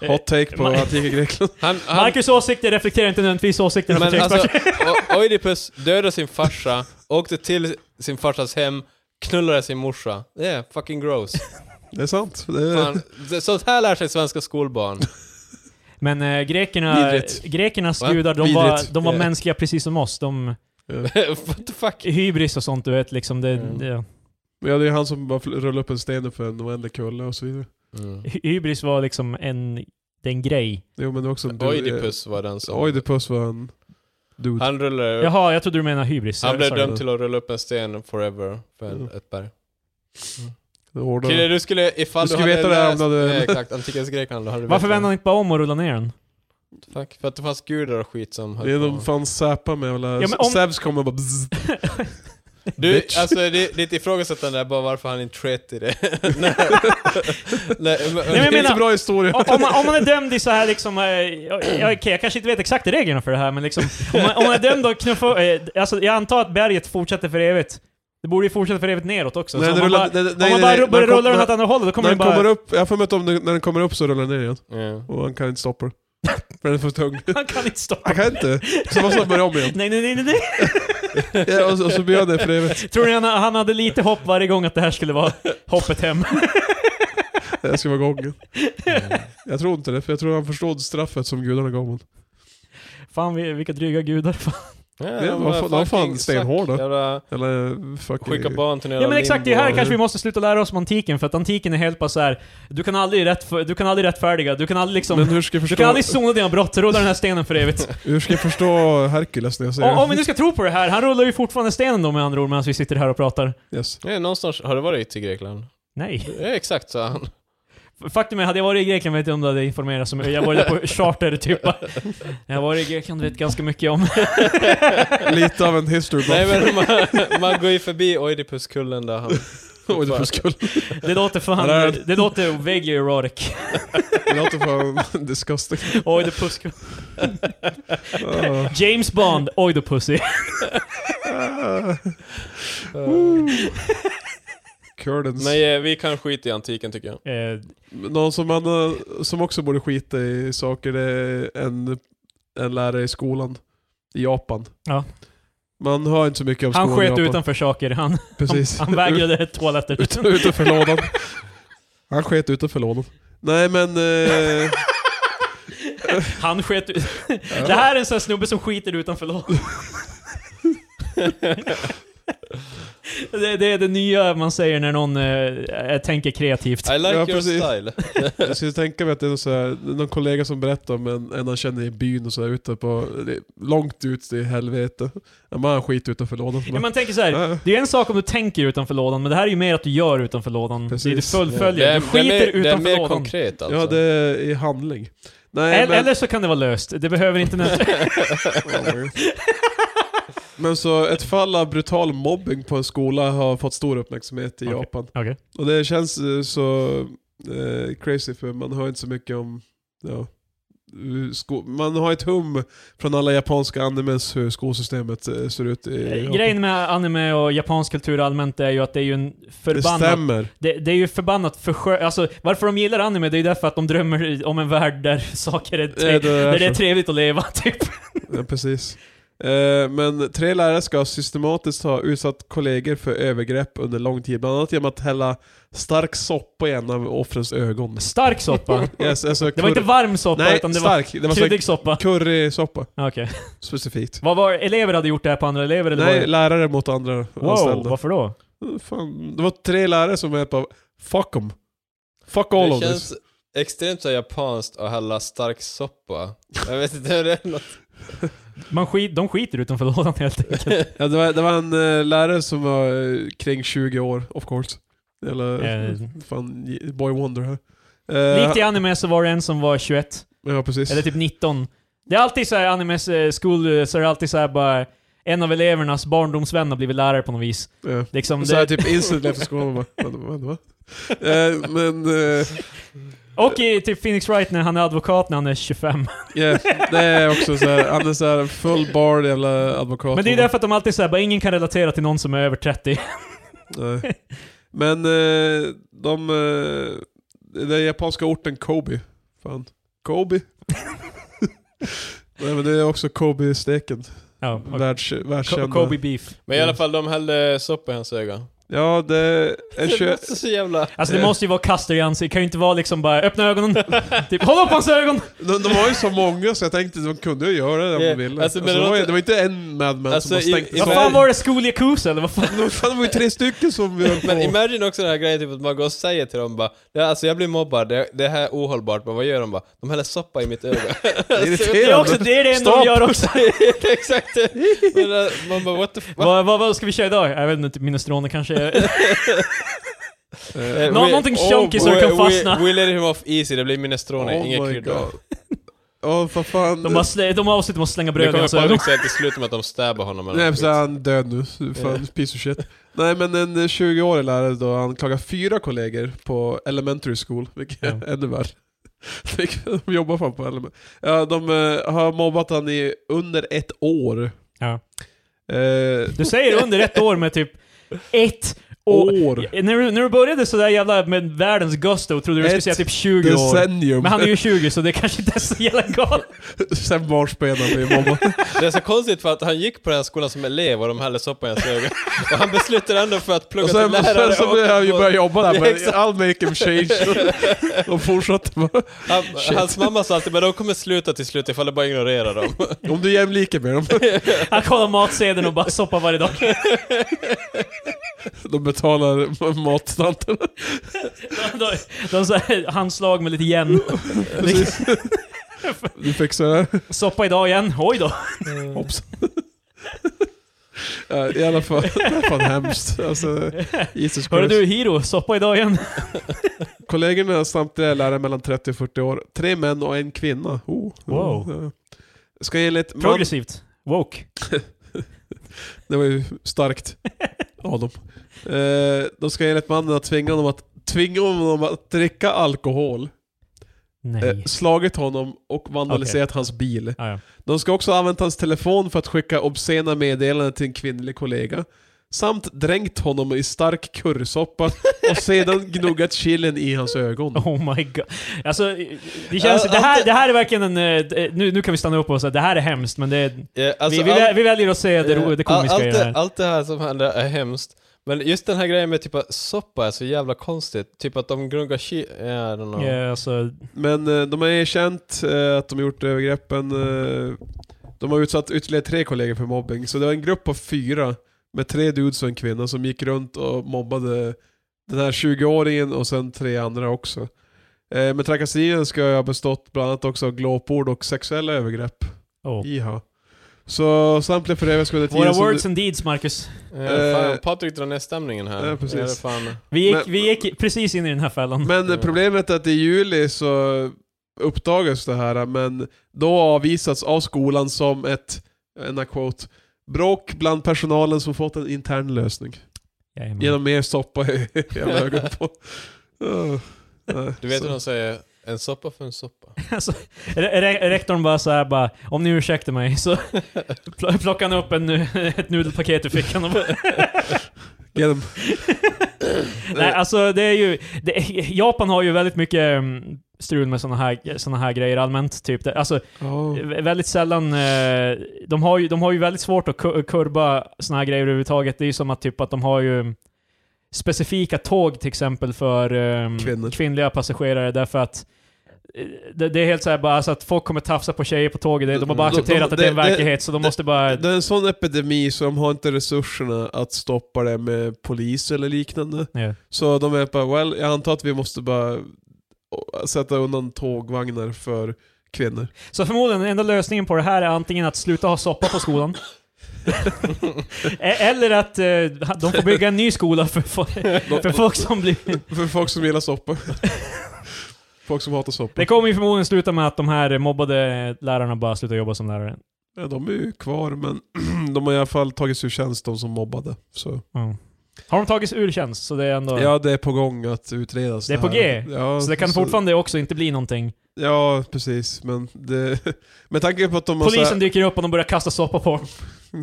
C: Hot take på
B: Ma-
C: antika Grekland.
A: Han, han,
B: Marcus åsikter reflekterar inte nödvändigtvis åsikterna på
A: men alltså,
B: Textback.
A: O- Oidipus dödade sin farsa, åkte till sin farsas hem, knullade sin morsa. Det är fucking gross.
C: Det är sant. Det är,
A: Fan, det- sånt här lär sig svenska skolbarn.
B: Men eh, grekerna,
C: Vidrigt.
B: grekernas
A: Va?
B: gudar, de var,
C: Vidrigt.
B: de var
A: Eh.
B: mänskliga precis som oss. De,
A: What the fuck?
B: hybris och sånt du vet liksom. Det,
A: Mm.
B: det,
C: men ja, det är han som bara fl- rullar upp en sten för en oändlig kulle och så vidare.
A: Mm.
B: hy- hybris var liksom en, det är en grej.
C: Jo men det är också en... du-
A: Oidipus var den
C: eh,
A: som...
C: Oidipus var en... Dude.
A: Han rullade upp.
B: Jaha, jag trodde du menade hybris.
A: Han blev
B: Sorry.
A: dömd till att rulla upp en sten forever för en,
C: Mm.
A: ett berg.
C: Det är hårdare.
A: Kille, du skulle, ifall
C: Du skulle
A: hade
C: veta det här om
A: läst-
C: du hade-
A: Nej, exakt, antikens Grekland. då hade du
B: Varför
A: vetat.
B: vänder han inte bara om och rullar ner den?
A: Fuck, för att det fanns gudar och skit som
C: Det är
A: höll på.
C: de fan säpa med jävla...
B: Ja, men om-
C: Sävs kommer och bara bzzz.
A: Du,
C: Bitch.
A: alltså det, ditt ifrågasättande är bara varför han inte sket i det. Nej, Nej, men,
B: men jag
C: Det är
B: menar-
C: inte bra historia.
B: Om- om, man, om man är dömd i så här liksom, eh, ja, ja, okej jag kanske inte vet exakt reglerna för det här men liksom, om man, om man är dömd att knuffa, eh, alltså jag antar att berget fortsätter för evigt. Det borde ju fortsätta för evigt neråt också.
C: Nej,
B: så om
C: det
B: man
C: rullar-
B: bara,
C: det-
B: om
C: nej,
B: man
C: nej,
B: bara
C: nej.
B: ru- börjar
C: När den
B: rulla den
C: kom-
B: åt andra hållet, då kommer
C: när
B: den
C: den
B: bara...
C: kommer upp, jag har för mig att om den- när den kommer upp så rullar den ner igen.
A: Ja.
C: Och han kan inte stoppa den. För den är för tung.
B: Han kan inte stoppa.
C: Han kan inte. Så måste han börja om igen.
B: Nej, nej, nej, nej, nej.
C: Ja, och, så- och så blir han det för evigt.
B: Tror ni han, han hade lite hopp varje gång att det här skulle vara hoppet hem?
C: Det ska vara gången. Jag tror inte det, för jag tror han förstod straffet som gudarna gav honom.
B: Fan vi- vilka dryga gudar. Fan.
A: Ja,
C: Det var fan- de var fan
A: fucking
C: stenhårda.
A: suck. Jävla-
C: Eller eh, fucking...
A: Skicka barn till en
B: Ja men exakt, det är här
A: limbo.
B: kanske vi måste sluta lära oss om antiken, för att antiken är helt bara så här. du kan aldrig, rättf- du kan aldrig rättfärdiga, du kan aldrig liksom...
C: Men hur ska jag
B: Du
C: förstå,
B: kan aldrig sona dina brott, rulla den här stenen för evigt.
C: hur ska jag förstå Herkules när jag
B: Om,
C: säger
B: om vi nu ska tro på det här, han rullar ju fortfarande stenen då med andra ord medan vi sitter här och pratar.
C: Yes.
A: Nej, någonstans, har du varit i Grekland?
B: Nej.
A: Ja, exakt sa han.
B: Faktum är, hade jag varit i Grekland vet jag om det hade informerats om Jag var ju där på charter typ. Jag har varit i Grekland vet ganska mycket om.
C: Lite av en history buff.
A: Nej men man, man går ju förbi Oidipuskullen där han...
C: Mm. Oj, det får skull.
B: Det låter fan...
C: Nej.
B: Det låter vaguely erotic.
C: Det låter fan disgusting.
B: Oj, the pussy.
C: Ah.
B: James Bond, oj the pussy. Eh,
C: Ah. Curtains.
A: Men eh, vi kan skita i antiken tycker jag.
B: Eh,
C: Någon som, man, eh, som också borde skita i saker det är en, en lärare i skolan. I Japan.
B: Ja.
C: Man hör inte så mycket om
B: han
C: skolan i
B: sköt
C: Japan.
B: utanför saker. Han,
C: Precis.
B: han vägrade toaletter.
C: Ut, utanför lådan. Han sket utanför lådan. Nej men... Eh,
B: Han sket ut... Det här är en sån här snubbe som skiter utanför lådan. Det, det är det nya man säger när någon eh, tänker kreativt.
A: I like
C: Ja,
A: your
C: precis.
A: style.
C: Jag skulle tänka mig att det är någon, så här, någon kollega som berättar om en, en han känner i byn och så här, ute på, långt ut i helvete. Ja, Man har skit utanför lådan.
B: Ja, man tänker så här.
C: Ja.
B: Det är en sak om du tänker utanför lådan, men det här är ju mer att du gör utanför lådan.
C: Precis.
B: Det är du
A: Det
B: fullföljer.
A: är,
B: Du skiter
A: det är, mer- det är
B: utanför
A: mer
B: lådan.
A: konkret alltså.
C: Ja, det är i handling. Nej,
B: Eller-
C: men,
B: Eller så kan det vara löst. Det behöver inte nödvändigtvis...
C: men så ett fall av brutal mobbing på en skola har fått stor uppmärksamhet i
B: Okej.
C: Japan.
B: Okej.
C: Och det känns eh, så eh, crazy för man hör inte så mycket om, ja, hur sko- man har ett hum från alla japanska animes hur skolsystemet eh, ser ut i Japan.
B: Grejen med anime och japansk kultur allmänt är ju att det är ju en
C: det
B: förbannad...
C: stämmer.
B: Det, det är ju förbannat förskö... Alltså, varför de gillar anime, det är ju därför att de drömmer om en värld där saker är... Tre...
C: Eh, det är
B: där det är
C: så.
B: trevligt att leva, typ.
C: Ja, precis. Eh, Men tre lärare ska systematiskt ha utsatt kollegor för övergrepp under lång tid. Bland annat genom att hälla stark soppa i en av offrens ögon.
B: Stark soppa.
C: Yes, alltså
B: Det var inte
C: curry-
B: varm soppa,
C: Nej,
B: utan det var
C: stark. Det var så
B: kryddig soppa.
C: currysoppa
B: Ja, Okej.
C: specifikt.
B: Vad var... Elever hade gjort det här på andra elever, eller?
C: Nej,
B: var det...
C: lärare mot andra
B: Wow,
C: anställda.
B: varför då?
C: Fan, det var tre lärare som var på fuck em. Fuck all
A: Det
C: of this.
A: känns extremt så här japanskt att hälla stark soppa. Jag vet inte hur det är något.
B: Man skit... De skiter utanför lådan helt enkelt.
C: Ja, det, var, det var en eh, lärare som var eh, kring 20 år, of course. Eller
B: Eh.
C: fan, boy wonder här. Eh,
B: Likt i anime så var det en som var 21.
C: Ja, precis.
B: Eller typ 19. Det är alltid så här animes eh, school, eh, så är det alltid så här bara... En av elevernas barndomsvän har blivit lärare på något vis.
C: Ja.
B: Liksom,
C: Så här
B: det,
C: typ instant efter skolan, man bara, vad, vad, vad? Eh, Men, eh,
B: och i typ Phoenix Wright när han är advokat när han är 25.
C: ja, det är också så här, han är så här full bar jävla advokat.
B: Men det är ju därför att de alltid säger bara ingen kan relatera till någon som är över 30.
C: Nej. Men eh, de... eh, Den japanska orten Kobe. Fan. Kobe? Nej men det är också Kobe-steken.
B: Ja, och
C: Världs,
B: Ko-
C: världskända.
B: Kobe Beef.
A: Men i alla fall, de hällde soppa i hans öga.
C: Ja, det är en
A: Det
C: kö...
A: låter så jävla...
B: Alltså det måste ju vara kaster i ansiktet, det kan ju inte vara liksom bara öppna ögonen, typ håll upp hans ögon!
C: de, de var ju så många så jag tänkte de kunde ju göra det om de
A: Ja,
C: ville.
A: alltså, men
C: Alltså, det,
A: det
C: var, ju-
A: låter-
C: det var inte en madman
A: Alltså,
C: som
A: i-
C: bara stängde
A: i-
B: Vad
A: Så-
B: fan var det? School Yakuza eller vad fan?
C: det? Fan, det var ju tre stycken som vi höll på.
A: Men imagine också den här grejen typ att man går och säger till dem bara "Ja, Alltså jag blir mobbad, det, det här är ohållbart, men vad gör de bara? De häller soppa i mitt öga.
B: Det är också
C: Irriterande.
B: det, är det enda de
C: Stopp.
B: gör också.
A: Exakt! Men, eh, man bara what the fuck?
B: Vad, vad, vad ska vi köra idag? Jag vet inte, typ minestroner kanske? är-
C: Eh,
B: Nå- någonting chunky så det kan fastna.
A: We, we let him off easy, det blir minestrone,
C: oh
A: inga
C: my
A: kryddor.
C: god. Ja, vad fan.
B: De, bara slä, de avslutar med att slänga
A: Det
B: bröd i hans
A: kommer
B: ögon.
A: bara säga till slut med att de stäbar honom eller
C: Nej
A: något
C: precis,
A: skit.
C: han är död nu. Fan, piece of shit. Nej men en eh, 20-årig lärare då anklagar fyra kollegor på elementary school, vilket är
B: Ja.
C: ännu värre. Vilket de jobbar fan på element. Ja, de eh, har mobbat han i under ett år.
B: Ja.
C: Eh,
B: Du säger under ett år med typ ett år.
C: år.
B: När du, när du började sådär jävla med världens gusto trodde du du skulle
C: Ett
B: säga typ 20 år.
C: Decennium.
B: Men han är ju 20 så det kanske inte är så jävla galet.
C: Sen barnsben han blev mobbad.
A: Det är så konstigt för att han gick på den här skolan som elev och de hällde soppa i hans öga. Och han beslutade ändå för att plugga
C: Och
A: till
C: sen,
A: lärare
C: sen så började han ju börja jobba där,
A: Ja,
C: men
A: exakt.
C: I'll make him change. De fortsatte bara.
A: han, Hans mamma sa alltid men de kommer sluta till slut ifall du bara ignorerar dem.
C: Om du är jämlik med dem,
B: Han kollar matsedeln och bara soppar varje dag.
C: de betalar matstanten.
B: De, de, de så här, handslag med lite igen.
C: Precis. Du fixar det här.
B: Soppa idag igen. Oj då.
C: Hopps. Ja, I alla fall, det är fan hemskt. Alltså, Jesus
B: Hörru
C: Christ.
B: du Hiro, soppa idag igen.
C: Kollegorna samtliga är lärare mellan 30 och 40 år. Tre män och en kvinna. Oh.
B: Wow.
C: Ja. Ska enligt man...
B: Progressivt. Woke.
C: Det var ju starkt av dem. Eh, de ska enligt mannen ha tvingat honom att, tvinga honom att dricka alkohol, eh,
B: Nej.
C: slagit honom och vandaliserat hans bil.
B: Ah, ja.
C: De ska också ha använt hans telefon för att skicka obscena meddelanden till en kvinnlig kollega. Samt dränkt honom i stark currysoppa och sedan gnuggat chillen i hans ögon.
B: Oh my god. Alltså, det känns...
A: Ja,
B: det, här,
A: allt-
B: det här är verkligen en... eh, d- Nu, nu kan vi stanna upp och säga det här är hemskt, men det är...
A: Ja, alltså,
B: vi, vi,
A: all- Eh,
B: vä- vi väljer att se det, ro, det komiska
A: allt,
B: i det här.
A: allt det här som händer är hemskt. Men just den här grejen med typ att soppa är så jävla konstigt. Typ att de gnuggar chi... I don't know.
B: Ja, alltså,
C: Men eh, de har erkänt eh, att de gjort övergreppen. eh, De har utsatt ytterligare tre kollegor för mobbing, så det var en grupp på fyra. med tre dudes och en kvinna som gick runt och mobbade den här 20-åringen och sen tre andra också. Eh, men trakasserierna ska ju ha bestått bland annat också av glåpord och sexuella övergrepp.
B: Oh.
C: Iha. Så samtliga förövare ska under
B: Våra
C: som
B: words and deeds, Marcus.
A: Eh, fan,
C: Eh,
A: Patrik drar ner stämningen här.
C: ja, precis.
A: Det är fan...
B: Vi gick,
C: Men-
B: vi gick precis in i den här fällan.
C: Men
A: Mm.
C: problemet är att i juli så uppdagas det här, men då avvisats av skolan som ett, ena quote, bråk bland personalen som fått en intern lösning.
B: Jajamän.
C: Genom mer soppa i jävla ögonen på. Uh, nej,
A: Du vet
C: så.
A: hur de säger, en soppa för en soppa.
B: Alltså, re re rektorn bara så här bara, om ni ursäktar mig, så pl- plockar han upp en, nu- ett nudelpaket ur fickan och bara,
C: Genom,
B: Nej, alltså det är ju... Det, är- Japan har ju väldigt mycket mm, strul med såna här, såna här grejer allmänt. Typ. Det- Alltså,
C: ja.
B: vä- väldigt sällan... eh, De har ju, de har ju väldigt svårt att ku- kurva såna här grejer överhuvudtaget. Det är ju som att, typ, att de har ju specifika tåg till exempel för ehm,
C: Kvinnor.
B: kvinnliga passagerare därför att eh, det, det är helt såhär bara alltså att folk kommer tafsa på tjejer på tåget. De- De har bara
C: De- de-
B: accepterat att det är en
C: det-
B: verklighet så de måste bara...
C: Det är en sån epidemi så de har inte resurserna att stoppa det med polis eller liknande.
B: Ja.
C: Så de är bara, well, jag antar att vi måste bara sätta undan tågvagnar för kvinnor.
B: Så förmodligen den enda lösningen på det här är antingen att sluta ha soppa på skolan. E- Eller att eh, de får bygga en ny skola för, fo- för folk som blir...
C: För folk som gillar soppa. folk som hatar soppa.
B: Det kommer ju förmodligen sluta med att de här mobbade lärarna bara slutar jobba som lärare.
C: Ja, de är ju kvar men de har i alla fall tagits ur tjänst de som mobbade. Så.
B: Mm. Har de tagits ur tjänst så det är ändå...
C: Ja, det är på gång att utredas.
B: Det är på
C: här.
B: G.
C: Ja,
B: så det kan fortfarande också inte bli någonting.
C: Ja, precis. Men det... Med tanke på att de har så
B: Polisen
C: här,
B: dyker upp och de börjar kasta soppa på dem.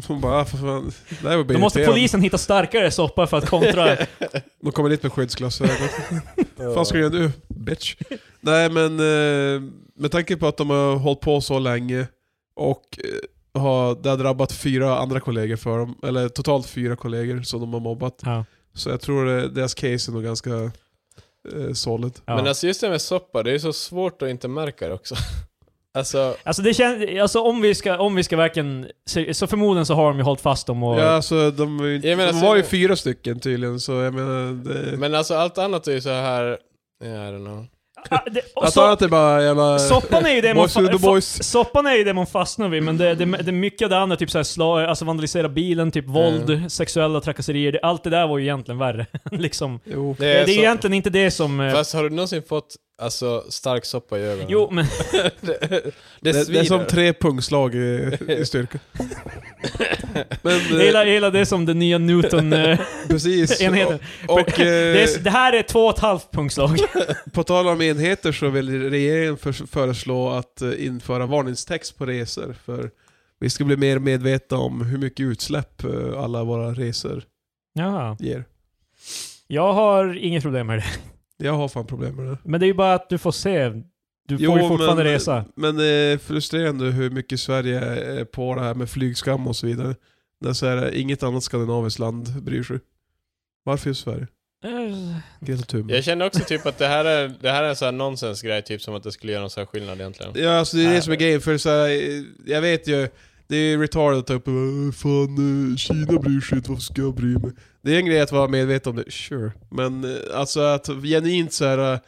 C: De bara, ah, för fan. Det här var
B: Då måste
C: irriterande."
B: polisen hitta starkare soppa för att kontra.
C: De kommer dit med skyddsglasögon. fan ska du göra nu? Bitch. Nej men, eh, med tanke på att de har hållit på så länge och eh, har, det har drabbat fyra andra kollegor för dem, eller totalt fyra kollegor som de har mobbat.
B: ja,
C: Så jag tror eh, deras case är nog ganska eh, solid.
B: ja.
A: Men alltså just det med soppa, det är ju så svårt att inte märka det också. Alltså,
B: Alltså, det kän- alltså om vi ska, om vi ska verkligen... se- Så förmodligen så har de ju hållit fast dem och...
C: Ja, alltså, de, är ju inte-
A: Jag menar,
C: de
A: så-
C: var ju fyra stycken tydligen, så jag menar... Det,
A: men alltså allt annat är ju så här... I don't know.
B: Ah, det, och
C: att
B: så-
C: annat är bara jävla...
B: Soppan är ju det man,
C: Äh, Boys
B: fa-
C: to the
B: fa-
C: boys.
B: soppan är ju det man fastnar vid, men det, det, det är mycket av det andra, typ så här sla, alltså vandalisera bilen, typ våld, sexuella trakasserier, det, allt det där var ju egentligen värre. liksom.
C: Jo.
B: Det är,
A: så-
B: egentligen inte det som... eh,
A: Fast har du någonsin fått alltså, stark soppa i ögonen?
B: Jo, men
A: det,
C: Det, det
A: svider.
C: är som tre pungslag i, i styrka. Men eh,
B: hela, hela det som den nya Newton-enheten.
C: precis. Och, och
B: det, är s-
C: eh,
B: det här är två och ett halvt punktslag.
C: på tal om enheter så vill regeringen förs- föreslå att eh, införa varningstext på resor. För vi ska bli mer medvetna om hur mycket utsläpp eh, alla våra resor
B: Ja,
C: ger.
B: jag har inget problem med det.
C: Jag har fan problem med det.
B: Men det är ju bara att du får se. Du får ju fortfarande
C: men,
B: resa.
C: Men det är frustrerande hur mycket Sverige är på det här med flygskam och så vidare. När så här, inget annat skandinaviskt land bryr sig. Varför just Sverige?
B: Eh,
C: Greta Thunberg.
A: Jag känner också typ att det här är, det här är en sån här nonsensgrej, typ som att det skulle göra någon sån här skillnad egentligen.
C: Ja, alltså det är det
A: Nej.
C: som är grejen. För så här, eh, jag vet ju, det är ju retarded att ta upp och bara, "Äh, Fan, eh, Kina bryr sig inte, varför ska jag bry mig? Det är en grej att vara medveten om det, sure. Men eh, alltså att genuint så här eh,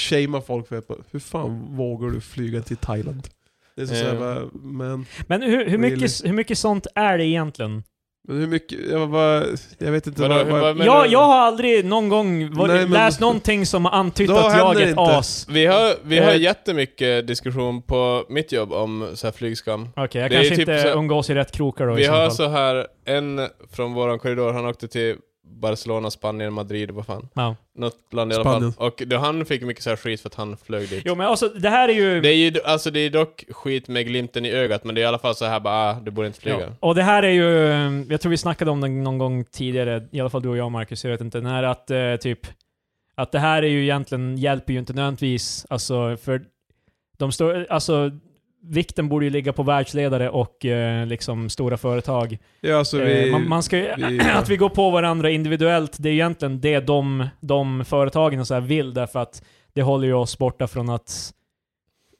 C: shamea folk för att bara, hur fan vågar du flyga till Thailand? Det är så, så här,
A: Eh.
C: bara, men,
B: Men hur, hur, mycket,
C: Really?
B: hur mycket sånt är det egentligen?
C: men hur mycket, jag, bara, jag vet inte
A: Vadå,
C: vad...
A: hur-
C: vad
A: vad menar
B: Jag,
A: du?
B: jag har aldrig någon gång varit,
C: Nej, men-
B: läst någonting som har antytt
C: Då
B: att
C: händer
B: jag är
C: det
B: ett
C: inte.
B: as.
A: Vi har, vi
B: Eh.
A: har jättemycket diskussion på mitt jobb om så här flygskam.
B: Okej, jag
A: Det är
B: kanske
A: typ
B: inte
A: så här-
B: umgås i rätt krokar då i
A: Vi
B: så
A: har
B: fall.
A: så här en från våran korridor, han åkte till Barcelona, Spanien, Madrid, vad fan.
B: Ja.
A: Något land i alla
C: Spanien.
A: fall. Och då, han fick mycket så här skit för att han flög dit.
B: Jo men alltså, det här är ju...
A: Det är ju alltså det är dock skit med glimten i ögat, men det är i alla fall så här bara ah, du borde inte flyga.
B: Ja. Och det här är ju, eh, jag tror vi snackade om det någon gång tidigare, i alla fall du och jag Marcus, jag vet inte, när att eh, typ, att det här är ju egentligen, hjälper ju inte nödvändigtvis, alltså för de står, alltså vikten borde ju ligga på världsledare och eh, liksom stora företag.
C: ja, alltså, vi,
B: Eh, man, man ska ju,
C: vi-
B: att vi går på varandra individuellt, det är ju egentligen det de, de företagen och så här vill, därför att det håller ju oss borta från att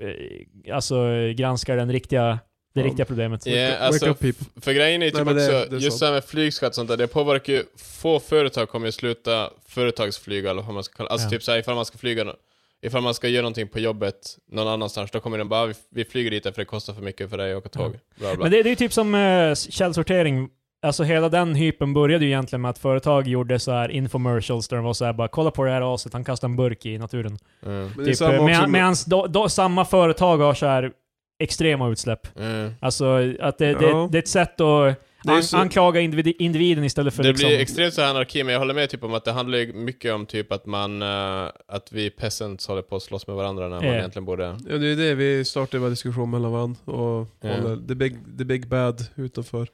B: eh, alltså, granska den riktiga Det riktiga problemet.
A: Ja,
C: Wake,
A: alltså,
C: wake up people.
A: För grejen är ju typ
C: Nej, men det-
A: också,
C: det är
A: just
C: sant.
A: det här med flygskatt och sånt där, det påverkar ju, få företag kommer ju sluta företagsflyga eller vad man ska kalla Alltså
B: Ja.
A: typ såhär ifall man ska flyga, nå- ifall man ska göra någonting på jobbet någon annanstans, då kommer den bara "Ah, vi, vi flyger dit för det kostar för mycket för dig att åka tåg. Bla, bla.
B: Men det, det är ju typ som eh, källsortering. Alltså hela den hypen började ju egentligen med att företag gjorde så här infomercials där de var så här bara kolla på det här aset, han kastar en burk i naturen.
A: Mm.
C: Men det är
B: Typ,
C: samma
B: eh,
C: också
B: med,
C: med-
B: medans då, då, samma företag har så här extrema utsläpp.
A: Mm.
B: Alltså att det, det,
C: Ja.
B: det är ett sätt att
C: Det är
B: an,
C: så-
B: anklaga individ, individen istället för
A: det
B: liksom...
A: blir extremt så här anarki, men jag håller med typ om att det handlar ju mycket om typ att man, eh, att vi peasants håller på att slåss med varandra när man
B: Ja.
A: egentligen borde...
C: Ja, det är det vi startar vår diskussion mellan varandra och
A: Ja.
C: håller the big, the big bad utanför.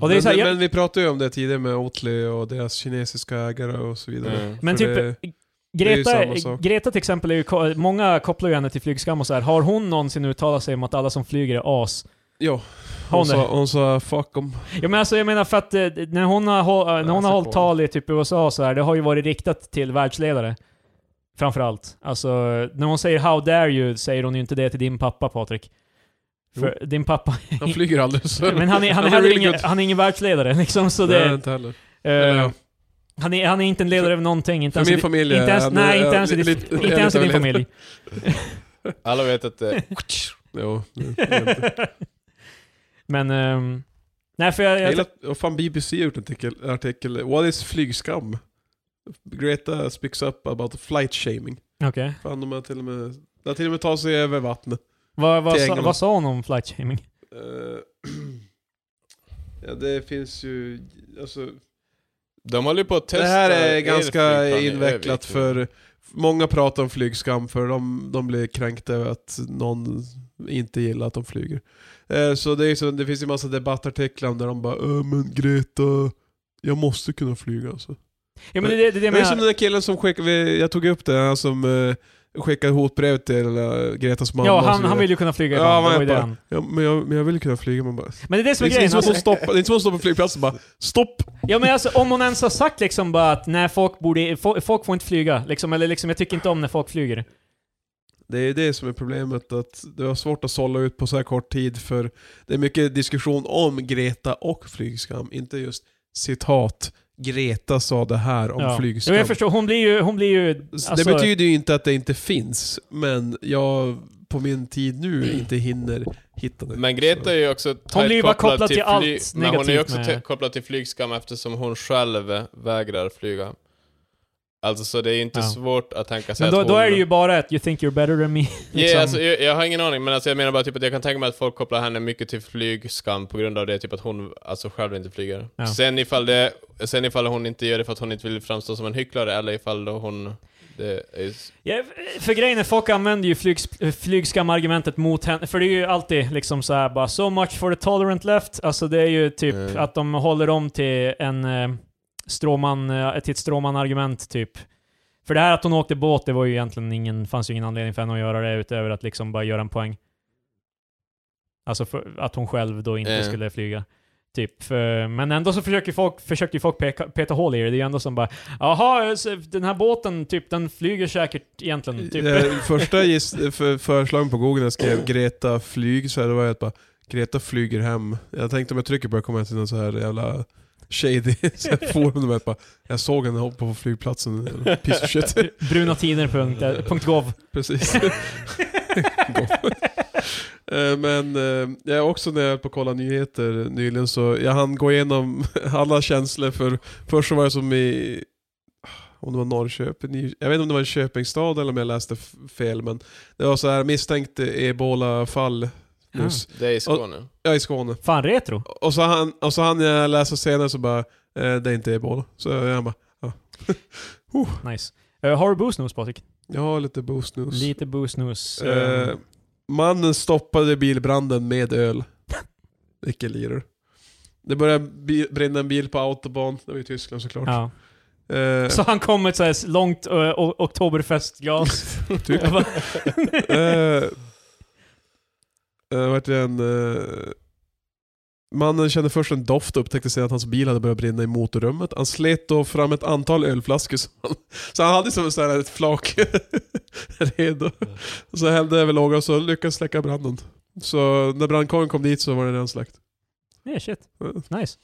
B: och det är så här,
C: men,
B: jag,
C: men vi pratade ju om det tidigare med Oatly och deras kinesiska ägare och så vidare.
A: Mm.
B: Men
C: För
B: typ,
C: det- är ju
B: Greta,
C: samma sak.
B: Greta till exempel, är ju, ko- många kopplar ju henne till flygskam och så här. Har hon någonsin uttalat sig om att alla som flyger är as?
C: Ja,
B: Har hon
C: hon
B: det?
C: sa, hon sa 'fuck em'
B: Ja, men alltså, jag menar för att eh, när hon har, håll, eh, när hon
C: så
B: har hållit
C: cool.
B: tal i typ USA och så här, det har ju varit riktat till världsledare. Framförallt. Alltså, när hon säger 'How dare you' säger hon ju inte det till din pappa Patrik. För din pappa...
C: Han flyger aldrig så.
B: men han är, han är,
C: Han är
B: heller
C: really
B: ingen,
C: good.
B: han är ingen världsledare liksom, så
C: det
B: det...
C: är inte heller.
B: eh,
C: Eller ja,
B: han, är, han är inte en ledare över någonting. Inte ens
C: För
B: i
C: min
B: di-
C: familj
B: inte ens,
C: han-
B: nej, inte
C: ja,
B: ens i
C: li-
B: din-
C: lite-
B: inte ens i din
C: lite-
B: familj.
A: Alla vet att eh, det...
C: Jo, det- det-
B: Men... ehm, nej, för jag...
C: jag
B: jag
C: gillar att- och fan BBC har gjort en artikel, artikel 'What is flygskam?' Greta speaks up about flight shaming.
B: Okej.
C: Fan, de har till och med, de har till och med tagit sig över vattnet.
B: Vad, vad,
C: Till
B: sa,
C: England.
B: vad sa hon om flight shaming?
C: Eh, ja, det finns ju, alltså,
A: De håller ju på att testa
C: det här är
A: er
C: ganska
A: flygplan i
C: invecklat
A: Örnsköldsvik.
C: för många pratar om flygskam för de, de blir kränkta över att någon inte gillar att de flyger. Eh, Så det, är så, det finns ju massa debattartiklar där de bara äh, men Greta, jag måste kunna flyga alltså.
B: Ja, men det, det, det, det
C: Det är som den där killen som skickade, vi- jag tog upp det, han som eh, skickade hotbrev till eh, Gretas mamma
B: Ja,
C: och så
B: han, han
C: vidare.
B: vill ju kunna flyga ibland.
C: Ja,
B: det
C: men
B: var ju det
C: jag bara- Liksom
B: han.
C: ja, men, jag, men jag vill kunna flyga, man bara...
B: Men det är det som
C: Det
B: är
C: är, det är
B: grejen.
C: som att
B: Alltså,
C: stoppa, det är inte som att stå på flygplatsen och bara stopp!
B: ja, men alltså, om hon ens har sagt liksom bara att nej, folk, borde, fo- folk får inte flyga. Liksom, eller liksom, jag tycker inte om när folk flyger.
C: Det är det som är problemet, att det var svårt att sålla ut på så här kort tid för det är mycket diskussion om Greta och flygskam, inte just citat Greta sa det här om
B: Ja. Jo,
C: flygskam.
B: jag förstår. Hon blir ju... Hon blir ju
C: Så
B: alltså,
C: Det betyder ju inte att det inte finns, men jag på min tid nu inte hinner hitta det.
A: Men Greta är ju också
B: Hon blir ju
A: tajt
B: bara kopplad till allt
A: Men hon är ju
B: negativt
A: också
B: med-
A: te- kopplad till flygskam eftersom hon själv vägrar flyga. Alltså så det är ju inte
B: Ja.
A: svårt att tänka sig
B: alltså, men då,
A: att
B: då
A: hon...
B: är det ju bara ett 'You think you're better than me'
A: Ja,
B: liksom.
A: alltså, jag, jag har ingen aning, men alltså, jag menar bara typ att jag kan tänka mig att folk kopplar henne mycket till flygskam på grund av det, typ att hon alltså, själv inte flyger.
B: Ja.
A: Sen, ifall det, sen ifall hon inte gör det för att hon inte vill framstå som en hycklare, eller ifall då hon... Det är, ju-
B: Ja, för grejen är, folk använder ju flygs, flygskammargumentet mot henne, för det är ju alltid liksom så här bara “so much for the tolerant left”, alltså det är ju typ
A: Mm.
B: att de håller om till en eh, stråman, eh, till ett stråman-argument typ. För det här att hon åkte båt, det var ju egentligen ingen, fanns ju ingen anledning för henne att göra det utöver att liksom bara göra en poäng. Alltså för, att hon själv då inte
A: Mm.
B: skulle flyga. Typ. För, men ändå så försöker folk, försökte ju folk peka, peta hål i det. Det är ju ändå som bara Jaha, eh, så den här båten typ, den flyger säkert egentligen. Typ.
C: Eh, Första giss, för, förslagen på google när jag skrev Greta flyg, så här, det var ju att bara Greta flyger hem. Jag tänkte om jag trycker på det kommer jag till någon så här jävla shady så här forum. där Jag, bara, jag såg henne hoppa på flygplatsen, jävla piece of shit.
B: eh, Brunatiner.gov.
C: Precis. Eh, Men eh, jag är också när jag höll på att kolla nyheter nyligen så jag hann gå igenom alla känslor för först så var jag som i ah, om det var Norrköping, Ny- jag vet inte om det var en Köpingstad eller om jag läste f- fel men det var så här misstänkt ebola-fall nyss.
A: det är i Skåne.
C: Ja, i Skåne.
B: Fan, retro.
C: Och så han, och så han jag läsa senare så bara, eh, det är inte ebola. Så jag bara,
B: Nice. Eh, har du boosnus Patrik?
C: jag har lite boost news.
B: Lite boosnus.
C: Eh, mannen stoppade bilbranden med öl. Vilken lirare. Det började bi- brinna en bil på autobahn, det var i Tyskland såklart.
B: ja.
C: Eh,
B: Så han kom med ett så här långt uh, oktoberfestgas.
C: typ.
B: Jag bara,
C: eh, eh, vart det en, eh, mannen kände först en doft och upptäckte sen att hans bil hade börjat brinna i motorrummet. Han slet då fram ett antal ölflaskor. Som han, så han hade som en sån här ett flak redo. Så hällde över lågan och så lyckades släcka branden. Så när brandkåren kom dit så var det redan släckt.
B: Yeah, shit. Nice.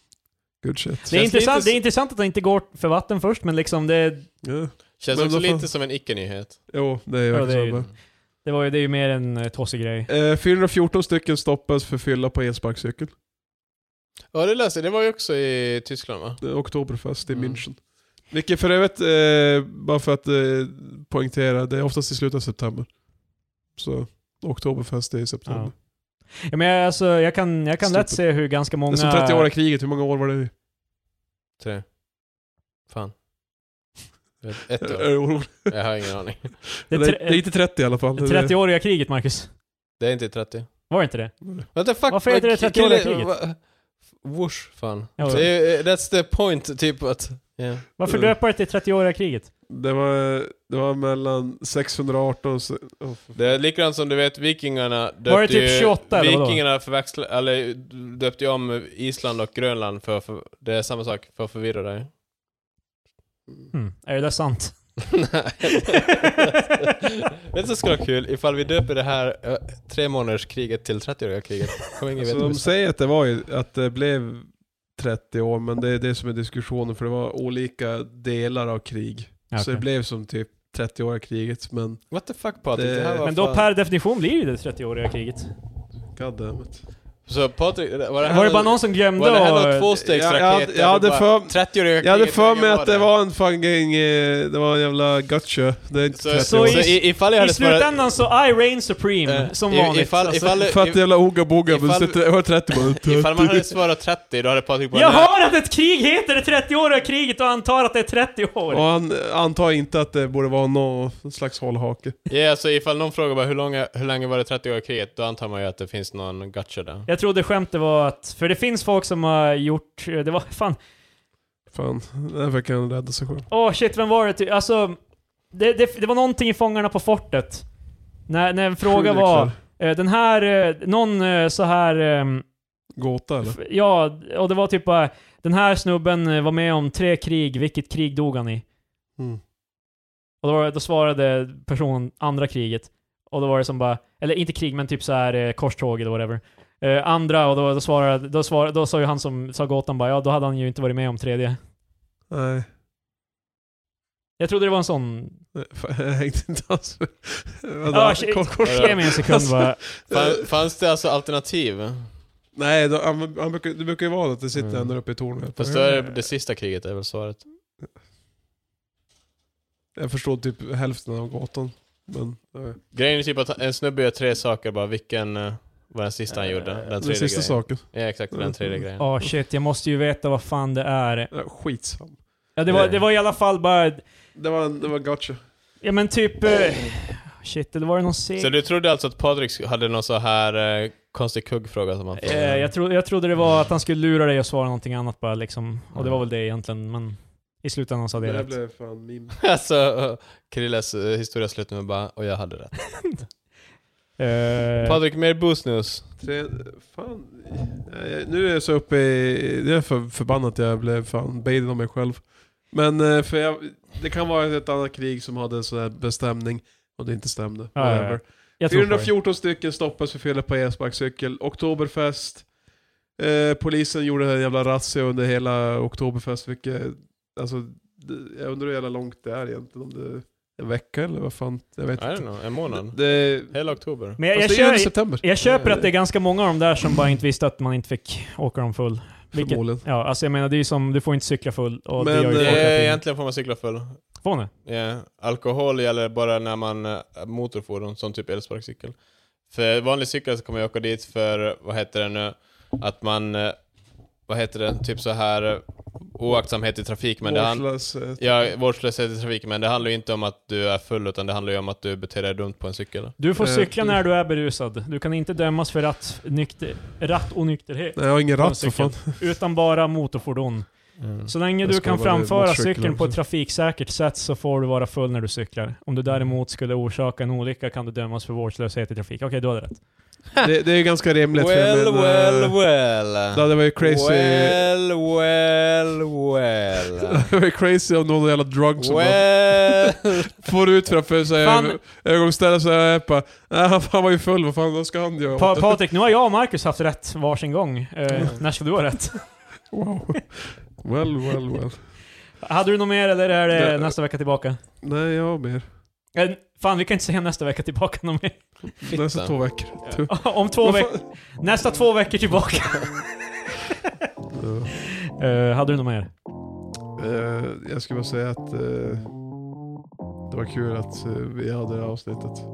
C: Good shit.
B: Det är,
A: Känns
B: intressant,
A: lite-
B: det är intressant att det inte går för vatten först, men liksom det,
C: Ja.
A: Känns
C: Men
A: också
C: vad fan-
A: lite som en icke-nyhet.
C: Jo, det är
B: Ja,
C: verkligen
B: det är ju-
C: så.
B: det, var ju, det är ju mer en eh, tossig grej.
C: Eh, 414 stycken stoppas för fylla på elsparkcykel.
A: Ja, det läste jag. Det var ju också i Tyskland va?
C: Det är Oktoberfest i
A: Mm.
C: München. Vilket för övrigt, eh, bara för att eh, poängtera, det är oftast i slutet av september. Så Oktoberfest är i september.
B: Ja, men jag, alltså, jag kan, jag kan lätt
C: Stupid.
B: se hur ganska många...
C: Det är som 30 år i kriget, hur många år var det? i?
A: Tre. Fan. Ett- Ett
C: Är
A: år.
C: du orolig?
A: Jag har ingen aning.
B: det är
C: Eller, Det är
B: tre,
C: inte 30 i alla fall. Det är-
B: 30-åriga kriget, Marcus.
A: Det är inte 30.
B: Var det inte det?
A: What the fuck?
B: Varför heter det
A: Kille-
B: 30-åriga kriget?
A: va- Whoosh, fan.
B: Ja,
A: det är, eh, that's the point, typ att... Yeah.
B: Varför
C: Eh.
B: döpa det till 30-åriga kriget?
C: Det var, det var mellan 618 och... se- Oh, för-
A: Det är likadant som du vet, vikingarna döpte
B: Var det typ 28
A: ju,
B: eller vadå?
A: Vikingarna förväxla, eller döpte ju om Island och Grönland för, för det är samma sak, för att förvirra dig.
B: Hmm, är det där sant?
A: Nej. Vet du vad som skulle vara kul? Ifall vi döper det här eh, tre månaders kriget till 30-åriga kriget. Kommer ingen veta.
C: Alltså, de
A: vad vi-
C: säger att det, var ju, att det blev 30 år, men det är det som är diskussionen, för det var olika delar av krig. Så
B: Okej.
C: det blev som typ 30-åriga kriget, men
A: What the fuck Patrik?
C: Det-
A: Det, här var
B: Men då
A: fan-
B: per definition blir det det 30-åriga kriget.
C: goddammit.
A: Så Patrik, var det här
B: Var det bara någon som
A: var det
B: glömde
A: här någon
B: att-
A: tvåstegsraket?
C: Jag- jag hade- jag hade
A: bara,
C: för-
A: 30-åriga
C: Jag hade
A: kriget,
C: för
A: hur
C: mig
A: länge
C: att det var en fucking, eh, det var en jävla gotcha. Det är inte
A: Så,
C: 30
A: så,
C: år.
B: i-
A: i, ifall jag hade
B: I
A: svarat-
B: slutändan så I reign supreme,
A: Eh,
B: som
A: i-
B: vanligt.
A: ifall-
B: Alltså,
A: ifall-
C: För att jävla oga boga, men
A: ifall-
C: sitter- jag var 30 bara.
A: Ifall man hade svarat 30, då hade Patrik bara
B: jag
A: "Nej."
B: hör att ett krig heter det 30-åriga kriget och antar att det är 30 år.
C: Och han antar inte att det borde vara någon slags hållhake.
A: Ja, alltså ifall någon frågar bara hur, långa, hur länge var det 30-åriga kriget, då antar man ju att det finns någon gotcha där.
B: Jag trodde skämtet var att, för det finns folk som har gjort, det var fan,
C: Fan, där fick han rädda sig själv.
B: åh shit vem var det? ty- Alltså, det, det, det var någonting i Fångarna på fortet. När, när en fråga
C: Fredrik
B: var,
C: där.
B: eh, den här, eh, någon eh, så här, ehm,
C: Gåta eller?
B: f- ja, och det var typ bara, den här snubben eh, var med om tre krig, vilket krig dog han i?
C: Mm.
B: Och då, var, då svarade personen andra kriget. Och då var det som bara, eller inte krig men typ så här eh, korståg eller whatever. Eh, andra, och då, då svarade, då svarade, då sa ju han som sa gåtan bara, ja då hade han ju inte varit med om tredje.
C: Nej,
B: Jag trodde det var en sån...
C: fan, jag hängde inte alls med.
B: Ah, shit.
C: Kors- kors-
B: Ge mig en sekund bara.
C: Eh.
A: Fan, fanns det alltså alternativ?
C: Nej, då, han, han brukar, det brukar ju vara att det sitter
A: Mm.
C: ända uppe i tornet.
A: Fast då är det, det sista kriget är väl svaret.
C: Jag förstår typ hälften av gåtan. Men, eh, nej.
A: Grejen är typ att en snubbe gör tre saker bara, vilken eh, var den sista han gjorde?
B: Eh,
A: Den
C: Den
A: tredje
C: sista
A: grejen.
C: saken.
A: Ja exakt, den tredje grejen.
B: Åh shit, jag måste ju veta vad fan det är.
C: Ja, skitsam.
B: Ja, det var,
A: Nej.
B: det var i alla fall bara...
C: Det var, det var gotcha.
B: Ja men typ... Eh, shit, eller var det någon seg...
A: Så du trodde alltså att Patrik hade någon så här eh, konstig kuggfråga som han
B: Eh, jag, tro, jag trodde det var att han skulle lura dig och svara någonting annat bara liksom. Och det var väl det egentligen, men... I slutändan sa det
C: Det
B: rätt.
C: blev fan meme.
A: alltså, eh, Krilles eh, historia slutar med bara, och jag hade rätt.
B: Eh,
A: Patrik, mer boostnews?
C: Tre, fan. Eh, Nu är jag så uppe i... Det är för förbannat att jag blev fan baiten av mig själv. Men eh, för jag, det kan vara ett annat krig som hade en sån här bestämning och det inte stämde.
B: Ja, ja, ja.
C: Whatever.
B: jag tror på det.
C: 414 stycken stoppas för fel på elsparkcykel. Oktoberfest. Eh, polisen gjorde en jävla razzia under hela Oktoberfest. Vilket, alltså, det, jag undrar hur jävla långt det är egentligen. Om det är en vecka eller vad fan. Jag
A: I
C: vet
A: don't
C: inte.
A: know, en månad?
C: Det,
A: Hela oktober?
B: Men jag, jag,
C: fast det är ju i
B: kö,
C: september.
B: jag köper att det är ganska många av de där som bara inte visste att man inte fick åka dem full. vilket-
C: Förmodligen.
B: Ja, alltså jag menar det är ju som, du får inte cykla full och det
C: Men,
B: gör ju folk
C: eh,
A: Det
B: hela
A: är,
B: tiden.
A: egentligen får man cykla full.
B: Får ni?
A: Ja, Alkohol gäller bara när man eh, motorfordon, som typ elsparkcykel. För vanlig cykel så kommer jag åka dit för, vad heter det nu, att man, eh, vad heter det, typ så här eh, oaktsamhet i trafik. Men det, han,
C: Vårdslös, eh,
A: ja, vårdslöshet i trafik, men det handlar ju inte om att du är full, utan det handlar ju om att du beter dig dumt på en cykel.
B: Du får
C: Eh,
B: cykla
C: mm.
B: när du är berusad. Du kan inte dömas för ratt, nykter, ratt och nykterhet.
C: Nej, jag har ingen
B: på en
C: ratt för fan.
B: cykel, utan bara motorfordon.
C: Mm.
B: Så länge
C: Jag
B: du
C: ska
B: kan
C: vara
B: framföra
C: motorcykel
B: cykeln på
C: också.
B: ett trafiksäkert sätt så får du vara full när du cyklar. Om du däremot skulle orsaka en olycka kan du dömas för vårdslöshet i trafik. Okej, du hade rätt.
C: Det, det är ju ganska rimligt. för jag
A: Well,
C: menar,
A: well, well.
C: Det hade varit crazy,
A: Well, well, well.
C: det var ju crazy om någon jävla drug som bara
A: well.
C: får ut framför sig
B: Fan.
C: övergångsstället så är jag bara "Nej, han fan var ju full, vad fan vad ska han göra?
B: Pa Patrik, nu har jag och Marcus haft rätt varsin gång.
C: Mm.
B: Eh, när ska du ha rätt?
C: wow. Well, well, well.
B: Hade du något mer eller är det
C: Det-
B: nästa vecka tillbaka?
C: Nej, jag har mer.
B: Eh, fan, vi kan inte säga nästa vecka tillbaka något mer.
C: Nästa två veckor. Tu-
B: Om två
C: Vad
B: veckor.
C: fan?
B: Nästa två veckor tillbaka. Eh, hade du något mer?
C: Eh, jag skulle bara säga att eh, det var kul att eh, vi hade det här avsnittet.